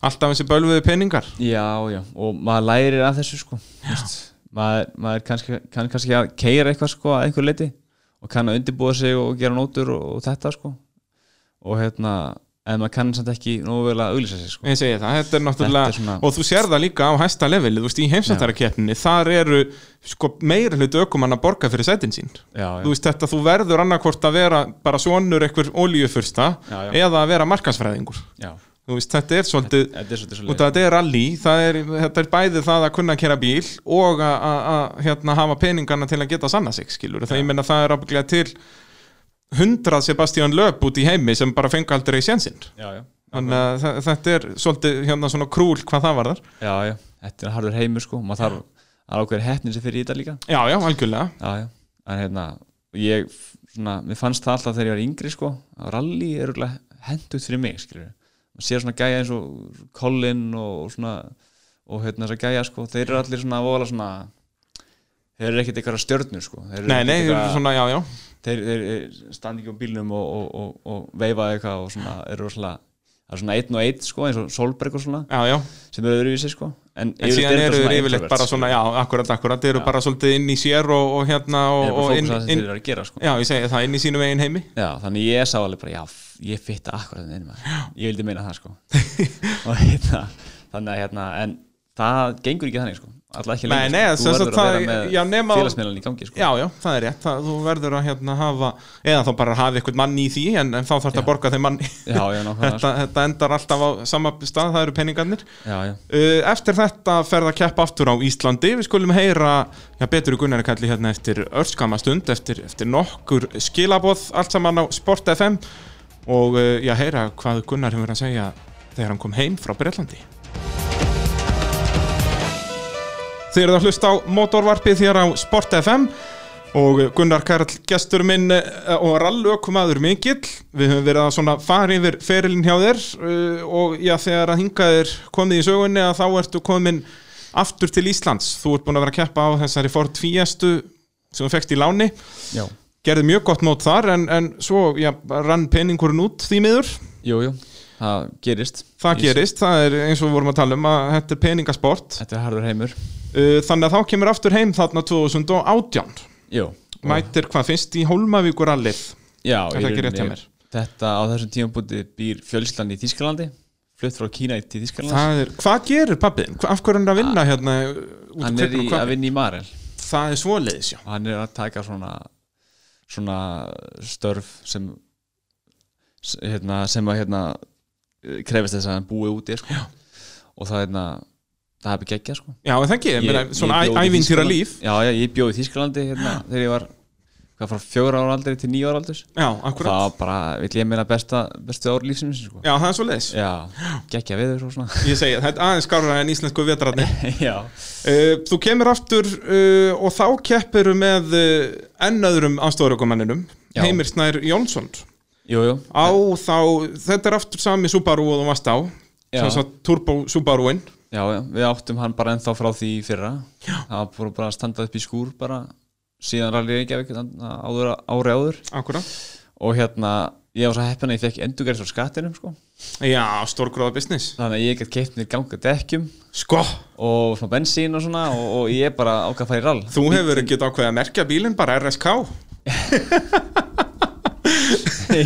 alltaf þessi bölviðu peningar Já, já, og maður lærir af þessu sko Vist, maður, maður kannski, kann kannski að keira eitthvað sko að einhver leiti og kann að undirbúa sig og gera nótur og, og þetta sko og hérna, en maður kann samt ekki nógu vel að auglýsa sig sko Ég segi það, þetta er náttúrulega Þetta er svona- og þú sér það líka á hæsta leveli, þú veist, í heimsættarakeppninni þar eru sko meira hluti ökumann að borga fyrir sætin sín Já, já, þú veist þetta, þú verður annarkvort að vera bara svonur einhver olíufursta Já, já. eða að vera markasfræðingur já, þú veist, þetta er svolítið þetta er svolítið út að svolítið þetta er rally, það er, þetta er bæði það að kunna að kera bíl og að- að að, hérna, hafa peningana til að geta sanna sig skilur, það ég meina það er ábygglega til hundrað Sebastian Löp út í heimi sem bara fengi aldrei sénsinn Já, já, þannig að þa- þetta er svolítið hérna svona krúl hvað það var þar já, já, þetta er harður heimur sko maður þarf, það er ákveður heppnin sem fyrir í þetta líka já, já, algjörlega Já, já, en hérna ég, svona, mér fannst það alltaf þegar ég var yngri sko, að rally er örugglega hendugt fyrir mig, skilur maður sér svona gæja eins og Colin og svona, og hérna þessar gæja sko, þeir eru allir svona vola svona þeir eru ekkert eitthvað stjörnur sko þeir eru nei, nei, ekkert þetta er eitthvað- svona, já, já, þeir, þeir, þeir standi ekki á bílnum og, og, og, og veifa eitthvað og svona, eru svona það er svona einn og einn sko, eins og Solberg og svona, já, já sem eru öðruvísi sko en, en síðan þetta eru þeir svona yfirleitt bara introverts, svona, já, akkurat, akkurat þeir eru bara svolítið inn í sér og, og hérna þeir og, eru bara og fókusað inn, á það sem inn, þeir eru að gera sko já, ég segi það, inn í sínum eigin heimi Já, þannig ég sá alveg bara, já, f- ég fitta akkurat þenni maður, ég vildi meina það sko og hérna, þannig að hérna en það gengur ekki þannig sko alltaf ekki Nei, lengur, nei, sko. sem þú sagt verður að það- vera með já, nema- félagsmiðlan í gangi sko Já, já, það er rétt, það, þú verður að hérna hafa, eða þá bara hafa eitthvað mann í því en, en þá þarf þetta að borga þeim mann já, já, nákvæmlega, þetta, þetta endar alltaf á sama stað, það eru peningarnir sko. já, já, Uh, Eftir þetta ferð að keppa aftur á Íslandi Við skulum heyra, já betur í Gunnari kalli hérna eftir örskama stund eftir, eftir nokkur skilaboð allt saman á Sport FM og uh, já heyra hvað Gunnar hefur að segja þegar hann kom heim frá Breitlandi Þið eruð að hlusta á motorvarpið hér á Sport FM og Gunnar Karl gestur minn eh, og rallaukumadur mikill við höfum verið að svona fara yfir ferilin hjá þér eh, og já þegar að hingaðir komið í sögunni að þá ertu komin aftur til Íslands þú ert búin að vera að keppa á þessari Ford Fiestu sem þú fekst í láni já, gerði mjög gott mót þar en, en svo já, rann peningurinn út því miður jú, jú það gerist, það Ég- gerist, það er eins og við vorum að tala um að þetta er peningasport þetta er harður heimur Eh, þannig að þá kemur aftur heim þarna 2018 jú, mætir hvað fyrst í Hólmavíkurallið já, Er það í ekki rauninni- rétt hjá mér? þetta á þessum tímabúti býr fjölslan í Þískalandi flutt frá Kína í Þískaland Það er, hvað gerir pappin? Af hverju er hann að vinna hérna? út Ah, hann er í, kvikmyndum? að vinna í Marel Það er svoleiðis, já. og hann er að taka svona svona störf sem s- hérna, sem að hérna eh, krefist þess að hann búi úti sko. og það hérna það hefði geggja sko Já, en það ekki, ég, meina, svona bjó í ævintýra Þýskalandi- líf. já, já, ég bjóði Þískalandi hérna, þegar ég var hvað frá fjóra ára aldrei til níu ára aldurs já, það akkurat var bara, vill ég meina besta, bestu ár lífsins sko. Já, það er svo leiðis já, gekkja við þessu svona Ég segi, þetta er aðeins skárra en íslensku vetrarni já, uh, Þú kemur aftur uh, og þá keppiru með uh, enn öðrum aðstofarökumanninum Já. Heimir Snær Jónsson jú, jú Á þá, þetta er aftur sami Subaru og þú varst á Já. Svo svo Turbo Subaruinn já, já, við áttum hann bara ennþá frá því í fyrra já. það fór bara að standa upp í skúr bara síðan rallið ekki af áður, ári áður Akkurat og hérna, ég var svo heppin að ég fekk endurgerðs á skattinum sko. Já, stórgróða business þannig að ég gætt keitt mér ganga dekkjum Sko, og svona bensín og svona og, og ég bara ákvað að fara í rall þú hefur ekki ákveðið að merkja bílinn bara RSK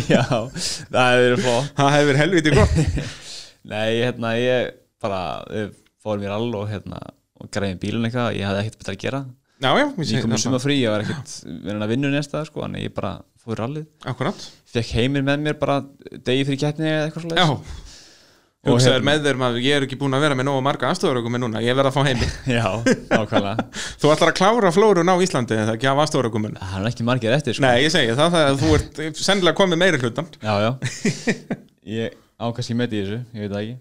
já, það er flott Það hefur helviti gott Nei, hérna, ég bara eh, fór mér all og hérna og græði bílun eitthvað, ég hafði ekkert betra að gera Já, já, ég ég segi kom í það suma frí, ég var ekkert verið að vinna næsta, sko, en ég bara fór í rallið Akkurat fekk heimir með mér bara degi fyrir keppni eða eitthvað Já svoleiðis Og Hugsaður hérna- með þeir maður, ég er ekki búin að vera með nógu marga aðstofarökumenn núna, ég verð að fá heimi Já, nákvæmlega Þú ætlar að klára flórun á Íslandi eða ekki af aðstofarökumenn Það er ekki margir eftir, sko Nei, ég segi það, það þú ert sennilega komið meiri hlutan Já, já Ég ákast ég með í þessu, ég veit það ekki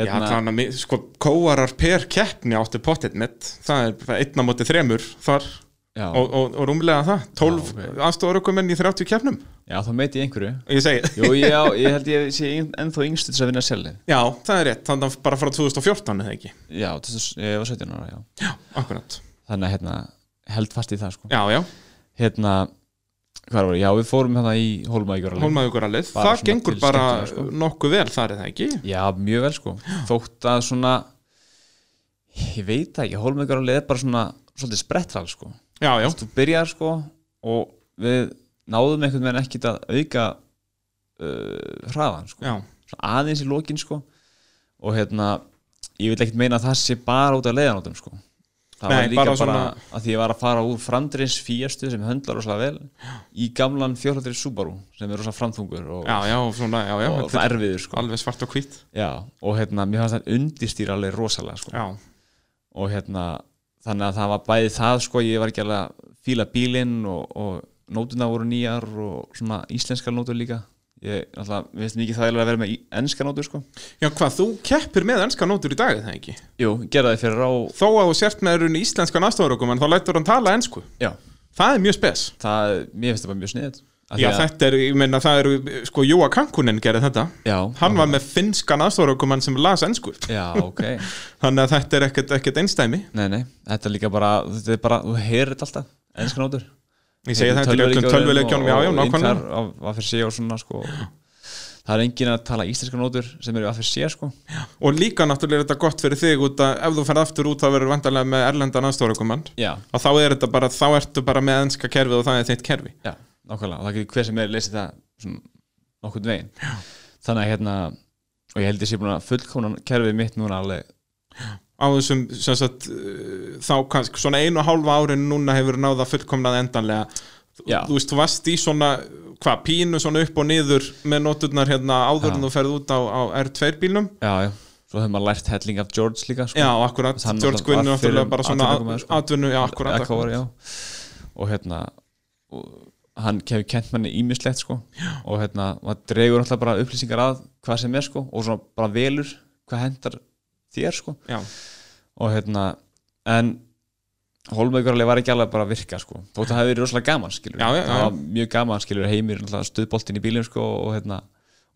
Hérna- Já, þannig að mi- sko, kóarar per keppni áttu pottet mitt það er einna móti þremur þar já, og, og, og rúmlega það, 12 Já, okay. aðstofarökumenn í 30 keppnum já, þá meiti ég einhverju Ég segi, Jú, ég, á, ég held ég sé ein- ennþá yngstu til að vinna sjálfið já, það er rétt þannig að bara frá 2014 eða ekki Já, til þess- ég var 17 ára, já Já, akkurat þannig að hérna, held fast í það sko. Já, já, hérna, hvað var ég, já við fórum hérna í Hólmavíkur alveg. hólmaðugurallið, Bara það svona gengur til bara skemmtunar, nokkuð vel þar eða ekki já mjög vel sko, þótt að svona ég veit það ekki Hólmavíkur alveg er bara svona svolítið sprettral sko, Já, já, þú byrjar sko og við náðum einhvern veginn ekkit að auka uh, hraðan sko, já, Svona aðeins í lokin sko og hérna, ég vil ekkit meina að það sé bara út af leiðanótum sko það Nei, var líka bara bara, svona- að því ég var að fara úr framdreins fíastu sem höndlar rosalega vel í gamlan fjólhaldri Subaru sem er rosalega framþungur og, já, já, svona, já, já og þetta er erfiður sko Alveg svart og hvít já, og hérna, mér fannst það undistýra alveg rosalega sko Já, og hérna, þannig að það var bæði það sko, ég var ekki alveg að fíla bílinn og, og nótuna voru nýjar og svona íslenskar nótur líka ég, alltaf, við veistum ekki það að vera með í- enska nótur sko já hvað, þú keppir með ennska nótur í dag eða ekki Jú, gera það fyrir á Þó að þú sért með raun íslenskan aðstofarökum en þá lætur hann tala ennsku Já, Það er mjög spes það, mér finnst það bara mjög sniðið Já, þetta er, ég meina, það eru, sko, Jóa Kankunin gerði þetta já, Hann var með finnskan aðstofarökum sem las ennsku Já, ok Þannig að þetta er ekkert, ekkert einstæmi Nei, nei, þetta er líka bara, þetta er bara, þú heyrir þetta alltaf Ennskan átur Ég segi þetta er öllum tölvuleikjónum, já, já, nákvæmlega Af, af fyrir sig og svona, sko Það er enginn að tala íslenskan átur sem eru af fyrir sig, sko Og líka náttúrulega er þetta gott fyrir þig út að ef þú ferð aftur út þá verður vandalega með erlendan aðstofarökumann Já, og þá er þetta bara, þá ertu bara með ennska kerfið og það er þitt kerfi já, nákvæmlega Og það getur hver sem er lesið það svona nokkurn veginn já. Þannig að hérna, og ég held ég sé búin að fullkóna kerfið mitt núna alveg á þessum, sem sagt uh, þá kannski svona einu og hálfa árin núna hefur náða fullkomnað endanlega Þú- Já. þú veist, þú varst í svona hvað, pínu svona upp og niður með nóturnar hérna áður en Já. þú ferð út á, á R2 bílnum Já, já, svo hefur maður lært helling af George líka, sko já, akkurat, Hann George náttúrulega Quinn er var fyrrum náttúrulega bara svona atvinnumaður, sko. atvinnu, já, akkurat, Akkur, akkurat. já. og hérna og hann hefur kent manni ímislegt sko. og hérna, maður dregur alltaf bara upplýsingar að hvað sem er sko, og svona bara velur hvað hendar þér sko. Já. og hérna en Hólmaugur var ekki alveg bara að virka sko. þótt að það hefði verið rosalega gaman skilur Já, já, já. það var mjög gaman skilur heimir stuðboltin í bílum sko, og, hérna,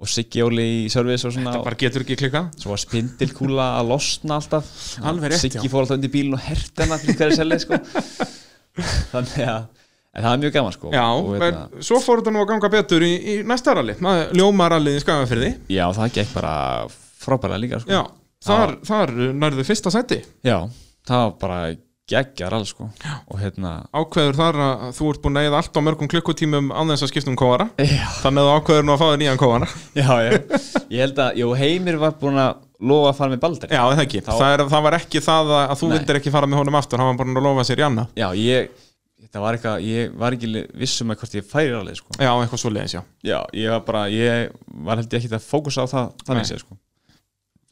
og Siggi Óli í service og svona það bara getur ekki klikkað svo var spindilkúla að losna alltaf Alveg rétt, Siggi já. fór alltaf undir bílinn og herti hana fyrir hverju selið sko. þannig að en það er mjög gaman sko. já, og, en svo fór þetta nú að ganga betur í, í næsta rally, ljómarallið í skagafyrði já, það gekk bara frábælega líka sko. já, þar, þar nærðu fyrsta seti já, það var bara geggjar alls sko. og hérna ákveður þar að þú ert búin að eða allt á mörgum klukkutímum án þess að skipta um kóara já, þannig að þú ákveður nú að fá þér nýjan kóara já, já. ég held að, jú, Heimir var búin að lofa að fara með Baldur já, það ekki, Þá- það, er, það var ekki það að, að þú Nei. vildir ekki fara með honum aftur hann var búin að lofa sér í annað já, ég þetta var eitthvað, ég var ekki vissum að hvort ég færi alveg sko. já, eitthvað svo leiðis, já Já, ég var bara, ég var held ég ekki að fókusa á það, Nei. þannig sé sko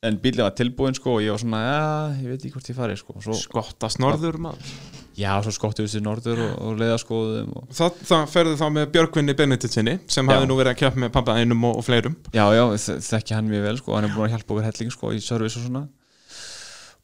En bílið var tilbúin sko og ég var svona, já, ég veit ekki hvort ég fari sko og Svo, skottast norður maður já, svo skottum við sér norður og, og leiðaskoðum og, Það, það ferðu þá með Björgvinni Benediktinni sem Já. hafði nú verið að keppa með pappa einum og, og fleirum já, já, þ- þekki hann mjög vel sko, hann er búin að hjálpa okkur helling sko, í service og svona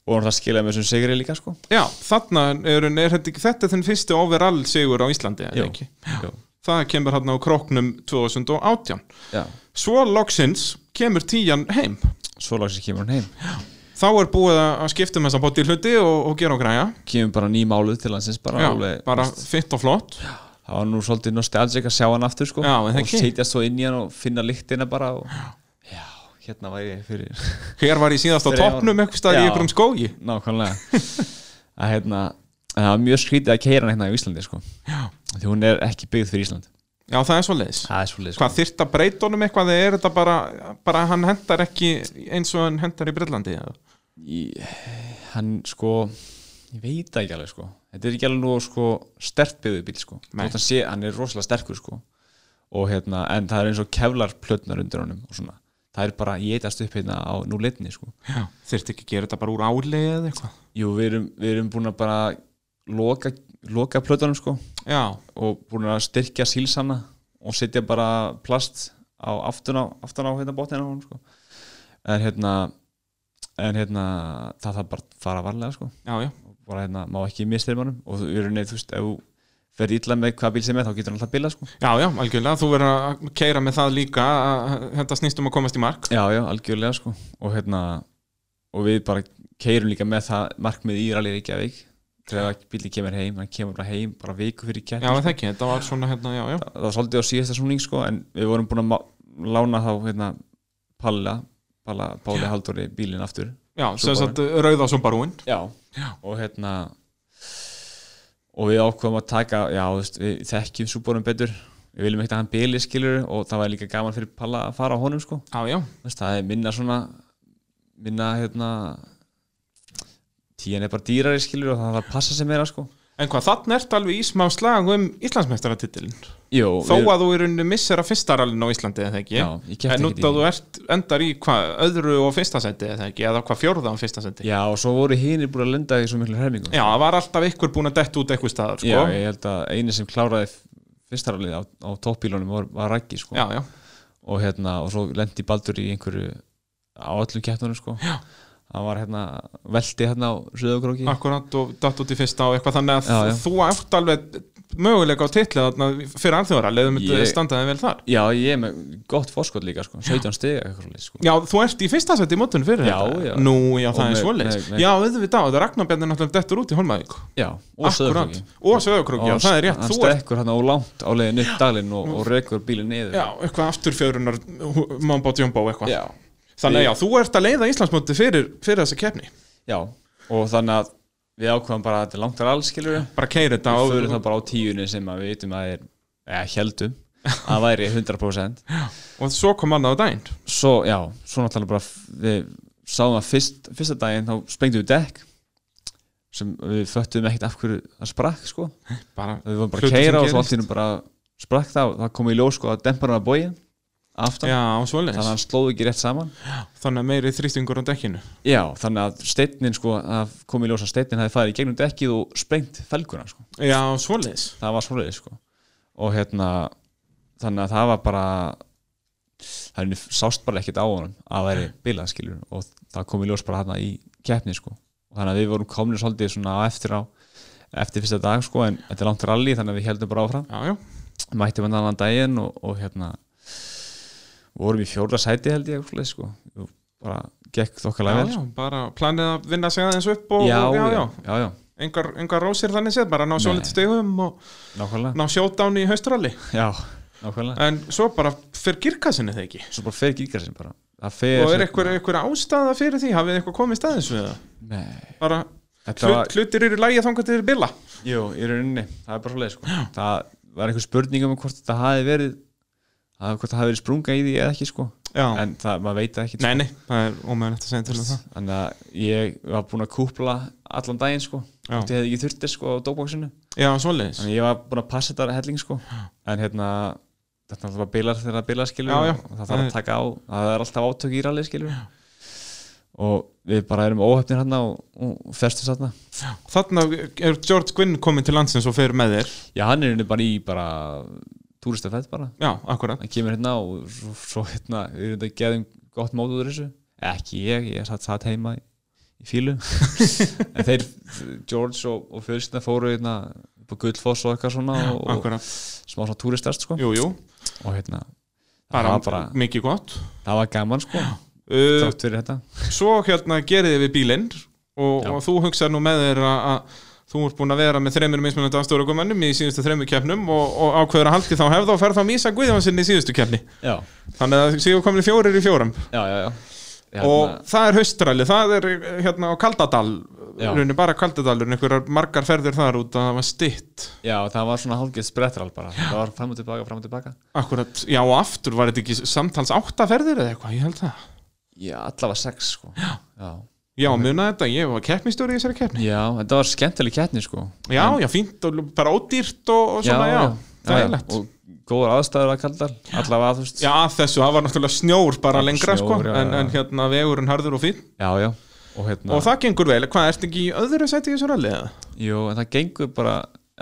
og hann það skilaði með þessum sigri líka sko. Já, þarna er, er þetta ekki þetta er þinn fyrsti overall sigur á Íslandi eða Jú, ekki? jú, Það kemur hann á kroknum 2018 já, Svo loksins kemur tíjan heim svo lagsins kemur hann heim Þá er búið að að skipta með þess að bóti hluti og, og gera og græja kemur bara ný máluð til hans bara, Já, alveg, bara þú veist, fitt og flott það var nú svolítið nostalgic að sjá hann aftur sko, Já, en það og ekki. setja svo inn í hann og finna lyktina bara og, já, hérna væri ég fyrir Hér var ég síðast á Þrjá- toppnum eitthvað staði í Já. einhverjum skógi nákvæmlega að hérna, að það var mjög skrítið að keira hann hérna í Íslandi sko, Já. því hún er ekki byggð fyrir Ísland Já, það er svo leiðis það er svolítið sko. Hvað þyrft að breyta honum eitthvað eða er þetta bara, bara hann hendar ekki eins og hann hendar í Breitlandi eða? ég, hann sko ég veit það ekki alveg sko þetta er ekki alveg nú sko stert byggðu bíl sko Nei. Þótt hann, sé, hann er rosalega sterkur sko og hérna, en það er eins og kevlar plötnar undir honum og svona það er bara étast upp hérna á núleitni sko Já, þyrft ekki að gera þetta bara úr álið eða eitthvað jú, við erum, við erum búin að bara loka, loka plötunum sko Já, og búin að styrkja sílsana og setja bara plast á aftan á, aftan á hérna bóttina á hún sko. en hérna en hérna það þarf bara að fara varlega sko. já, já, og bara hérna má ekki mistir mannum og þú eru neitt, þú veist, ef þú ferð illa með hvað bíl sem er þá getur hann alltaf bila sko. já, já, algjörlega þú verður að keira með það líka að þetta snýst um að komast í mark já, já, algjörlega sko. og hérna og við bara keirum líka með það markmið í rally Reykjavík þegar bílinn kemur heim, hann kemur bara heim bara viku fyrir Já, kætt en það ekki, þetta var svona hérna, já, já það var svolítið á síðasta snúning sko, en við vorum búin að ma- lána þá hérna, Palla, Palla Páli Halldóri bílinn aftur Já, Subaru. sem sagt uh, rauða sumbarúin já. og hérna og við ákveðum að taka já, þú veist, við þekkjum súbórum betur við viljum ekkert að hann bíli skilur og það var líka gaman fyrir Palla að fara á honum sko. Já, já, Þú veist, það er minna svona minna hérna tíjan er bara dýrari skilur og það þarf að passa sig meira sko. en hvað þarna ert alveg í smá slag um Íslandsmeistaratitilin Jó, Þó að þú í rauninni missir að fyrsta rallinu á Íslandi eða ekki Já, ég kefti En ekkert út í því. að þú ert endar í hvað öðru og fyrsta seti eða ekki Eða hvað fjórða og fyrsta seti já, og svo voru hinir búin að lenda í svo miklu hermingum Já, það var alltaf ykkur búin að detta út eitthvað staðar sko. Já, ég held að eini sem kláraði fyrstaralið á, á toppbílunum var, var Raggi sko. já, já, og hérna, og svo lendi Baldur í einhverju á öllum keppnunum sko. Já. hann var hérna velti hérna á Suðugróki akkurat og datt út í fyrsta og eitthvað þannig að Já, já. þú átt alveg möguleika á titlið þarna fyrir alþjóðara leiðum þetta Ég- standaði vel þar Já, ég er með gott fórskot líka sko. 17 stiga eitthvað svoleiðis, sko. Já, þú ert í fyrsta seti í mótun fyrir Já, þetta já. Nú, já, Og það er með- svoleiðis með- með- Já, auðvitað, það Ragnar Bjarni náttúrulega dettur út í Holmavík Já, og Akkurat. Suðugróki Og Söðakróki, já, það er rétt Hann Þú ert, Mm. stekkur hérna og langt á leiðin upp dalinn og, og rekur bílinn niður já, eitthvað aftur fjörunar Mambo Jumbo eitthvað Já. Þannig að Við- já, þú ert að leiða Íslandsmóti fyrir, fyrir þessi keppni Já, og þannig að við ákvæðum bara að þetta er langt að alls skilur Bara keiri þetta og og- fyrir það bara á tíunni sem að við vitum að er eða heldum að væri 100% og svo kom annað á daginn svo já, svo náttúrulega bara f- við sáum að fyrst, fyrsta daginn þá sprengdum við dekk sem við föttum ekkert af hverju það sprakk sko, Bara við vorum bara Hlutur að sem keira og svo gerist. allt í hennum bara sprakk það og það kom í ljós sko að demparinn að bója aftan, Já, svoleiðis. þannig að hann slóð ekki rétt saman Þannig að meiri þrýstingur á dekkinu. já, þannig að steinin sko að kom í ljós að steinin hafi farið í gegnum dekkið og sprengt felguna sko Já, svoleiðis. það var svoleiðis sko og hérna þannig að það var bara það er sást bara ekkert á honum að það væri bilað skilur og það kom í ljós bara hérna í keppni sko og þannig að við vorum komnir svolítið svona á eftir á eftir fyrsta dag sko en þetta er langt rally þannig að við heldum bara áfram Já, já. mættum hann annan daginn og, og hérna vorum í fjórða sæti held ég svoleiðis sko og bara gekk Já, þokkalega vel já, sko. bara planið að vinna sig aðeins upp og, og- já, já. já, já, Engar, engar rósir þannig séð, bara ná Nei. svolítið stegum og nákvæmlega ná sjótán í haustralli. já, nákvæmlega En svo bara fyrir girkassinni þegar ekki. svo bara fer gíkar sem bara Það fer, Og er hérna- eitthvað, eitthvað ástæða fyrir því? Hafið eitthvað komið staðins við það? Nei, Bara þetta hlut, var, hlutir eru í lagi þangað til þeir bila. jú, í rauninni, það er bara svolítið, sko. Það var einhver spurning um hvort þetta hafi verið, að hvort það hafi verið sprunga í því eða ekki, sko. Já. En það, maður veit það ekki, nei, nei, það er ómöðulegt að segja til um það. sko. Þannig að ég var búin að kúpla allan daginn, sko. Já. Þetta hefði ekki þurfti, sko, á dóbóksinu. Já, svoleiðis. Þannig að ég var búin að passa þetta helling, sko. En hérna, þetta var bilar þegar það bilar, skilur. Já, já. Og það þarf að taka á, það er alltaf átök í rallið, skilur. Og við bara erum óhefnir hérna og, og festum hérna. Þarna er George Gwynn komin til landsins og fer með þér já, hann er henni bara í bara túristafett bara, Já, akkurat hann kemur hérna og svo, svo hérna, við erum þetta geðum gott mót út úr þessu, ekki ég ég satt, satt heima í, í fílu en þeir, George og, og fjölsina fóru hérna upp á Gullfoss og eitthvað svona og, Akkurat, og smá svona túristast sko jú, jú, og hérna, það bara, var bara mikið gott það var gaman sko, uh, þátt fyrir þetta Svo hérna gerði við bílinn og, Já. og þú hugsaði nú með þér að að þú ert búin að vera með þreymur mismunandi afstöðurugumennum í síðustu þreymur keppnum og, og ákveður að haldi þá hefð og ferð þá mísa Guðjónsinn í síðustu keppni já, Þannig að séu komin í fjórir í fjórum já, já, já. Hérna, og það er haustralið, það er hérna á Kaldadal, Já. raunin bara Kaldadalur einhverjar margar ferðir þar út að það var stitt já, það var svona hálfgeð sprettral bara, það var fram og tilbaka, fram og tilbaka Akkurat, já og aftur var þetta ekki samtals átta ferðir eða eitthvað, ég held það já, allavega sex sko já, já. Já, muna þetta, ég var keppnistjóri í þessari keppni Já, þetta var skemmtileg keppni sko Já, já, fínt og bara ódýrt og, og svona, já, það er lett Og góður aðstæður að kalla þar Allavega þú veist Já, að þessu, það var náttúrulega snjór bara Það var lengra snjór, sko, já, en, já. en hérna vegurinn harður og fín já, já. Og hérna og það gengur vel, hvað, ertu ekki í öðru seti í þessu rally eða? Jú, en það gengur bara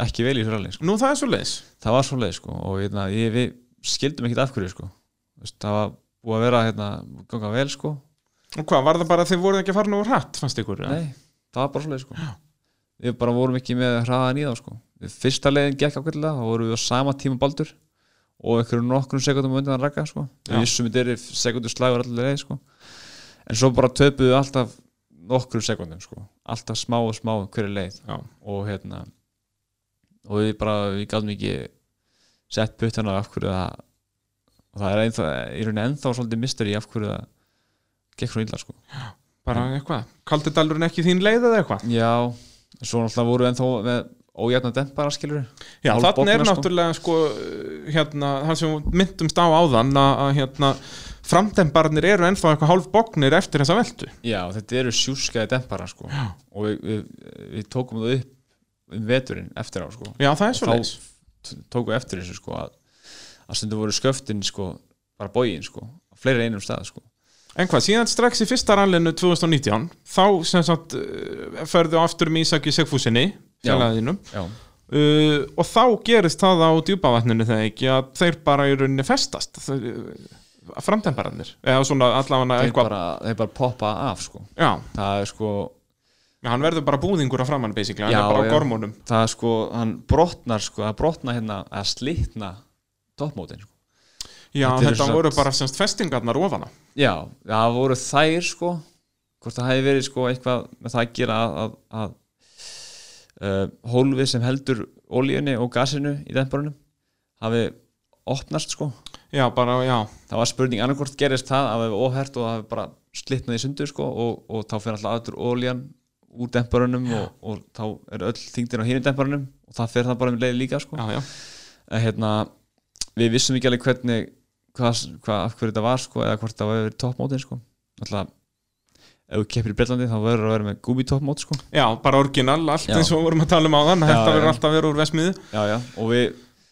ekki vel í þessu rally sko. Nú það er svo leis Það var svoleið sko Og hérna, ég, við skildum ekkert af hverju sko Þú veist, Það var búið að vera hérna Ganga vel sko Og hvað, var það bara að þið voruð ekki að fara nú hratt, fannst ykkur? eða? Nei, það var bara svoleið sko Við bara vorum ekki með hraðan í þá sko Fyrsta leiðin gekk ákveðlega þá vorum við á sama tíma um baldur og einhverjum nokkrum sekundum undan að ragga sko Já. Við vissum þetta er sekundu slagur allir leið sko En svo bara töpuðu við alltaf nokkrum sekundum sko Alltaf smá og smá hverju leið Já. og hérna og við bara, við gætum ekki sett puttana af hverju það og það er ennþá, í rauninni ennþá svolítið misteri af hverju það gekk svona illa sko Bara eitthvað, kaldi dalurinn ekki þín leið eða eitthvað? Já, svo náttúrulega voru ennþá með ójæfna dempara skilur Já, Hálf þannig er bogna, sko. náttúrulega sko, hérna, það sem við myndumst á áðan að, að hérna, framdembarnir eru ennþá eitthvað hálfbognir eftir þessa veltu. Já, þetta eru sjúskaði dempara sko. Já. og við, við, við tókum það upp um veturinn eftir á sko. Já, það er svo þá leis. t- tókum við eftir þessu sko, að, að stundum voru sköftin sko, bara bógin, sko, á fleiri einum stað sko. En hvað, síðan strax í fyrsta rallinu 2019, þá sem sagt eh, ferðu aftur um Ísak í Sigfúsinni, Já. fjallaðinum, Já, uh, og þá gerist það á djúpavatninu þegar ekki að þeir bara í rauninni festast, framdembarnir, eða svona allavega þeir eitthvað, bara, þeir bara poppa af sko. já, það er sko Já, hann verður bara búðingur að framann, basically, hann Já, er bara á já. gormónum. það er sko, hann brotnar sko, það brotnar hérna, að slitna toppmótin sko. Já, Þetta þetta, eru samt- voru bara semst festingarnar ofana. Já, það voru þær sko hvort það hefði verið sko eitthvað með það að gera að, að, að uh, hólfið sem heldur olíunni og gasinu í demparunum hafi opnast sko Já, bara, já, það var spurning annarkvort gerist það að það hefði óhært og það hefði bara slitnað í sundur sko og, og þá fyrir alltaf aður olían úr demparunum og, og þá er öll þingdin á hínum demparunum og það fyrir það bara um leið líka sko já, já. að hérna, við vissum ekki alveg hvernig hvað, hvað, af hverju þetta var sko, eða hvort það var verið toppmótin sko. Alltaf, ef þú keppir í Breitlandi þá verður að vera með gúbi toppmót sko. Já, bara orginal, allt Já. eins og við vorum að tala um áðan, þetta já. verður alltaf verið úr vesmiðu. já, já, og við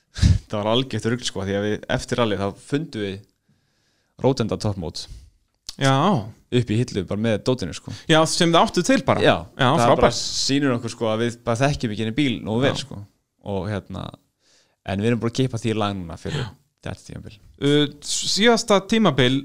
það var algjört rugl sko, því að við eftir alveg þá fundum við rótenda toppmót Já, upp í hillu bara með dótinu sko. já, sem það áttu til bara. já, já það bara frábært. sýnir okkur sko, að við bara þekkjum ekki henni bíl nógu vel Já. sko. og hérna en við erum bara að keipa því í lag núna fyrir þetta tímabil Uh, síðasta tímabil,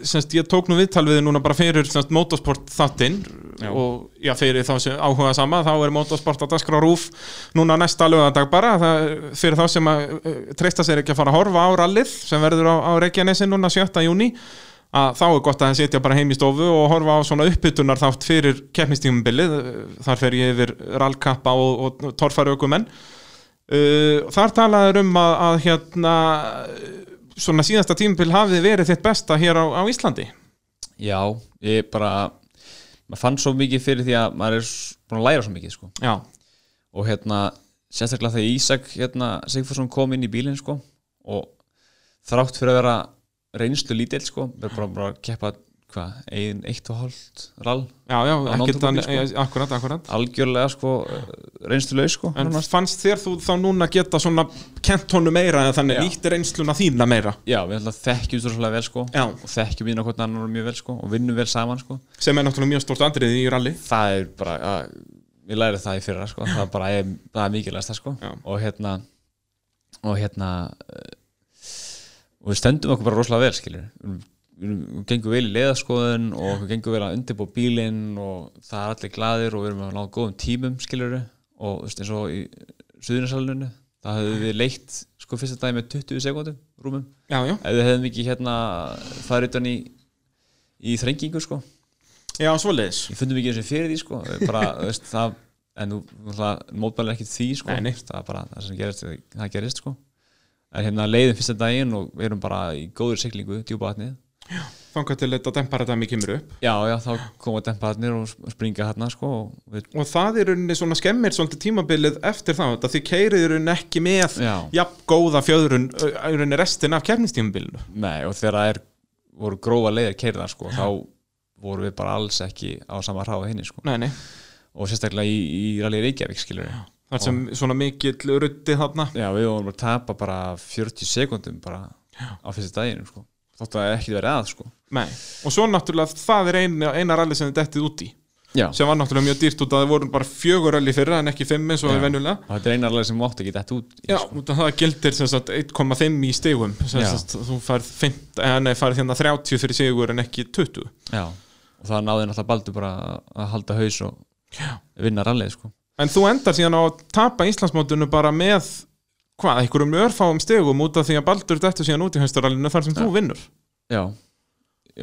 semst ég tók nú viðtal við þig núna bara fyrir semst motorsport þáttinn Já. og já, fyrir þá sem áhuga sama, þá er motorsport að daskra rúf núna næsta lögadag bara, það, er fyrir þá sem að uh, treysta sér ekki að fara að horfa á rallið sem verður á, á Reykjanesi núna 7. júni að þá er gott að það setja bara heim í stofu og horfa á svona uppbytunar þátt fyrir keppnistímabilið, Uh, þar fer ég yfir rallkappa og, og torfari okkur menn uh, þar talaður um að, að hérna uh, svona síðasta tímabil hafið verið þitt besta hér á, á Íslandi Já, ég bara maður fann svo mikið fyrir því að maður er s- búin að læra svo mikið sko. já, og hérna, sérstaklega þegar Ísak hérna, Sigfursson kom inn í bílinn sko, og þrátt fyrir að vera reynslu lítill sko, við bara, bara að keppa hvað, ein, eitt og hálft rall, já, já, ekkert nótum að, bíl, eh, akkurat, akkurat algjörlega sko, reynslu laus sko, en nánast. fannst þér þú þá núna geta svona kent honum meira eða þannig Já. nýtt reynsluna þína meira Já, við ætla þekkjum svo svolítið vel sko, Já. og þekkjum inn á hvernig annar mjög vel sko, og vinnum vel saman sko. sem er náttúrulega mjög stórt andrið í rally það er bara að, ég lærið það í fyrra sko. það er bara ég, það er mikilvægast sko. Já. og hérna og hérna eh, og við stöndum okkur bara rosalega vel skilur við, við, við gengum vel í leiðaskoðun og við gengum vel að undirbú bílinn og það er allir glaðir og við erum að ná góðum tímum skilur og þú veist eins og í suðunarsaluninu það höfum við leitt sko fyrsta dag með 20 sekundum rúmum já, já, ef við hefðum ekki hérna farið utan í, í þrengingu sko já, svoleiðis ég fundum ekki eins og fyrir því sko bara, þú veist, það, en nú mótmælir ekki því sko Nei, nei. það er bara það sem gerist, það gerist sko en hérna leiðum fyrsta daginn og við erum bara í góður siglingu, djúpa vatnið þangað til þetta demparadæmi kemur upp já, já, þá koma dempaðnir og sp- springa hérna sko og við, og það er rauninni svona skemmir svolítið tímabilið eftir það, þetta því keirið í rauninni ekki með Já. jafn góða fjöðrun ö, í rauninni restin af kefnistímabilinu nei, og þegar það er voru grófa leiðir keirðar sko þá voru við bara alls ekki á sama hráðu henni sko nei, nei, og sérstaklega í, í rally Reykjavík skilur já. þar sem svona mikill rutti þarna við vorum að tapa bara 40 sekundum bara á fyrsta daginn sko þótt að ekki verið að sko nei. og svo náttúrulega það er eina, eina rally sem þið dettið út í já. sem var náttúrulega mjög dýrt út að það voru bara fjögur rally fyrra en ekki fimm eins og það er Já. venjulega Og þetta er einarlega sem mátt ekki dætt út Já, út af það gildir sem sagt 1,5 í stigum sem Já. sagt þú færð, fimt, eh, nei, færð hérna 30 fyrir sigur en ekki 20 Já. og það náði náttúrulega Baldur bara að halda haus og Já. vinna rallið sko. En þú endar síðan á að tapa Íslandsmótinu bara með hvað, einhverjum örfáum stegum út af því að Baldur dættu síðan út í haustarallinu þar sem þú vinnur Já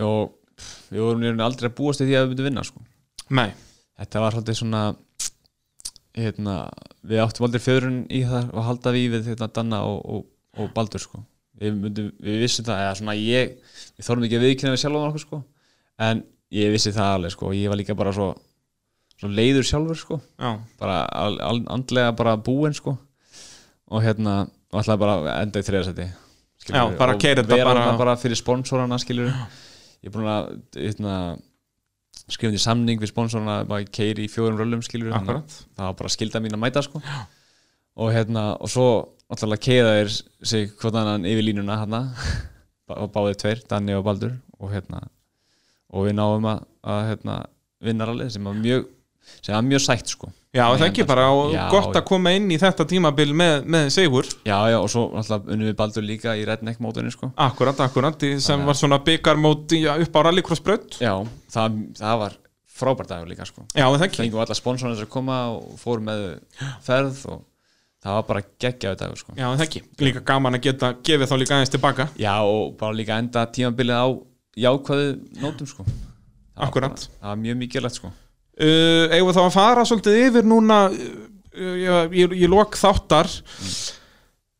og pff, við vorum í rauninni aldrei að búast í því að við myndum vinna sko. Nei, þetta var svolítið svona hérna, við áttum aldrei fjörun í það og halda við við þetta Danna og, og, og Baldur sko. við, myndum, við vissum það eða svona ég, við þórum ekki að viðkynna við sjálfum okkur sko. en ég vissi það alveg sko. og ég var líka bara svo, svo leiður sjálfur sko. já, bara al, al, andlega bara búinn sko og hérna og alltaf bara að enda í þriðarsæti Já, bara keyra þetta bara... bara- bara fyrir sponsorana skilur ég er búin að hérna, skrifa undir samning við sponsorana bara keiri í fjórum röllum skilur akkurat það var bara skilda mín að mæta sko og hérna og svo alltaf keiða þeir sig hvort annan yfir línuna hérna og báðið tveir, Danni og Baldur og hérna og við náum að, að hérna, vinna rallið sem var mjög sem var mjög sætt sko Já, Þannig það ekki endar- bara og sko. Já, gott já. að koma inn í þetta tímabil með, með sigur Já, já, og svo alltaf unnum við Baldur líka í redneck mótunni, sko. Akkurat, akkurat, í- sem var svona byggarmót í- upp á rallycrossbraut Já, það, það var frábært dagur líka, sko. Já, það ekki Fengum alla sponsorinn sem koma og fórum með þau ferð og það var bara geggjaðu dagur, sko. Já, það ekki, líka gaman að geta gefið þá líka aðeins tilbaka Já, og bara líka enda tímabilið á jákvæðu nótum, sko. Það var Akkúrat. bara- Það var mjög mikilvægt, sko. uh, eigum við þá að fara svolítið yfir núna uh, ég, ég lok þáttar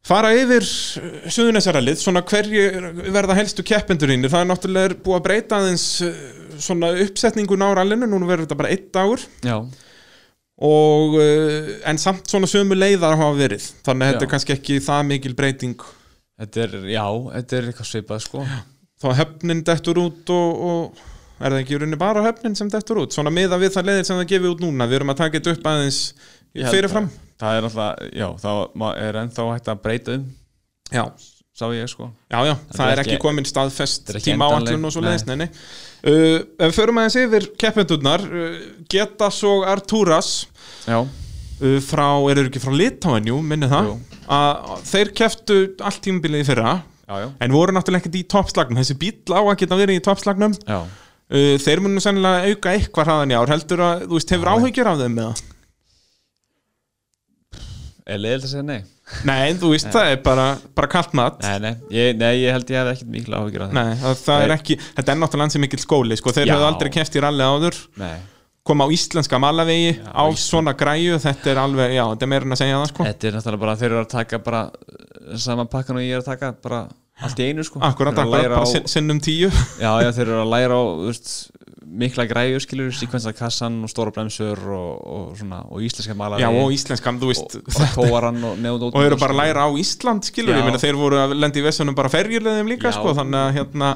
fara yfir suðunessarallið, svona hverju verða helstu keppendurínir, það er náttúrulega er búið að breyta aðeins uh, svona uppsetningun á rallinu, núna verður þetta bara eitt dagur Já, og uh, en samt svona sömu leiðar hafa verið, þannig að þetta Já. er kannski ekki það mikil breyting, þetta er, já, þetta er eitthvað svipað, sko. þá höfnin dettur út og, og er það ekki í rauninni bara höfnin sem dettur út, svona miða við það leiðir sem það gefið út núna, við erum að taka þetta upp aðeins Ég held fyrirfram, að- Það er alltaf, já, það er ennþá hægt að breyta um, já sá ég, sko. Já, já, það er er ekki ekki- komin staðfest þetta er ekki tíma áallun endanleg, og svo leiðis, nei, nei. Uh, ef við förum aðeins yfir keppendurnar, uh, Getas og Artúras Já, uh, frá, eru þeir ekki frá Litáin, jú, minni það, Jú. að þeir keftu allt tímabilið í fyrra, já, já. en voru náttúrulega ekkert í toppslagnum, þessi bíl á að geta verið í toppslagnum, Já, uh, þeir munu sennilega auka eitthvað hraðan í ár, heldur að, þú veist, hefur áhyggjur af þeim með það? er leiðilegt að segja nei? Nei, þú veist, það er bara, bara kalt mat. Nei, nei, ég, nei, ég held ég hef ekkert mikil áhyggjur af það Nei, það, það er ekki, þetta er náttúrulega ansið mikill skóli, sko, þeir Já. höfðu aldrei keft í rally áður. Nei, koma á íslenska malavegi á svona græju, þetta er alveg, já, þetta er meira en að segja það sko þetta er náttúrulega bara þeir eru að taka bara uh, sama pakkan og ég er að taka bara allt í einu sko Akkurat, Þeir eru að akkurat, læra bara á- sin- sinnum tíu Já, já, þeir eru að læra á þú veist, mikla græjur skilur, sekvensa kassan og stóra bremsur og, og svona, og íslenska malar Já, og íslenska, þú veist og tóaran og nefnd og eru bara að læra á Ísland, skilur Já. ég meina þeir voru að lenda í vessunum bara ferjurleðum líka Já. sko, þannig að hérna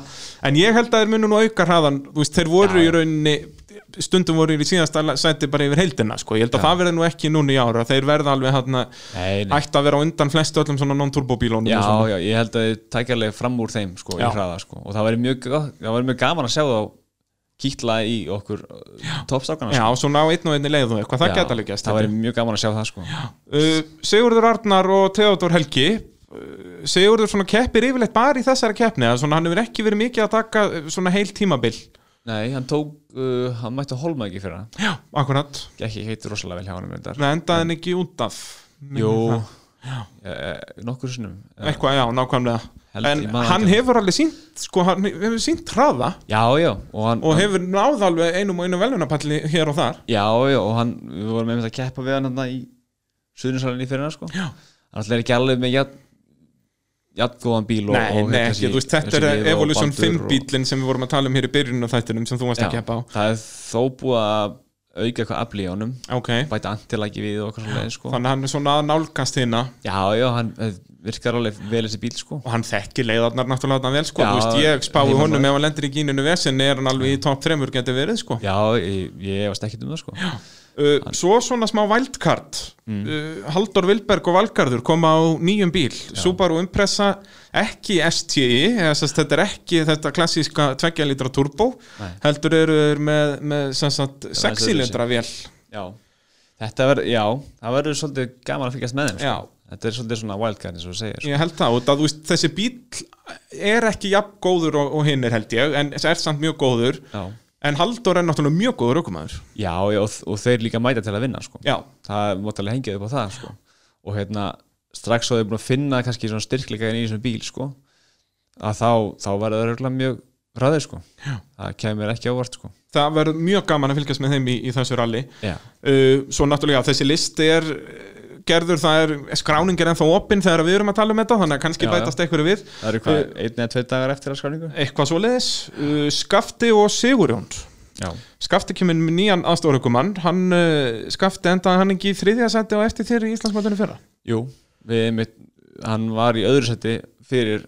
en ég held að þeir munu nú auka hraðan, þú veist, þeir voru Já. í rauninni stundum voru í síðasta la- sæti bara yfir heildina, sko, ég held Já. að það verði nú ekki núna í ára, þeir verða alveg hérna Nei, nei, ætti að vera á undan flestu öllum svona non-turbo bílónum já, og svona. já, ég held að þið tækja alveg fram úr þeim sko, í Já. hraða sko, og það væri mjög, gott- það væri mjög gaman að sjá þá kýtla í okkur toppstakana Já, svo ná einn og einni leið og eitthvað, það geta alveg gæst það væri mjög gaman að sjá það sko Uh, Sigurður Arnar og Theodor Helgi uh, Sigurður svona keppir yfirleitt bara í þessari keppni að svona hann hefur ekki verið mikið að taka uh, svona heil tímabil nei, hann tók, uh, hann mætti að holma ekki fyrir hann Já, akkurat ekki heitir rosalega vel hjá hann reyndar Nei, endaði hann ekki út af Nei, jú, það- eh, eh, nokkur sinnum Eh, Eitthvað, já, nákvæmlega Held En ég man hann ekki. hefur alveg sínt, sko, hann hefur sínt hraða já, já, og hann og hefur náð alveg einum og einu velunapalli hér og þar Já, já, og hann, við vorum einmitt að keppa við hann hann í suðninsvælinni fyrir hann, sko Já. Hann alltaf er ekki alveg með jafn jafn góðan bíl og, Nei, og hérna nei, ekki, þessi- þú veist, þetta þessi er lið og Evolution Baldur 5 og- bílinn sem við vorum að tala um hér í byrjunum á þættinum sem þú varst Já, að keppa á Það er þó búið að auka eitthvað afli í honum Ok, bæta antilæki við og eitthvað svoleiðis, sko þannig að hann er svona að nálgast hérna Já, já, hann eh, virkar alveg vel þessi bíl, sko og hann þekkir leiðarnar náttúrulega þarna vel sko, Já, þú veist, ég spái heimamaður. honum ef hann lendir í gíninu vesinni er hann alveg í top 3 getur verið sko. Já, ég, ég varst ekkert um það, sko Já, uh, svo svona smá wildcard uh, Haldur Vilberg og Valgarður koma á nýjum bíl, Subaru Impressa ekki STI eða, sest, þetta er ekki þetta klassíska 2 litra turbo, Nei. heldur eru þeir með, með sem sagt, aðeins 6 litra vél Þetta verður, já, það verður svolítið gaman að fylgjast með þeim, Já. sko Þetta er svolítið svona wildcard, eins og þú segir, sko ég held það, og það, þú veist, þessi bíl er ekki jafn góður og, og hinn er held ég en er samt mjög góður Já. en Haldur er náttúrulega mjög góður aukumæður Já, já og, og þeir líka mæta til að vinna sko. Já. það mátt alveg hengja upp á það sko. og hérna strax svo þeir búin að finna kannski svona styrkleika í þessum bíl sko, að þá, þá verður það örugglega mjög ræðir sko. það kemur mér ekki ávart sko. það verður mjög gaman að fylgjast með þeim í, í þessu ralli Já. uh, svo náttúrulega þessi listi er uh, gerður, það er skráning er ennþá opinn þegar við erum að tala um þetta þannig að kannski Já, já. bætast einhverju við það eru hvað, einn eða tveit dagar eftir að skráningu eitthvað svoleiðis, uh, Skafti og Sigurjón Já, Skafti kemur með nýjan aðstofarökumann hann, uh, Skafti endaði hann ekki í þriðja seti og eftir þér í Íslandsmáttunum fyrra jú við, einmitt, hann var í öðru seti fyrir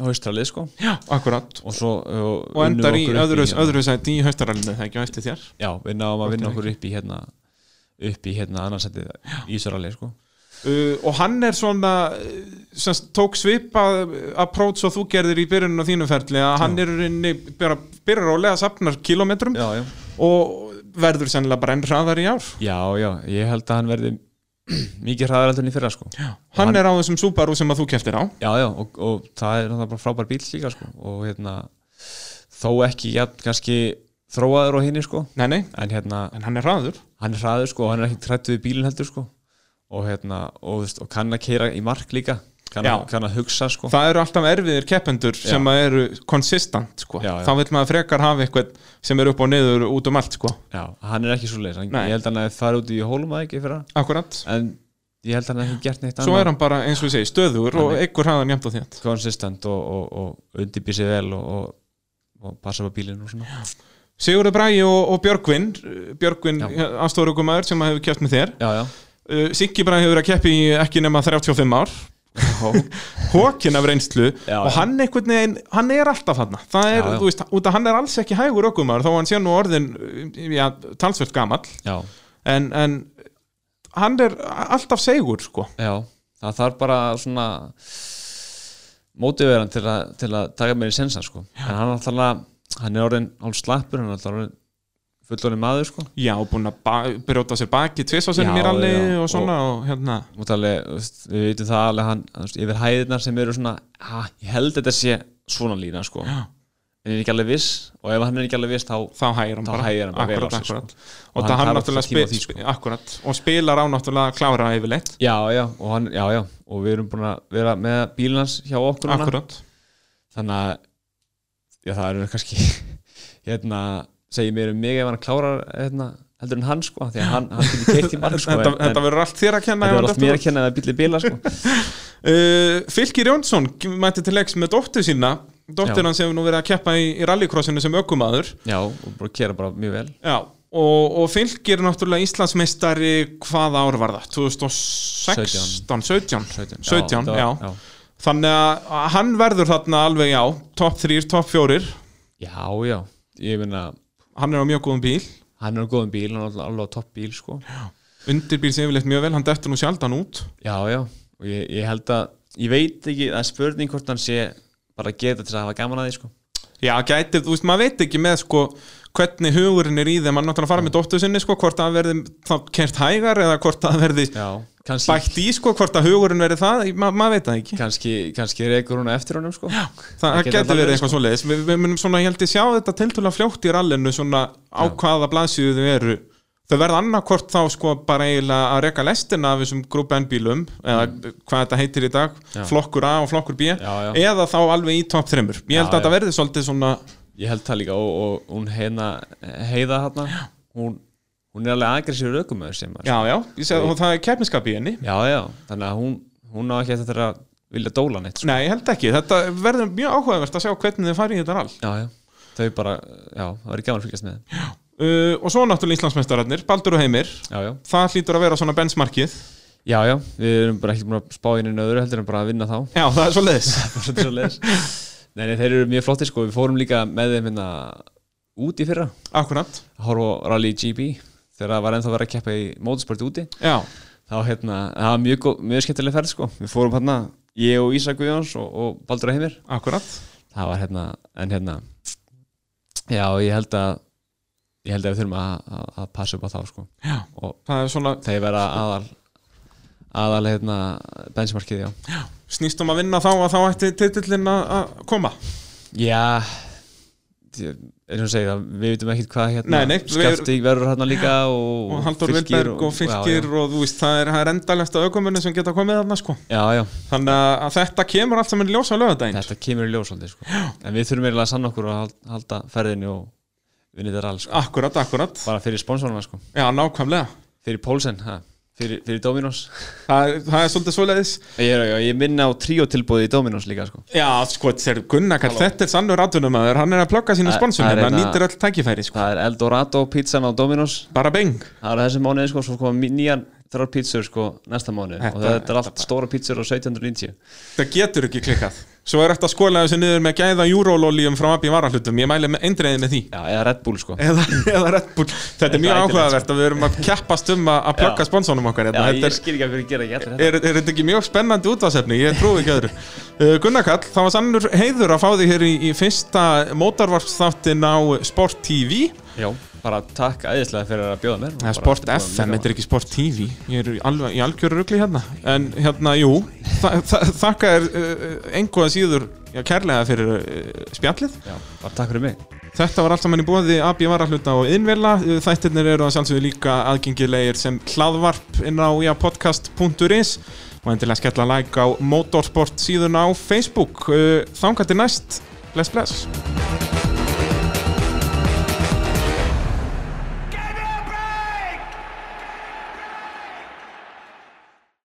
haustralið sko. já, akkurat og svo og, og endar í öðru, öðru seti í haustarallinu það ekki á eftir þér hérna- Já, við náum að vinna Hvort okkur er upp í hérna upp í hérna annarsætti í Ísaralið sko. uh, og hann er svona uh, sem sagt, tók svipa approach og þú gerðir í byrjunum á þínum ferli að hann er inni, byrja, byrja rólega safnar kilometrum Já, já og verður sennilega bara enn hraðar í ár Já, já, ég held að hann verði mikið hraðar heldur enn í fyrra sko. já. hann, er á þessum Subaru sem að þú keftir á já, og, og það er náttúrulega bara frábær bíl líka sko. og hérna þó ekki, já, kannski þróaður á hinni sko. nei, nei, en hérna, en hann er hraður hann er hraður sko, og hann er ekki trætt við bílinn heldur sko. og hérna, og, þú veist, og kann að keira í mark líka kann, Já. að- kann að hugsa sko. það eru alltaf erfiðir keppendur sem að eru konsistant sko. Já, já. þá vil maður frekar hafa eitthvað sem er upp og niður út um allt sko. já, hann er ekki svo leis ég Nei. held að hann að það er út í hólum að ekki í fyrra akkurat, en ég held að hann hefði gert neitt svo er hann bara eins og ég segi stöður og einhver hraðan jæmt á þér konsistent og, og, og undirbýr sig vel og, og, og passa upp á bílinn og svona Sigurður Bræi og, og Björgvin uh, Björgvin Já. aðstofurökumæður sem hefur keppt með þér já, já, uh, Siggi Bræi hefur verið að keppi í ekki nema 35 ár hókin af reynslu Já, og já. hann einhvern veginn, hann er alltaf hann það er, Já, já. þú veist, út að hann er alls ekki hægur ökumæður þó hann sé nú orðin uh, já, talsvöld gamall já, en, en hann er alltaf segur sko já það þarf bara svona mótiveran til, að- til að taka mér í sensa sko. en hann er alltaf hann er orðin hálf slappur, hann er alltaf orðin fullorinn maður sko Já, búin að ba- brjóta sér baki tvisvarsinnum Já, í ralli já, og svona og, hérna Og alveg, þú veist, við veitum það alveg hann þú veist, yfir hæðirnar sem eru svona ha, ég held þetta sé svona lína sko. en ég er ekki alveg viss og ef hann er ekki alveg viss þá þá hægir hann Þá bara, hægir hann bara vel akkurat, á sig, sko. akkurat. Og og hann það hann þarf náttúrulega alltaf tíma á spil, því, sko. akkurat, og spilar á náttúrulega að klára yfirleitt já, já, og hann, já, já, og við erum búin að vera með bílinn hans hjá okkur núna. akkurat, þannig að já, það eru kannski hérna, segir mér um mig ef hann klárar hérna, heldur en hann sko því að hann, hann getur keitt í mark sko þetta, en, þetta verður allt þér að kenna þetta ef var hann allt mér dettur að kenna en það bíli bila sko út. uh, Fylgir Jónsson mætti til leiks með dóttu sína Já. dóttir hans hefur nú verið að keppa í, í rallycrossinu sem ökumadur já, og bara kera bara mjög vel Já, og, og fylgir náttúrulega Íslandsmeistari hvaða ár var það? 2016, 17 17, 17, já, þetta var- Þannig að- að hann verður þarna alveg já, topp 3, topp 4 já, já, já ég meina hann er á mjög góðum bíl hann er á góðum bíl, hann er alveg, alveg á topp bíl sko undirbýr sig yfirleitt mjög vel, hann dettur nú sjaldan út já, já, og ég, ég held að ég veit ekki, það er spurning hvort hann sé bara geta til að hafa gaman að því sko Já, gætið, þú veist, maður veit ekki með sko hvernig hugurinn er í þeim, maður náttúrulega fara með dóttu sinni sko, hvort það verði þá kert hægar eða hvort það verði Já, kannski, bætt í sko, hvort að hugurinn verði það ma maður veit það ekki, kannski, kannski reykur hún á eftir honum sko. Já, það gæti verið sko. eitthvað svoleiðis, við, við munum svona, ég held ég sjá þetta tiltúlega fljótt í rallinu, svona á hvaða blaðsíðu þau eru, þau verða annarkvort þá sko bara eiginlega að reka lestina af þessum grúpa N-bílum eða hvað þetta heitir í dag, Mm. Já. flokkur A og flokkur B, já. eða þá alveg í top 3 ég Já, held að þetta verði svolítið svona Ég held það líka og, og hún heina, heiða hérna hún, hún er alveg agressífur aukumöður sem maður Já, já, ég segi, og það er keppniskap í henni já, já, þannig að hún, hún á ekki eftir að vilja dóla neitt sko. Nei, ég held ekki, þetta verður mjög áhugavert að sjá hvernig þið farið í þetta all Já, já, þau bara, já, það er gaman að fylgjast með þeim. uh, Og svo náttúrulega Íslandsmeistararnir, Baldur og Heimir Já, já, Það hlýtur að vera svona benchmarkið já, já, við erum bara ekki búin að spá inn í nöðru heldur en bara að vinna þá Já, það er svo leiðis Bara svoleiðis. Nei, nei, þeir eru mjög flottir sko, við fórum líka með þeim hérna út í fyrra Akkurat, að horfa á Rally GB þegar það var ennþá verið að keppa í motorsport úti já, þá hérna, það var mjög, góð- mjög skemmtileg ferð sko, við fórum hérna ég og Ísak Guðjóns og, og Baldur Heimir akkurat það var hérna, en hérna já, ég held að ég held að við þurfum að, að, að passa upp á þá sko, Já, og það er svona, þeir vera aðal aðal hérna benchmarkið, já snýst um að vinna þá að þá ætti titillin að að koma já ég- eins og segja, við veitum ekkit hvað hérna Nei, nei, við- Skaftík verður hérna líka og, Og Haldur Vilberg og Fylkir já, og þú veist, það er, það er endalesta aukumunni sem geta komið þarna sko já, já, já, Þannig að að þetta kemur allt saman í ljósa lögadaginn þetta kemur í ljós aldrei sko. en við þurfum eiginlega að sanna okkur að hal- halda ferðinni og vinna þetta alls sko. Akkurat, akkurat, bara fyrir sponsorna, sko. já, nákvæmlega fyrir Pólsen ha? fyrir, fyrir Dominos Það, er- það er svolítið svoleiðis Ég, er, já, ég minna á tríotilbúði í Dominos líka sko. Já, sko, þeir Gunnar Karl, þetta er sannur atvinnumæður, hann er að plugga sína Það- það sponsunum, er hann eina- nýtir öll tækifæri, sko. Það er Eldorado pizzan á Dominos Bara beng. Það er þessi mánuði sko, svo koma mí- nýjar þrjár pizzur sko, næsta mánuði Þetta- og þetta er allt stóra pizzur á 1790 Það getur ekki klikkað. Svo er þetta skola þessu niður með gæða júrólolíum frá AB varahlutum, ég mæli með eindreiði með því. Já, eða Red Bull sko Eða, eða Red Bull. Þetta er Eitthvað mjög ætilegt, áhugavert að við erum að keppast um að- að plugga Já. sponsunum okkar. Já, hérna. ég Þetta er, skil ekki að fyrir gera ekki allir þetta er, er þetta ekki mjög spennandi útvarsefni, ég trúi ekki öðru. Uh, Gunnar Karl, það var sannur heiður að fá þig hér í, í fyrsta mótarvarpsþáttin á Sport TV. Já, bara takk æðislega fyrir að bjóða mér Það er Bara Sport aftur búin að FM, mega- þetta er ekki Sport TV Ég er í alveg, í algjöru rugli hérna En hérna, jú, þa þa þakka er uh, einhvað síður já, kærlega fyrir uh, spjallið Já, bara takk fyrir mig Þetta var allt saman í bóði AB Varahluta og Innvela Þættirnir eru að sjálfsögðu líka aðgengilegir sem hlaðvarp inn á iapodcast.is og endilega Eh, skella like á Motorsport síðuna á Facebook Uh, Þangað til næst, bless bless